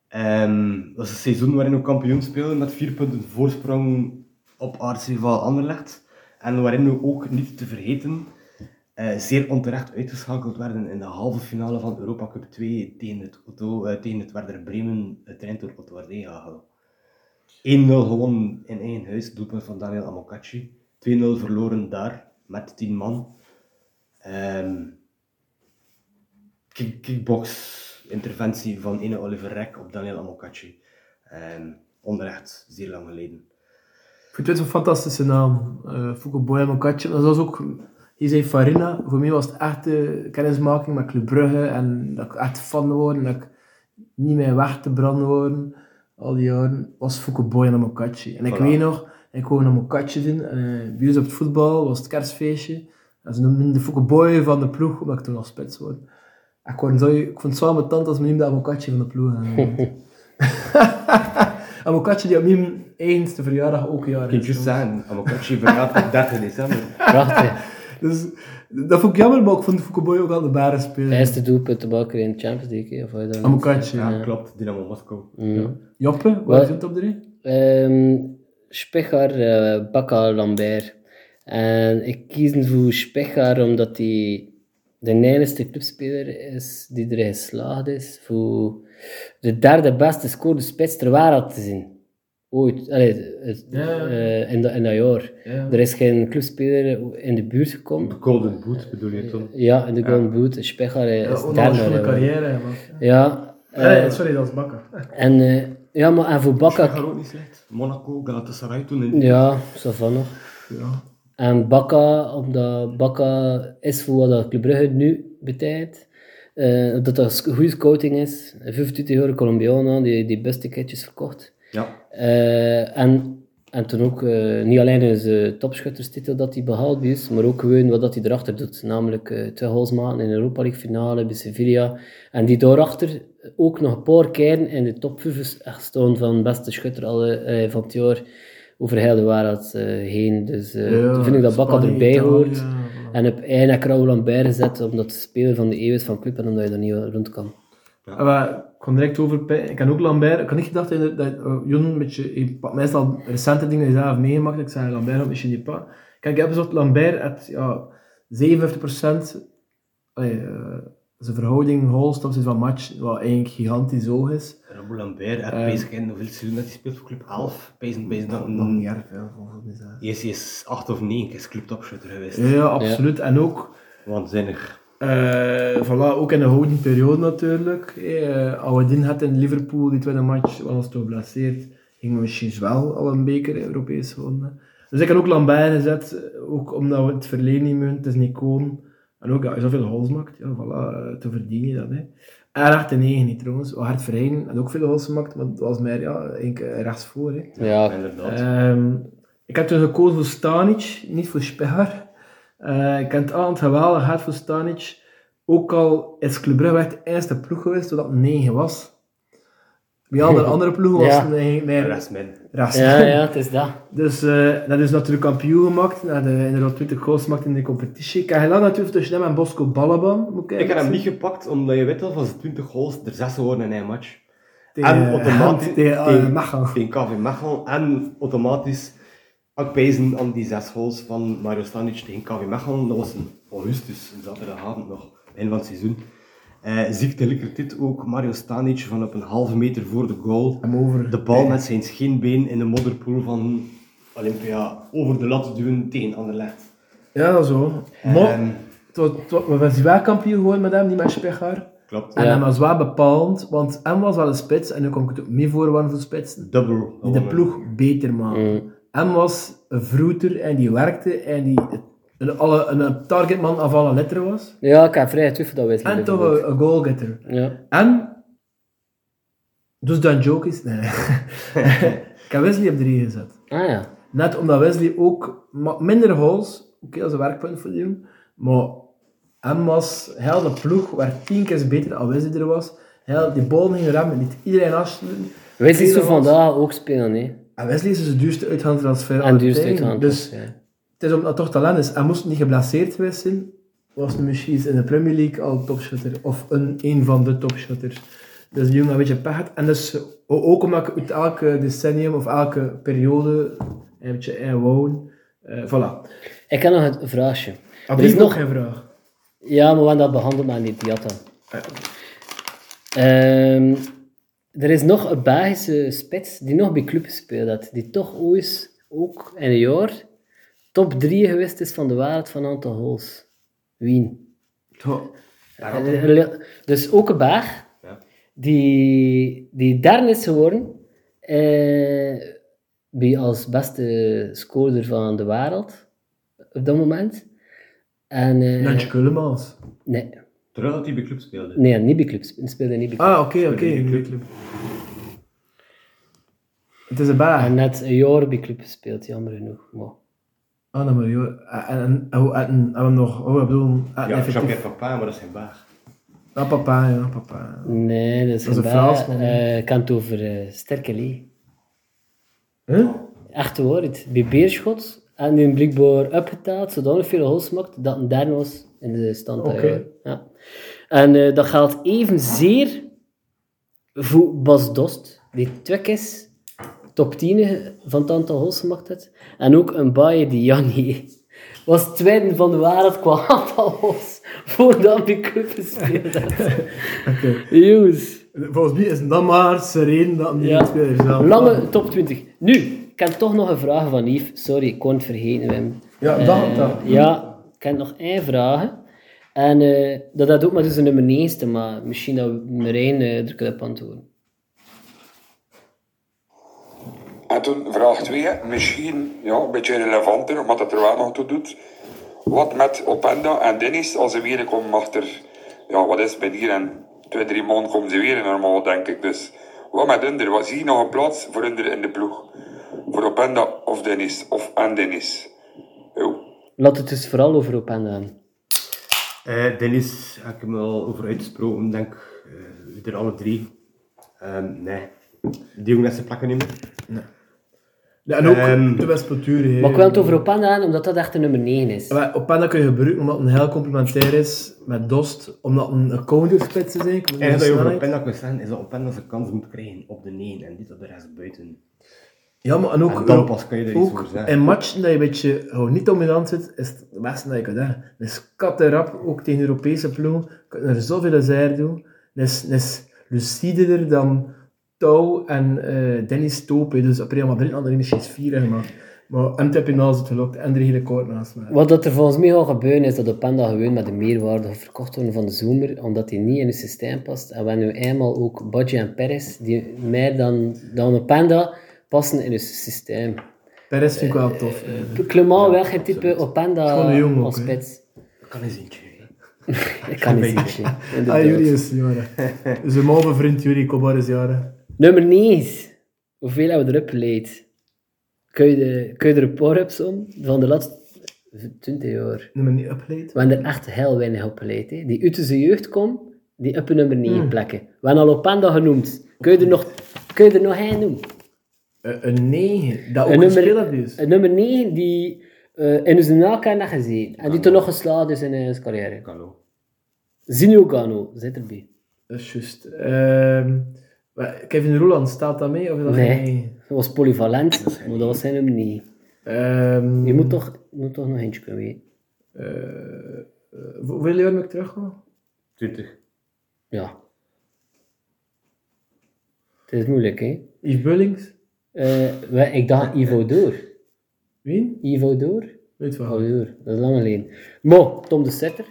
S5: Ehm, dat was een seizoen waarin we kampioen speelden met vier punten voorsprong op aartsrivaal Anderlecht. En waarin we ook niet te vergeten eh, zeer onterecht uitgeschakeld werden in de halve finale van Europa Cup 2 tegen het, Otto, eh, tegen het Werder Bremen, getraind door Otto Ardehagel. 1-0 gewonnen in eigen huis, doelpunt van Daniel Amokacci. 2-0 verloren daar, met 10 man. Ehm, kick, kickbox-interventie van Ene Oliver Rek op Daniel Amokacci. Ehm onrecht, zeer lang geleden.
S3: Ik vind het een fantastische naam. Uh, Foucault Boya Mokatje. Dat was ook... Je zei Farina. Voor mij was het echt eh, kennismaking met Club Brugge. En dat ik echt fan worden. Dat ik niet meer weg te branden worden. Al die jaren. Was Foucault Boya Mokatje. En ik
S5: Voilà.
S3: weet nog... Ik wou een Mokatje zien. En, eh, bij ons op het voetbal was het kerstfeestje. En ze noemden me de Foucault Boy van de ploeg. Omdat ik toen nog spits word. Ik, word zo, ik vond het zo ambetant als men dat Mokatje van de ploeg. en Mokatje die op mijn eigenste verjaardag ook jaren
S5: Ik kan juist zeggen, Amokacci vergaat op 30 december.
S1: Prachtig.
S3: Dus dat vond ik jammer, maar ik vond Foucault ook al de baren spelen.
S1: Hij is de doelpunt te maken in de Champions League. hè, Of hij dan
S3: Amokatje.
S5: Ja, klopt. Dynamo Moskou.
S3: Joppe, wat
S1: Wat?
S3: is het op de rij?
S1: Ehm Spechaar, eh, Bakka, Lambert. En ik kies voor Spechaar omdat hij de enigste clubspeler is die erin geslaagd is voor de derde beste score de spits ter wereld te zien. Ooit, allee, het-
S3: Ja.
S1: eh, in, dat, in dat jaar.
S3: Ja.
S1: Er is geen clubspeler in de buurt gekomen.
S5: De Golden Boot bedoel je toen?
S1: Ja, in de Golden Boot. Spechaar eh, is
S3: Ondanks
S1: derde.
S3: goede
S1: hè,
S3: carrière, man.
S1: Ja.
S3: Nee,
S1: eh,
S3: sorry, dat is bakker.
S1: en, eh, ja, maar en voor Bakka...
S5: Dat gaat ook niet slecht. Monaco, Galatasaray toen in
S1: Ja, Savannah. En Bakka, omdat Bakka is voor wat dat Club Brugge nu betekent. eh dat dat goede scouting is. 25 euro Colombiana, die, die beste ticketjes verkocht.
S5: Ja.
S1: Eh, en, en toen ook eh, niet alleen zijn topschutterstitel dat hij behaald is, maar ook gewoon wat dat hij erachter doet. Namelijk eh, twee goals maken in de Europa League finale bij Sevilla. En die daarachter ook nog een paar keer in de top 5 echt staan van beste schutter alle, eh, van het jaar over heel de wereld eh, heen. Dus eh, toen vind ik dat Bakka
S3: Spanje,
S1: erbij
S3: Italië,
S1: hoort.
S3: voilà.
S1: En op eind heb ik Raoul Lambert gezet, omdat de speler van de eeuw is van club en omdat je er niet rond kan.
S3: Ah, maar ik kon direct over. Ik kan ook Lambert. Ik had niet gedacht dat, dat eh, Jon een beetje. Ik pak meestal recente dingen die je zelf hebt meegemaakt. Ik zei Lambert op misschien niet pak. Kijk, ik heb gezegd Lambert had ja, 57% allee, eh, zijn verhouding goals ten opzichte van match, wat eigenlijk gigantisch hoog is.
S5: Rambo Lambert, en
S3: Eh.
S5: bezig in hoeveel seizoen dat hij speelt voor club 11. Bezig, bezig dat
S3: Nog niet
S5: een
S3: erg veel volgens mij. zelf.
S5: Yes, yes, 8 of 9 is club topschutter geweest.
S3: Ja, absoluut. En ook
S5: Waanzinnig.
S3: Eh, voilà, ook in de houden periode natuurlijk. Eh Awadin had in Liverpool die tweede match, was toen geblesseerd. Gingen we misschien wel al een beker Europees gewonnen. Dus ik heb ook Lambert gezet, eh, ook omdat we het verleden niet meunt, het is niet komen. En ook, ja, als je zoveel goals maakt, ja, voilà, eh, te verdien je dat. Hè. En 8 en 9 niet trouwens. Hart Verheyen had ook veel goals gemaakt, maar dat was meer ja, één keer rechtsvoor. Hè.
S1: Ja,
S5: Inderdaad.
S3: Ehm, ik heb toen gekozen voor Stanic, niet voor Spegar. Eh, ik heb het aan het geweldig hard voor Stanic. Ook al is Club Brugge echt de eerste ploeg geweest toen dat 9 was. Bij alle andere ploegen was
S1: Ja.
S3: het eigenlijk
S5: De
S3: meer
S5: rest min.
S3: rest.
S1: ja, ja het is dat.
S3: Dus eh, dat is natuurlijk kampioen gemaakt. Dat de inderdaad 20 goals gemaakt in de competitie. Ik heb gelang natuurlijk tussen hem en Bosco Balaban. Moet
S5: Ik heb hem niet gepakt omdat je weet dat van zijn 20 goals er 6 worden in één match. en automatisch
S3: Tegen eh,
S5: tegen-
S3: Mechelen.
S5: tegen KV Mechelen en automatisch afwijzen aan die zes goals van Mario Stanic tegen KV Mechelen. Dat was in augustus, een zaterdagavond nog, begin van het seizoen. Eh ziekte dit ook Mario Stanic van op een halve meter voor de goal.
S3: Hem over.
S5: De bal met zijn scheenbeen in de modderpoel van Olympia over de lat duwen tegen Anderlecht.
S3: Ja, zo. Maar,
S5: Ehm,
S3: het was- het was- we zijn wel kampioen geworden met hem, niet met Spegar.
S5: klopt.
S3: En dat was wel bepalend, want hem was wel een spits, en nu kom ik het ook mee voor waren voor spitsen,
S5: Double.
S1: Mm.
S3: die de ploeg beter maakte. Hem was een vroeter en die werkte en die het, een, alle, een, een targetman aan alle letter was.
S1: Ja, ik heb vrij twijfel dat weet
S3: En toch een, een goalgetter.
S1: Ja.
S3: En... Dus dan joke is... Nee. ik heb Wesley op drie gezet.
S1: Ah ja.
S3: Net omdat Wesley ook ma- minder goals, oké, dat is een werkpunt voor hem, maar hem was, hij had een ploeg waar tien keer beter dan Wesley er was. Hij had die bal ging remmen, liet iedereen afsluiten.
S1: Wesley is
S3: Iedereen
S1: zo
S3: was-
S1: vandaag ook spelen, hè.
S3: En Wesley is dus de duurste uitgaanstransfer
S1: En
S3: aller
S1: duurste
S3: tijden.
S1: uitgaan.
S3: Dus
S1: ja.
S3: het is omdat het toch talent is. Hij moest niet geblesseerd geweest zijn, was hij misschien in de Premier League al topshutter of een, een van de topshutters. Dus die jongen een beetje pech had. En dus o- ook omdat ik uit elke decennium of elke periode een beetje in wou. Eh, voilà.
S1: Ik heb nog een vraagje.
S3: Had
S1: Er is
S3: is Ah, nog
S1: nog-
S3: geen vraag.
S1: Ja, maar we gaan dat behandelen, maar niet die had dat. Ehm, er is nog een Belgische spits die nog bij club gespeeld had, die toch ooit, ook in een jaar, top 3 geweest is van de wereld van aantal goals. Wien. Dus ook een Belg die, die derde is geworden eh, bij als beste scorer van de wereld op dat moment. En, eh,
S3: Nantje Kullemans.
S1: nee,
S5: Terwijl dat hij bij club speelde.
S1: nee, niet bij clubs. Speelde niet bij clubs.
S3: Ah, oké, oké.
S5: die club.
S3: Het is een
S1: En
S3: baar.
S1: net een jaar bij club gespeeld, jammer genoeg. Maar,
S3: Ah, dan moet je... En, en, en, hoe- en, en we hebben nog... Oh, ik bedoel... En,
S5: Ja,
S3: effectief.
S5: Jean-Pierre Papa, maar dat is geen baag.
S3: Ah, papa, ja, papa.
S1: nee, dat is,
S3: Dat is
S1: geen
S3: een
S1: baas.
S3: Fransman,
S1: Eh, ik kan het over eh Sterke Lee.
S3: Huh?
S1: Echt woord, bij Beerschot. En die een blijkbaar opgetaald, zodanig veel goals maakt, dat een derde was in de stand. dat
S3: Oké.
S1: jaar. Ja. En eh, dat geldt evenzeer voor Bas Dost, die twee keer top 10 van het aantal goals gemaakt heeft. En ook een baie die Janni was tweede van de wereld qua aantal goals voordat hij club gespeeld had.
S3: Oké.
S1: Jongens,
S3: Volgens mij is dat maar sereen dat niet
S1: Ja.
S3: ja. speler zelf.
S1: lange top 20. Nu, ik heb toch nog een vraag van Yves. Sorry, ik kon het vergeten, Wim.
S3: Ja,
S1: Eh,
S3: dag, dag.
S1: Ja, ik heb nog één vraag. En eh, dat had ook maar tussen nummer 9 te maken. Misschien dat Marijn eh er kan op antwoorden.
S8: En toen vraag 2, misschien ja, een beetje relevanter, omdat het er wel nog toe doet. Wat met Openda en Dennis als ze weer komen mag er, ja, wat is het met hier? En twee, drie maanden komen ze weer in normaal, denk ik. Dus wat met Under? Wat zie je nog een plaats voor Under in de ploeg? Voor Openda of Dennis? Of en Dennis? Jo.
S1: Laat het dus vooral over Openda hebben.
S5: Eh, Dennis, heb ik hem al over uitgesproken, denk ik, eh, er alle drie. Ehm, nee, die jongen heeft zijn plakken niet meer.
S3: Ja, en ook
S5: Ehm.
S3: de Westcultuur.
S1: Maar ik wil het over Openda hebben, omdat dat echt de nummer 9 is.
S3: Op Panda kun je gebruiken omdat het een heel complementair is met Dost, omdat het een counterspits is eigenlijk.
S5: En dat je over
S3: snelheid.
S5: Openda kunt zeggen, is dat Openda zijn kans moet krijgen op de 9 en dit op de rest buiten.
S3: Ja, maar en ook,
S5: En dan pas kan je er iets
S3: ook
S5: over zeggen.
S3: in matchen dat je een beetje gewoon niet dominant zit, is het beste dat je kunt hebben. Het is kattenrap, ook tegen Europese ploegen. Kun je er zoveel zeer doen. Het is, het is lucider dan Touw en eh Dennis Tope. Dus op Real Madrid hadden er misschien eens vier gemaakt. Maar hem heb je naast het gelokt en er hele kort naast me.
S1: Wat dat er volgens mij gaat gebeuren is dat Openda gewoon met de meerwaarde gaat verkocht worden van de zomer, omdat hij niet in het systeem past. En we hebben nu eenmaal ook Badje en Perez, die meer dan, dan Openda passen in het systeem.
S3: Perez vind ik wel tof. eh.
S1: Clement wel geen type Openda
S3: Gewoon een jongen
S1: als
S3: ook, hè.
S1: spits.
S5: Dat kan eens eentje.
S1: Ik kan niet zeggen. inderdaad.
S3: Ah, Juri is jaren. Zijn mouwe vriend Juri Kobar is jaren.
S1: Nummer 9. Hoeveel hebben we erop geleid? Kun je, de, kun je er een paar op sommen? Van de laatste 20 jaar.
S3: Nummer niet upleid.
S1: We hebben er echt heel weinig op geleid. Hè. Die uit zijn jeugd komen, die op een nummer 9
S3: Hmm.
S1: plekken. We hebben al Openda genoemd. Kun je er nog, kun je er nog één noemen?
S3: Een Eh, een negen. Dat ook
S1: Een
S3: een
S1: nummer-
S3: Oh, speler is.
S1: Een nummer 9 die eh, in zijn elkaar naar gezien. En die
S3: Ah,
S1: toen nog geslaagd is in eh, zijn carrière.
S5: Kan ook.
S1: Zinio Gano, zit erbij.
S3: Dat is juist. Ehm, maar Kevin Roland, staat dat mee? Of is dat
S1: Nee.
S3: geen-
S1: Dat was polyvalent, maar dat was zijn nummer 9.
S3: Ehm,
S1: Je moet toch, je moet toch nog eentje kunnen weten.
S3: eh, Hoeveel jaar moet ik terugkomen?
S5: 20.
S1: Ja. Het is moeilijk, hè?
S3: Yves Bullings?
S1: Eh, wij- ik dacht
S3: eh.
S1: Ivo Door.
S3: Wie?
S1: Ivo Door?
S3: Weet
S1: Oh,
S3: wel.
S1: Door. Dat is lang geleden. Mo, Tom de Setter.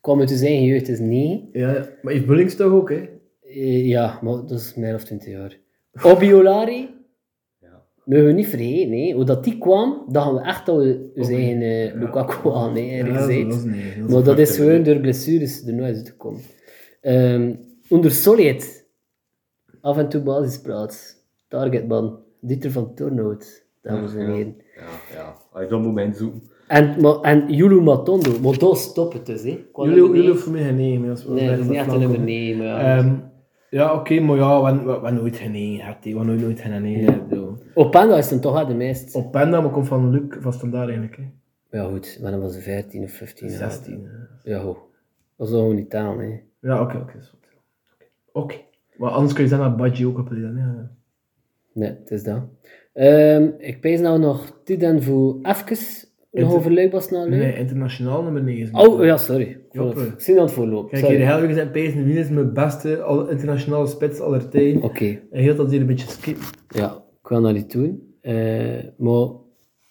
S1: Kwam uit zijn eigen jeugd, is niet.
S3: Ja, maar Yves Bullings toch ook, hè?
S1: Eh, ja, maar dat is meer of twintig jaar. Obiolari.
S5: Ja.
S1: mogen we niet vergeten, hè. hoe dat die kwam, dan gaan we echt al we zijn eigen eh, Lukaku aan, hè, eerlijk
S3: dat is-
S1: gezegd.
S3: dat is niet- dat is
S1: maar dat
S3: apart,
S1: is
S3: hè.
S1: gewoon door blessures er nooit uitgekomen. Ehm onder Solid, af en toe basisplaats, targetman, Dieter van Tornhout, dames en heren.
S5: Ja, ja. Als ik dat moment zoeken.
S1: En, maar, en Julu Matondo, maar dat stopt het dus, hè. Qua
S3: Jullie,
S1: nummer
S3: jullie
S1: negen.
S3: voor mij genegen. Dat is wel
S1: Nee, dat
S3: blijft
S1: is niet echt een
S3: flauw
S1: nummer
S3: komen.
S1: 9,
S3: Ehm, ja, oké, maar ja, we hebben- we hebben nooit genegen. gehad, hè. We hebben nooit, nooit genegen. ik bedoel.
S1: Openda is dan toch wel de meest.
S3: Op Penda, maar komt van Luc, van Standaard eigenlijk. Hè.
S1: Ja goed, maar dan was ze 14 of 15 jaar.
S3: 16. hè.
S1: Ja goed. Dat is toch gewoon niet aan, hè.
S3: eh. Ja, oké, oké. is goed. Oké. Maar anders kun je zeggen dat Badji ook op dan. Ja.
S1: Nee, het is dat. Ehm, ik pees nou nog Tiden voor even. Nog
S3: Inter-
S1: over Luibas naar
S3: Nee,
S1: Luik.
S3: internationaal nummer 9.
S1: nou, Oh ja, sorry. Ik vond het-
S3: Joppe.
S1: Ik zie dat het voorloopt.
S3: Kijk, hier
S1: Sorry.
S3: Helwig zijn Pezen, wie is mijn beste al- internationale spits aller tijden?
S1: Oké,
S3: En heel dat hier een beetje skip.
S1: ja, ik ga dat niet doen. Eh, maar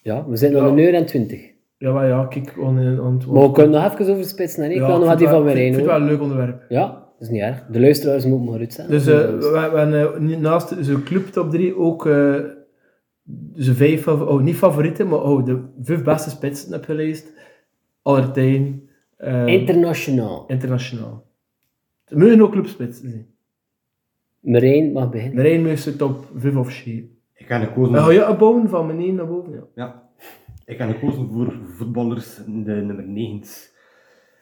S1: ja, we zijn nog
S3: Ja.
S1: een uur en twintig.
S3: Ja, maar ja, kijk, on, on, on,
S1: Maar we kunnen nog even over spits naar. Ik
S3: Ja,
S1: wil nog
S3: ik
S1: wat
S3: vind
S1: die
S3: het
S1: van
S3: wel- Ik
S1: Marijn
S3: vind het wel
S1: hoor.
S3: een leuk onderwerp.
S1: Ja, dat is niet erg. De luisteraars moeten maar uit zijn.
S3: Dus eh,
S1: Dat is
S3: we, we hebben eh, nu naast zijn club top 3 ook eh zijn vijf, fav- oh, niet favorieten, maar oh, de vijf beste spitsen heb gelezen. Aller tijden. eh,
S1: Internationaal.
S3: internationaal. Het mogen ook clubspitsen zijn.
S1: Marijn mag beginnen.
S3: De Rijnmuis zit op 5 of 7.
S5: Ik heb gekozen,
S3: Dan ga je opbouwen van beneden naar boven. Ja.
S5: ja. ik heb gekozen voor voetballers in de nummer 9.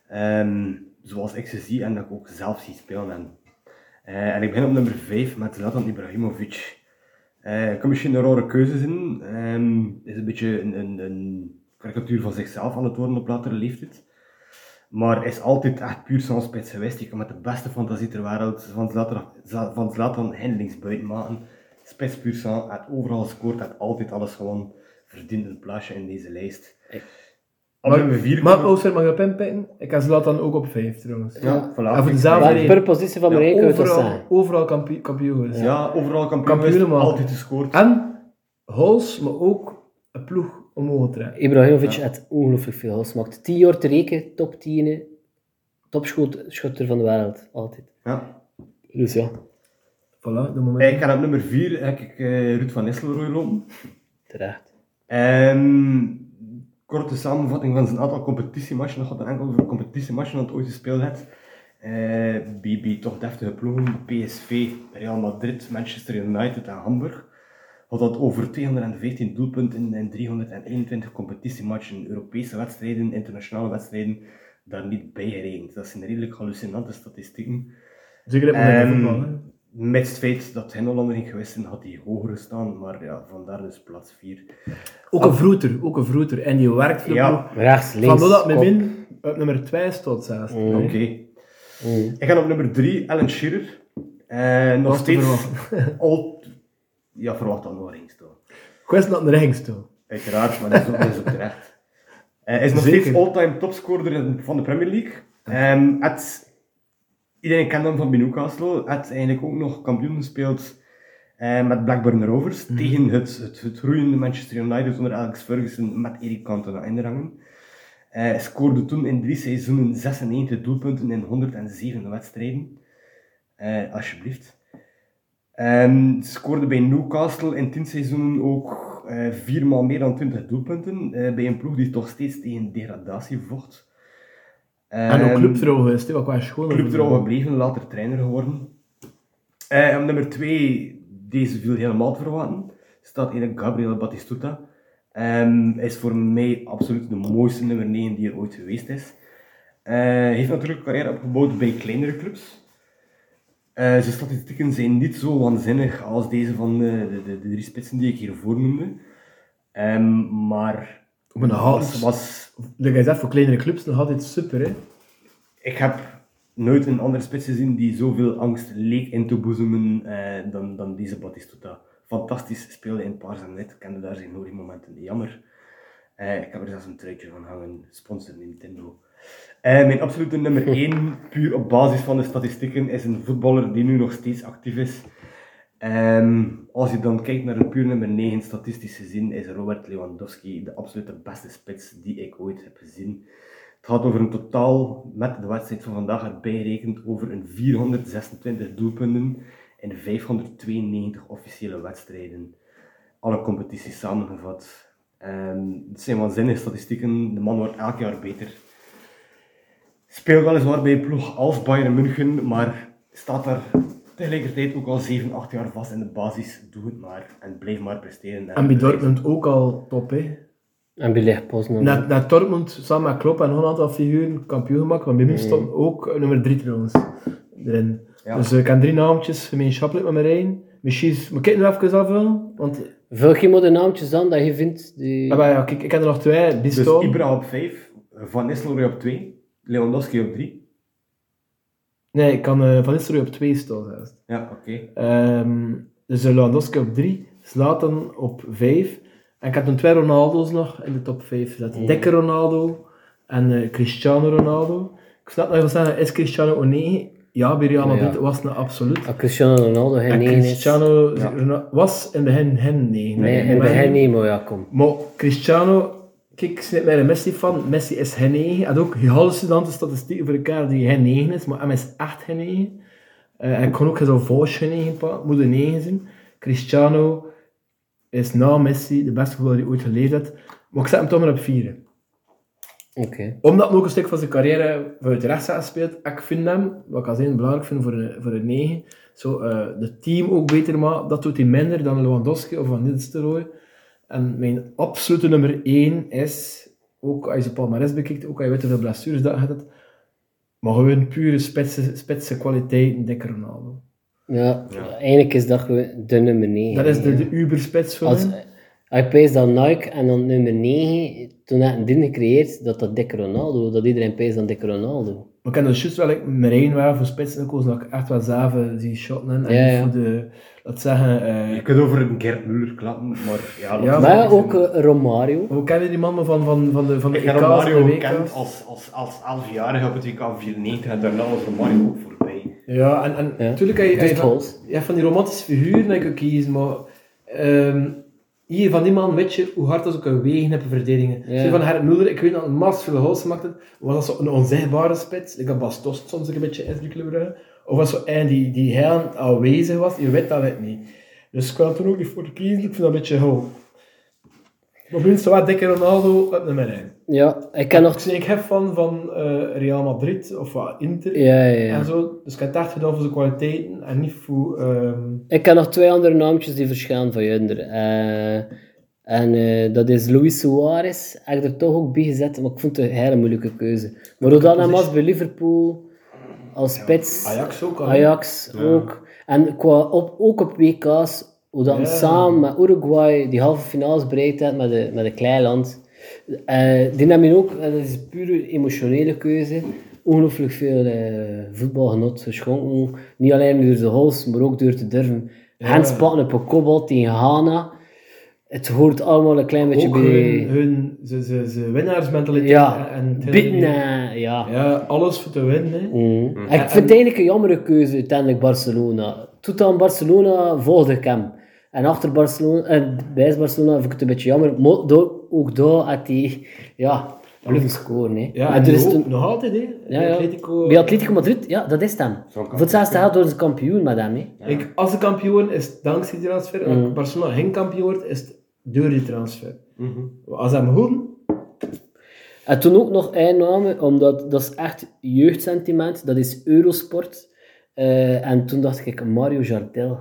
S5: Ehm, zoals ik ze zie en dat ik ook zelf zie spelen. En, eh, en ik begin op nummer 5 met Zlatan Ibrahimovic. Eh, ik kan misschien een rare keuze zijn. Ehm, is een beetje een, een, een karikatuur van zichzelf aan het worden op latere leeftijd. Maar is altijd echt puur zo'n spits geweest. Je kan met de beste fantasie ter wereld van Zlatan, Zla- van Zlatan handelingsbuiten maken. Spits puur sang, heeft overal gescoord, heeft altijd alles gewoon verdient een plaatsje in deze lijst. Op
S3: Maar-
S5: nummer vier
S3: Maar
S5: komen-
S3: Ooster mag je op inpikken. Ik heb Zlatan ook op 5 trouwens.
S5: ja, voilà.
S3: En voor dezelfde
S1: Maar
S3: reden.
S1: per positie van Marijn kunnen we het
S3: overal,
S1: zeggen.
S3: overal kampioen, kampioen geweest.
S5: Ja, overal kampioen,
S3: Kampioen,
S5: geweest,
S3: man.
S5: altijd gescoord.
S3: En goals, maar ook een ploeg omhoog trekken.
S1: Ibrahimovic had ongelooflijk veel goals gemaakt. 10 jaar te rekenen, top 10, topschutter van de wereld, altijd.
S5: Ja.
S1: Dus ja,
S3: Voilà, de moment.
S5: Ik ga op nummer 4 heb ik eh, Ruud van Nistelrooy lopen.
S1: terecht.
S5: Ehm, korte samenvatting van zijn aantal competitiematchen. Nog wat een enkel competitiematchen dat hij ooit gespeeld heeft. Eh, BB toch deftige ploegen. PSV, Real Madrid, Manchester United en Hamburg. Had dat over 214 doelpunten in 321 competitiematchen. Europese wedstrijden, internationale wedstrijden. Daar niet bij gerekend. Dat zijn redelijk hallucinante statistieken.
S3: Zeker op het
S5: Ehm,
S3: voetbal. hè.
S5: Met het feit dat hij Hollander ging geweest en had hij hoger staan, maar ja, vandaar dus plaats 4.
S3: Ook een vroeter, ook een vroeter. En die werkt voor de
S5: Ja,
S3: ploeg.
S1: Rechts,
S3: Van
S1: links,
S3: dat met
S1: kop.
S3: min op nummer 2 stond zelfs.
S5: Mm. Oké. Ik ga op nummer 3, Alan Shearer. Eh nog
S3: Was te
S5: steeds. Al... Ja, verwacht dan nog eens toch.
S3: Ik wist dat het een rings toe.
S5: Uiteraard, maar dat is ook, dat is ook terecht. Eh, Hij is nog
S3: Zeker.
S5: steeds all-time topscorer in- van de Premier League. Ehm het, iedereen kent hem van bij Newcastle. Hij heeft eigenlijk ook nog kampioen gespeeld eh, met Blackburn Rovers. Tegen het, het, het groeiende Manchester United onder Alex Ferguson met Eric Cantona in de rangen. Eh, scoorde toen in drie seizoenen 96 doelpunten in 107 wedstrijden. Eh, alsjeblieft. Ehm, scoorde bij Newcastle in 10 seizoenen ook eh viermaal meer dan 20 doelpunten. eh, bij een ploeg die toch steeds tegen degradatie vocht.
S3: En ook
S5: Ehm,
S3: clubtrouw geweest, hè, wat qua schoon.
S5: clubtrouw gebleven, later trainer geworden. Eh, op nummer 2, deze viel helemaal te verwachten, staat eigenlijk Gabriel Batistuta. Ehm, Hij is voor mij absoluut de mooiste nummer 9 die er ooit geweest is. Eh, Hij heeft natuurlijk een carrière opgebouwd bij kleinere clubs. Eh, zijn statistieken zijn niet zo waanzinnig als deze van eh, de, de, de drie spitsen die ik hiervoor noemde. Ehm, maar
S3: Op een
S5: was,
S3: hals.
S5: was
S3: Like hij zegt, voor kleinere clubs nog altijd super. Hè.
S5: ik heb nooit een andere spits gezien die zoveel angst leek in te boezemen eh, dan, dan deze Batistuta. Fantastisch speelde in paars en wit, kende daar zijn mooie momenten, jammer. Eh, ik heb er zelfs een truitje van hangen, sponsor Nintendo. Eh, mijn absolute nummer 1, puur op basis van de statistieken, is een voetballer die nu nog steeds actief is. Ehm, als je dan kijkt naar de puur nummer 9, statistisch gezien, is Robert Lewandowski de absolute beste spits die ik ooit heb gezien. Het gaat over een totaal, met de wedstrijd van vandaag erbij rekend, over een 426 doelpunten in 592 officiële wedstrijden. alle competities samengevat. En het zijn waanzinnige statistieken. De man wordt elk jaar beter. Speelt weliswaar bij een ploeg als Bayern München, maar staat daar tegelijkertijd ook al 7, 8 jaar vast in de basis. Doe het maar en blijf maar presteren.
S3: En bij Dortmund ook al top, hè?
S1: En bij Leg Poznan.
S3: Na, na Dortmund, samen met Klopp en nog een aantal figuren kampioen gemaakt, maar bij mij stond ook eh, nummer 3 trouwens erin.
S5: Ja.
S3: Dus eh, ik heb drie naampjes gemeenschappelijk met Marijn. Misschien moet ik het nog even afvullen, want
S1: Vul je maar de naamtjes aan dat je vindt die...
S3: ja, maar ja, kijk, ik heb er nog twee,
S5: Dus
S3: Bisto.
S5: Ibra op 5, Van Nistelrooy op 2, Lewandowski op 3.
S3: nee, ik kan eh, Van Nistelrooy op twee staan zelfs.
S5: Ja, oké.
S3: Ehm, dus eh, Lewandowski op 3, Zlatan op 5. En ik heb toen twee Ronaldo's nog in de top 5 gezet.
S5: Oh.
S3: Dikke Ronaldo en eh, Cristiano Ronaldo. Ik snap nog wel zeggen, is Cristiano O'Neill? Ja, bij Real Madrid
S1: Ja.
S3: was het absoluut.
S1: Ah, Cristiano Ronaldo, hij
S3: en
S1: nee is.
S3: Cristiano Ronaldo was in het begin hen negen.
S1: Nee, en bij hij niet, maar ja, kom.
S3: Maar Cristiano, kijk, ik snap mij een Messi van. Messi is hen 9. Hij had ook hallucinante statistieken voor elkaar die hen 9 is, maar hem is echt hen 9. Eh hij kon ook zo'n Vosch hen 9 pakken, moet een 9 zijn. Cristiano is na Messi de beste voetballer die ooit geleefd heeft. Maar ik zet hem toch maar op 4.
S1: Oké.
S3: Omdat hij ook een stuk van zijn carrière vanuit rechts heeft gespeeld. Ik vind hem, wat ik al zei, belangrijk vind voor een, voor een 9. Zo, eh het team ook beter maakt. Dat doet hij minder dan Lewandowski of Van Nistelrooy. En mijn absolute nummer 1 is, ook als je zijn palmarès bekijkt, ook als je weet hoeveel blessures dat gaat, maar gewoon pure spitse, spitse kwaliteiten, dikke Ronaldo.
S1: Ja, eigenlijk is dat gewoon de nummer 9.
S3: Dat is de, de uberspits voor
S1: Als,
S3: mij.
S1: hij pees dan Nike en dan nummer 9, toen had een ding gecreëerd dat dat dikke Ronaldo, dat iedereen pees dan dikke Ronaldo.
S3: Maar ik heb dus juist wel ik Marijn wel voor spitsen gekozen, dat ik echt wel zelf die shotten in. En
S1: Ja,
S3: niet
S1: ja.
S3: voor de, laat zeggen, eh,
S5: Je kunt over een Gerd Muller klappen, maar ja...
S3: Ja,
S1: maar
S5: dat
S1: ja,
S5: is
S1: ook eh, Romario.
S3: Hoe kennen die man maar van, van, van de, E van de
S5: Ik heb
S3: EK's en de
S5: Mario
S3: WK's?
S5: kent als, als, als 11-jarige op het WK 94 en daarna was Mario ook voorbij.
S3: Ja, en, en
S1: Ja.
S3: natuurlijk heb je, heb je,
S1: Dit
S3: van,
S1: goals.
S3: je hebt van die romantische figuren dat je kunt kiezen, maar ehm, hier van die man weet je hoe hard dat ze kunnen wegen hebben verdedigingen.
S1: Ja.
S3: Zo Van Gerrit Mulder, ik weet dat een mars veel goals gemaakt heeft, was dat zo'n onzichtbare spits, ik had Bastos soms een beetje in Club Brugge, of was zo een die, die heel aanwezig was, je weet dat het niet. Dus ik kan er ook niet voor kiezen, ik vind dat een beetje gauw. Maar minstens wel dikke Ronaldo op nummer 1.
S1: Ja, ik ken nog...
S3: Ik ben ik heb van, van eh, Real Madrid of wat, Inter
S1: Ja, ja, ja.
S3: en zo. Dus ik heb het echt gedaan voor zijn kwaliteiten en niet voor. ehm,
S1: Ik ken nog twee andere naamjes die verschillen van Junder. Eh, en eh, dat is Luis Suarez. Ik heb er toch ook bij gezet, maar ik vond het een hele moeilijke keuze. Maar Rodana was bij Liverpool, als spits,
S3: Ajax ook al.
S1: Ajax ook. En qua op, ook op WK's, hoe dan
S3: Ja.
S1: samen met Uruguay die halve finales bereikt had met, de, met een klein land. Eh, die hebben ook, en dat is een pure emotionele keuze, ongelooflijk veel eh, voetbalgenot geschonken. Niet alleen door de goals, maar ook door te durven. Handspatten op een kopbal tegen Ghana. Het hoort allemaal een klein beetje
S3: Ook
S1: bij...
S3: hun, hun ze, ze, ze winnaarsmentaliteit.
S1: ja,
S3: en, en
S1: bitten, eh, ja.
S3: Ja, alles voor te winnen. hè.
S1: Mm. Ik vind het eigenlijk een jammere keuze uiteindelijk Barcelona. Tot aan Barcelona volgde ik hem. En achter Barcelona, en bij Barcelona vind ik het een beetje jammer. Maar door, ook daar had hij, ja, blijven scoren. Hè.
S3: Ja,
S1: en
S3: en
S1: er is
S3: nog-
S1: toen,
S3: nog altijd, hè?
S1: ja,
S3: Bij
S1: ja.
S3: Atletico.
S1: bij Atletico Madrid, ja, dat is het hem. Voor hetzelfde geld worden ze kampioen met hem. Hè.
S3: Ik, als de kampioen is dankzij die transfer,
S1: Mm.
S3: en als Barcelona geen kampioen wordt, is het door die transfer. Als ze hem horen,
S1: En toen ook nog eindnamen, omdat dat is echt jeugdsentiment, dat is Eurosport. Eh, en toen dacht ik, Mario Jardel.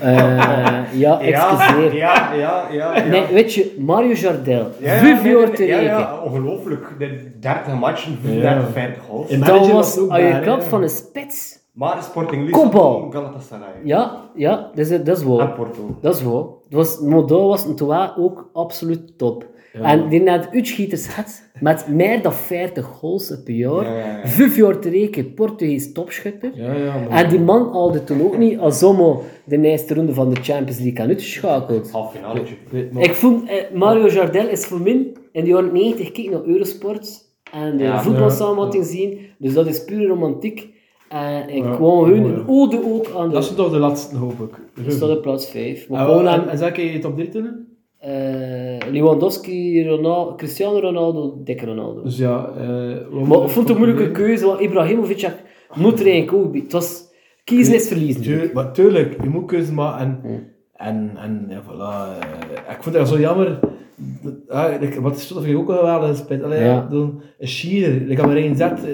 S1: Eh, ja, excuseer.
S5: ja, ja, ja. ja.
S1: Nee, weet je, Mario Jardel,
S5: Ja, ja,
S1: vijf
S5: nee,
S1: jaar
S5: nee,
S1: te
S5: ja,
S1: rekenen.
S5: ja, ongelooflijk. De 30 matchen, 35, 50 goals.
S3: In-
S1: Dat
S3: Manager
S1: was
S3: was ook
S1: aan je
S3: daar,
S1: kant
S3: hè.
S1: van een spits.
S5: Maar Sporting
S1: Kopbal.
S5: Lisbon, Galatasaray.
S1: Ja, ja, dat is, dat is waar.
S5: En Porto.
S1: Dat is waar. Het was, maar dat was een toa ook absoluut top. En die net uitschieters had, met meer dan 40 goals per jaar.
S5: Ja, ja, ja.
S1: Vijf jaar te rekenen, Portugees topschutter.
S3: ja, ja, maar-
S1: En die man haalde toen ook niet als zomaar de eerste ronde van de Champions League aan uitgeschakeld.
S5: Half finaletje.
S3: Weet maar-
S1: Ik vond eh, Mario Jardel is voor min in de jaren 90 keek ik naar Eurosport en de voetbalsamenvatting zien. Dus dat is pure romantiek. En ik
S3: Ja,
S1: kwam hun
S3: mooi,
S1: een
S3: ja.
S1: ode ook aan de.
S3: Dat is toch de laatste, hoop ik.
S1: Ik stond op plaats 5. Maar
S3: En,
S1: gewoon
S3: en,
S1: aan
S3: en zou ik je top 3 tellen?
S1: eh, Lewandowski, Ronaldo, Cristiano Ronaldo, dikke Ronaldo.
S3: Dus ja... eh, wat
S1: maar
S3: moet
S1: ik
S3: ik
S1: vond het een moeilijke
S3: proberen?
S1: keuze, want Ibrahimovic had- moet er eigenlijk ook bij. Het was kiezen is verliezen.
S3: Tuur- maar tuurlijk, je moet keuze maken. En En, en ja, voilà. eh, Ik vond dat zo jammer. Dat- ah, like, wat is dat ook wel eens bij allee,
S1: Ja.
S3: ja. dan een Schier, ik had maar één zet, eh,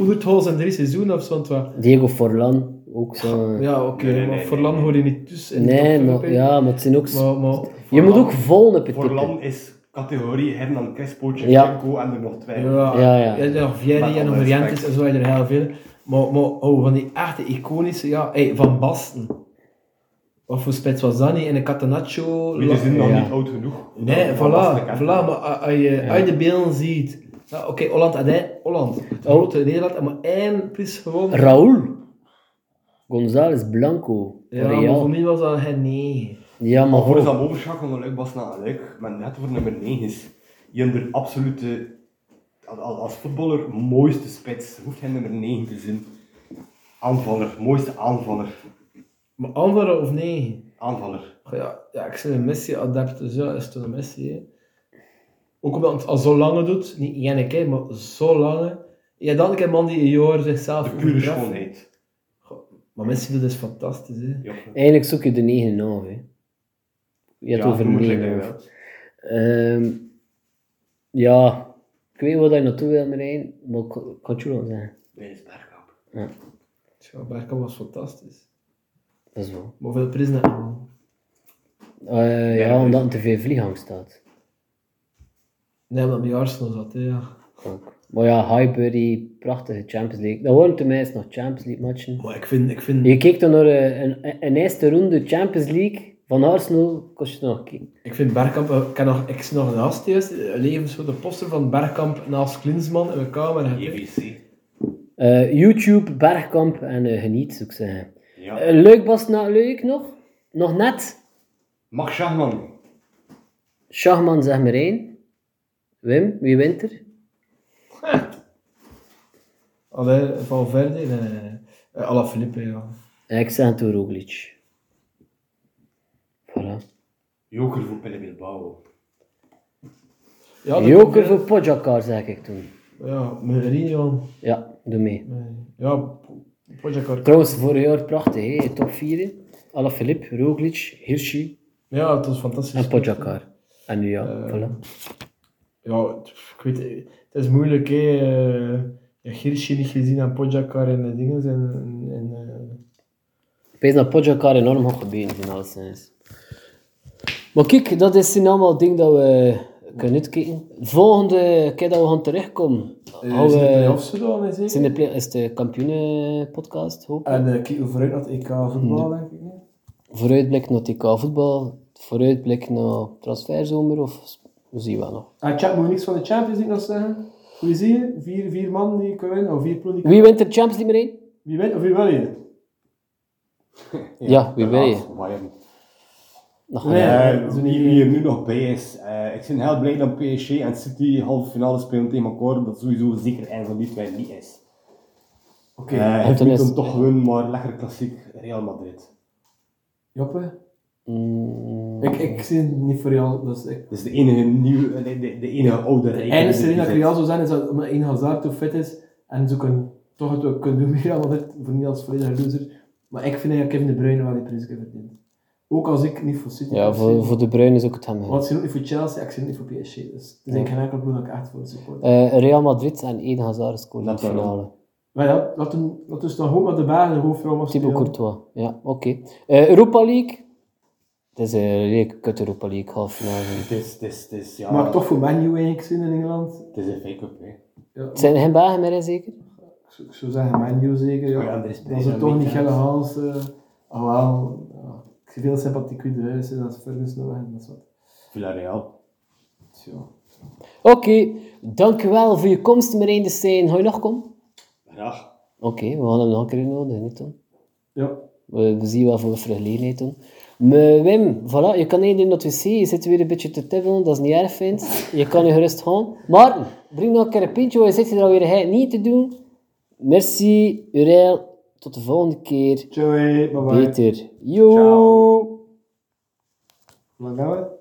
S3: Oerthols in drie seizoenen of zo'n twa.
S1: Diego Forlan, ook zo.
S3: Ja, oké,
S5: Nee, nee,
S3: maar
S5: nee,
S3: Forlan
S5: nee.
S3: hoorde niet tussen. in de
S1: nee,
S3: top
S1: maar,
S3: vijf, hè.
S1: ja, maar het zijn ook... s-
S3: Maar, maar,
S1: je moet ook vol op het
S5: Voor
S1: tikken.
S5: Lan is categorie Hernan Crespo,
S1: Ja.
S5: Chepco en er nog twee.
S3: ja,
S1: Ja,
S3: ja,
S1: ja.
S3: ja. nog Vieri
S5: Met
S3: en nog
S5: alle
S3: Rientes
S5: respect.
S3: en zo heb je er heel veel. Maar, maar oh, van die echte iconische, ja, hey, Van Basten. Wat voor spits was dat niet? En een Catenaccio.
S5: Wie is
S3: La-
S5: nu nog
S1: Ja.
S5: niet oud genoeg?
S3: Nee,
S5: om vast te
S3: voilà,
S5: kennen.
S3: voilà, maar a- als je uit de beelden ziet. Ja, Oké, Holland had hij, Holland, het grote Nederland, had maar één prijs gewonnen.
S1: Raúl. González Blanco. Ja,
S3: ja, maar voor
S1: Real.
S3: mij was dat geen nee.
S1: Ja, maar
S5: Voor is
S1: voor...
S5: dat overschakelen leuk was natuurlijk, maar net voor nummer 9 is je de absolute, als, als voetballer, mooiste spits. Hoeft geen nummer 9 te zijn. Aanvaller, mooiste aanvaller.
S3: Maar andere of nee?
S5: Aanvaller.
S3: Goh, Ja, ja ik ben een Messi-adept, dus ja, is toch een Messi, hè. Ook omdat het al zo lang doet, niet één keer, maar zo lang. Ja, dan een man die een jaar zichzelf
S5: De pure
S3: overtreft.
S5: schoonheid.
S3: Maar Messi doet is fantastisch, hè.
S5: Ja,
S1: Eigenlijk zoek je de 9 af, hè. Je hebt
S5: Ja,
S1: over eh, de
S5: noem het
S1: 9
S5: lekker,
S1: af. Ehm, ja, ik weet wat je naartoe wil, Marijn, maar ik ik kan het je wel zeggen.
S5: Dennis Bergkamp.
S3: Ja, Bergkamp was fantastisch.
S1: Dat is wel.
S3: Maar veel prijzen had hij gewonnen?
S1: Eh, ja,
S5: dat
S1: omdat een tv vlieggang staat.
S3: Nee, omdat hij bij Arsenal zat, hè, ja.
S1: Ook. Maar ja, Highbury, prachtige Champions League. Dat waren tenminste nog Champions League matchen.
S3: Maar ik vind, ik vind...
S1: Je keek dan naar eh, een, een eerste ronde Champions League van Arsenal, kost je nog een
S3: Ik vind Bergkamp, eh, ik heb nog, ik zie nog naast eerst, levens voor de poster van Bergkamp naast Klinsman in mijn kamer. heb ik.
S5: JVC.
S1: Eh, YouTube, Bergkamp en eh, geniet, zou ik zeggen.
S5: Ja.
S1: Eh, leuk was na leuk nog? Nog net?
S5: Max Schachman.
S1: Schachman, zeg maar één. Wim, wie wint er?
S3: Allee, Valverde, nee, nee, nee. Eh, Alaphilippe, ja.
S1: En Eh, ik zeg toen Roglic. Voilà.
S5: Joker voor Pelle Bilbao.
S3: ja dat-
S1: Joker voor Pojakar, zeg ik toen.
S3: Ja, Mourinho.
S1: Ja, doe mee.
S3: nee. Ja, Po- Pogacar.
S1: Trouwens, vorig jaar prachtig, hè? top 4. Alaphilippe, Roglic, Hirschi
S3: Ja, het was fantastisch.
S1: en Pojakar. En nu ja,
S3: Eh,
S1: voilà.
S3: Ja, het- ik weet het is moeilijk, hè. eh, Ja, Hirschi niet gezien en Pogacar en de dingen zijn... En, en, eh,
S1: Ik weet dat Pojakar enorm had gebeden van alles zijn is. Maar kijk, dat is zijn allemaal dingen dat we kunnen uitkijken. Volgende keer dat we gaan terugkomen,
S3: eh,
S1: houden
S3: zijn de
S1: we-
S3: play-offs gedaan, hè, zeker?
S1: zijn de play- is de kampioenenpodcast, hoop ik.
S3: En eh, kijken we vooruit naar het EK voetbal, denk ik. hè.
S1: vooruitblik naar TK voetbal, vooruitblik naar transferzomer of we zien wel nog.
S3: Ah, chat, moet je niks van de Champions League nog zeggen? Hoe zie je? Vier, vier man die kunnen winnen, of vier ploegen die
S1: Wie wint er Champions League meer in?
S3: Wie weet, of wie wil je?
S1: Ja, wie wil je?
S5: Bayern.
S1: Nog
S3: Nee.
S1: een-
S5: Eh,
S3: zo
S5: wie,
S3: niet-
S5: wie er nu nog bij is. eh, ik ben heel blij dat PSG en City halve finale spelen tegen elkaar, omdat sowieso zeker een van die twee niet is.
S3: Oké.
S5: Eh
S1: en
S5: hij
S1: toen
S5: moet
S1: is-
S5: hem toch winnen, maar lekker klassiek Real Madrid.
S3: Joppe?
S1: Mm,
S3: Ik, ik zie het niet voor jou, dus ik...
S5: Dat is de enige nieuwe, eh, de, de, de enige oude
S3: De
S5: rijke
S3: enige
S5: die
S3: reden dat
S5: er
S3: ik Real zou
S5: zit.
S3: zijn, is dat omdat één Hazard te fit is, en ze kunnen toch het ook kunnen doen met Real Madrid, voor niet als volledige loser. Maar ik vind dat Kevin De Bruyne wel die prijs heeft verdiend. Ook als ik niet voor City
S1: ja,
S3: heb
S1: voor,
S3: gezien.
S1: voor de Bruin is ook het hem. hè.
S3: Want ik zie ook niet voor Chelsea, ik zie ook niet voor PSG, dus het is eigenlijk geen enkel ploeg dat ik echt voor support.
S1: Eh, Real Madrid en Eden Hazard scoren in de
S5: Dat daarom.
S1: finale.
S3: Maar ja, dat, doen- dat is dan goed met de baas de hoofdrol mag
S1: Thibaut
S3: spelen.
S1: Courtois, ja, oké. Eh, Europa League? Het is een redelijk kut Europa League, half finale.
S5: Het is, het is, het is, ja,
S3: Maar toch voor Man U eigenlijk zin in Engeland.
S5: het is een fake-up. hè.
S3: Ja,
S1: Het zijn er geen Belgen meer in, zeker?
S3: Ik zou- Ik zou zeggen, Manu zeker. Ja.
S5: Oh ja, er is
S3: dat is er
S5: een
S3: toch
S5: beetje
S3: niet Gelle
S5: aan.
S3: Hans. eh ah, wel. Ja. Ik zie veel sympathiek in de huis, hè, dat is Ferguson nog en dat is wat.
S5: Villarreal.
S3: Tja.
S1: Oké, dankjewel voor je komst, Marijn de Stijn. Ga je nog komen?
S5: Graag.
S1: Oké, we gaan hem nog een keer nodig, niet dan?
S3: Ja.
S1: We, we zien wel voor vergelegenheid doen. Maar Wim, voilà, je kan niet in dat wc, je zit weer een beetje te tibbelen, dat is niet erg, vindt. Je kan je gerust gaan. Maarten, breng nog een keer een pintje, want je zit hier alweer hij niet te doen. Merci, Uriel. Tot de volgende keer.
S3: Ciao, hey, bye bye.
S1: Beter. Yo.
S3: Wat gaan we?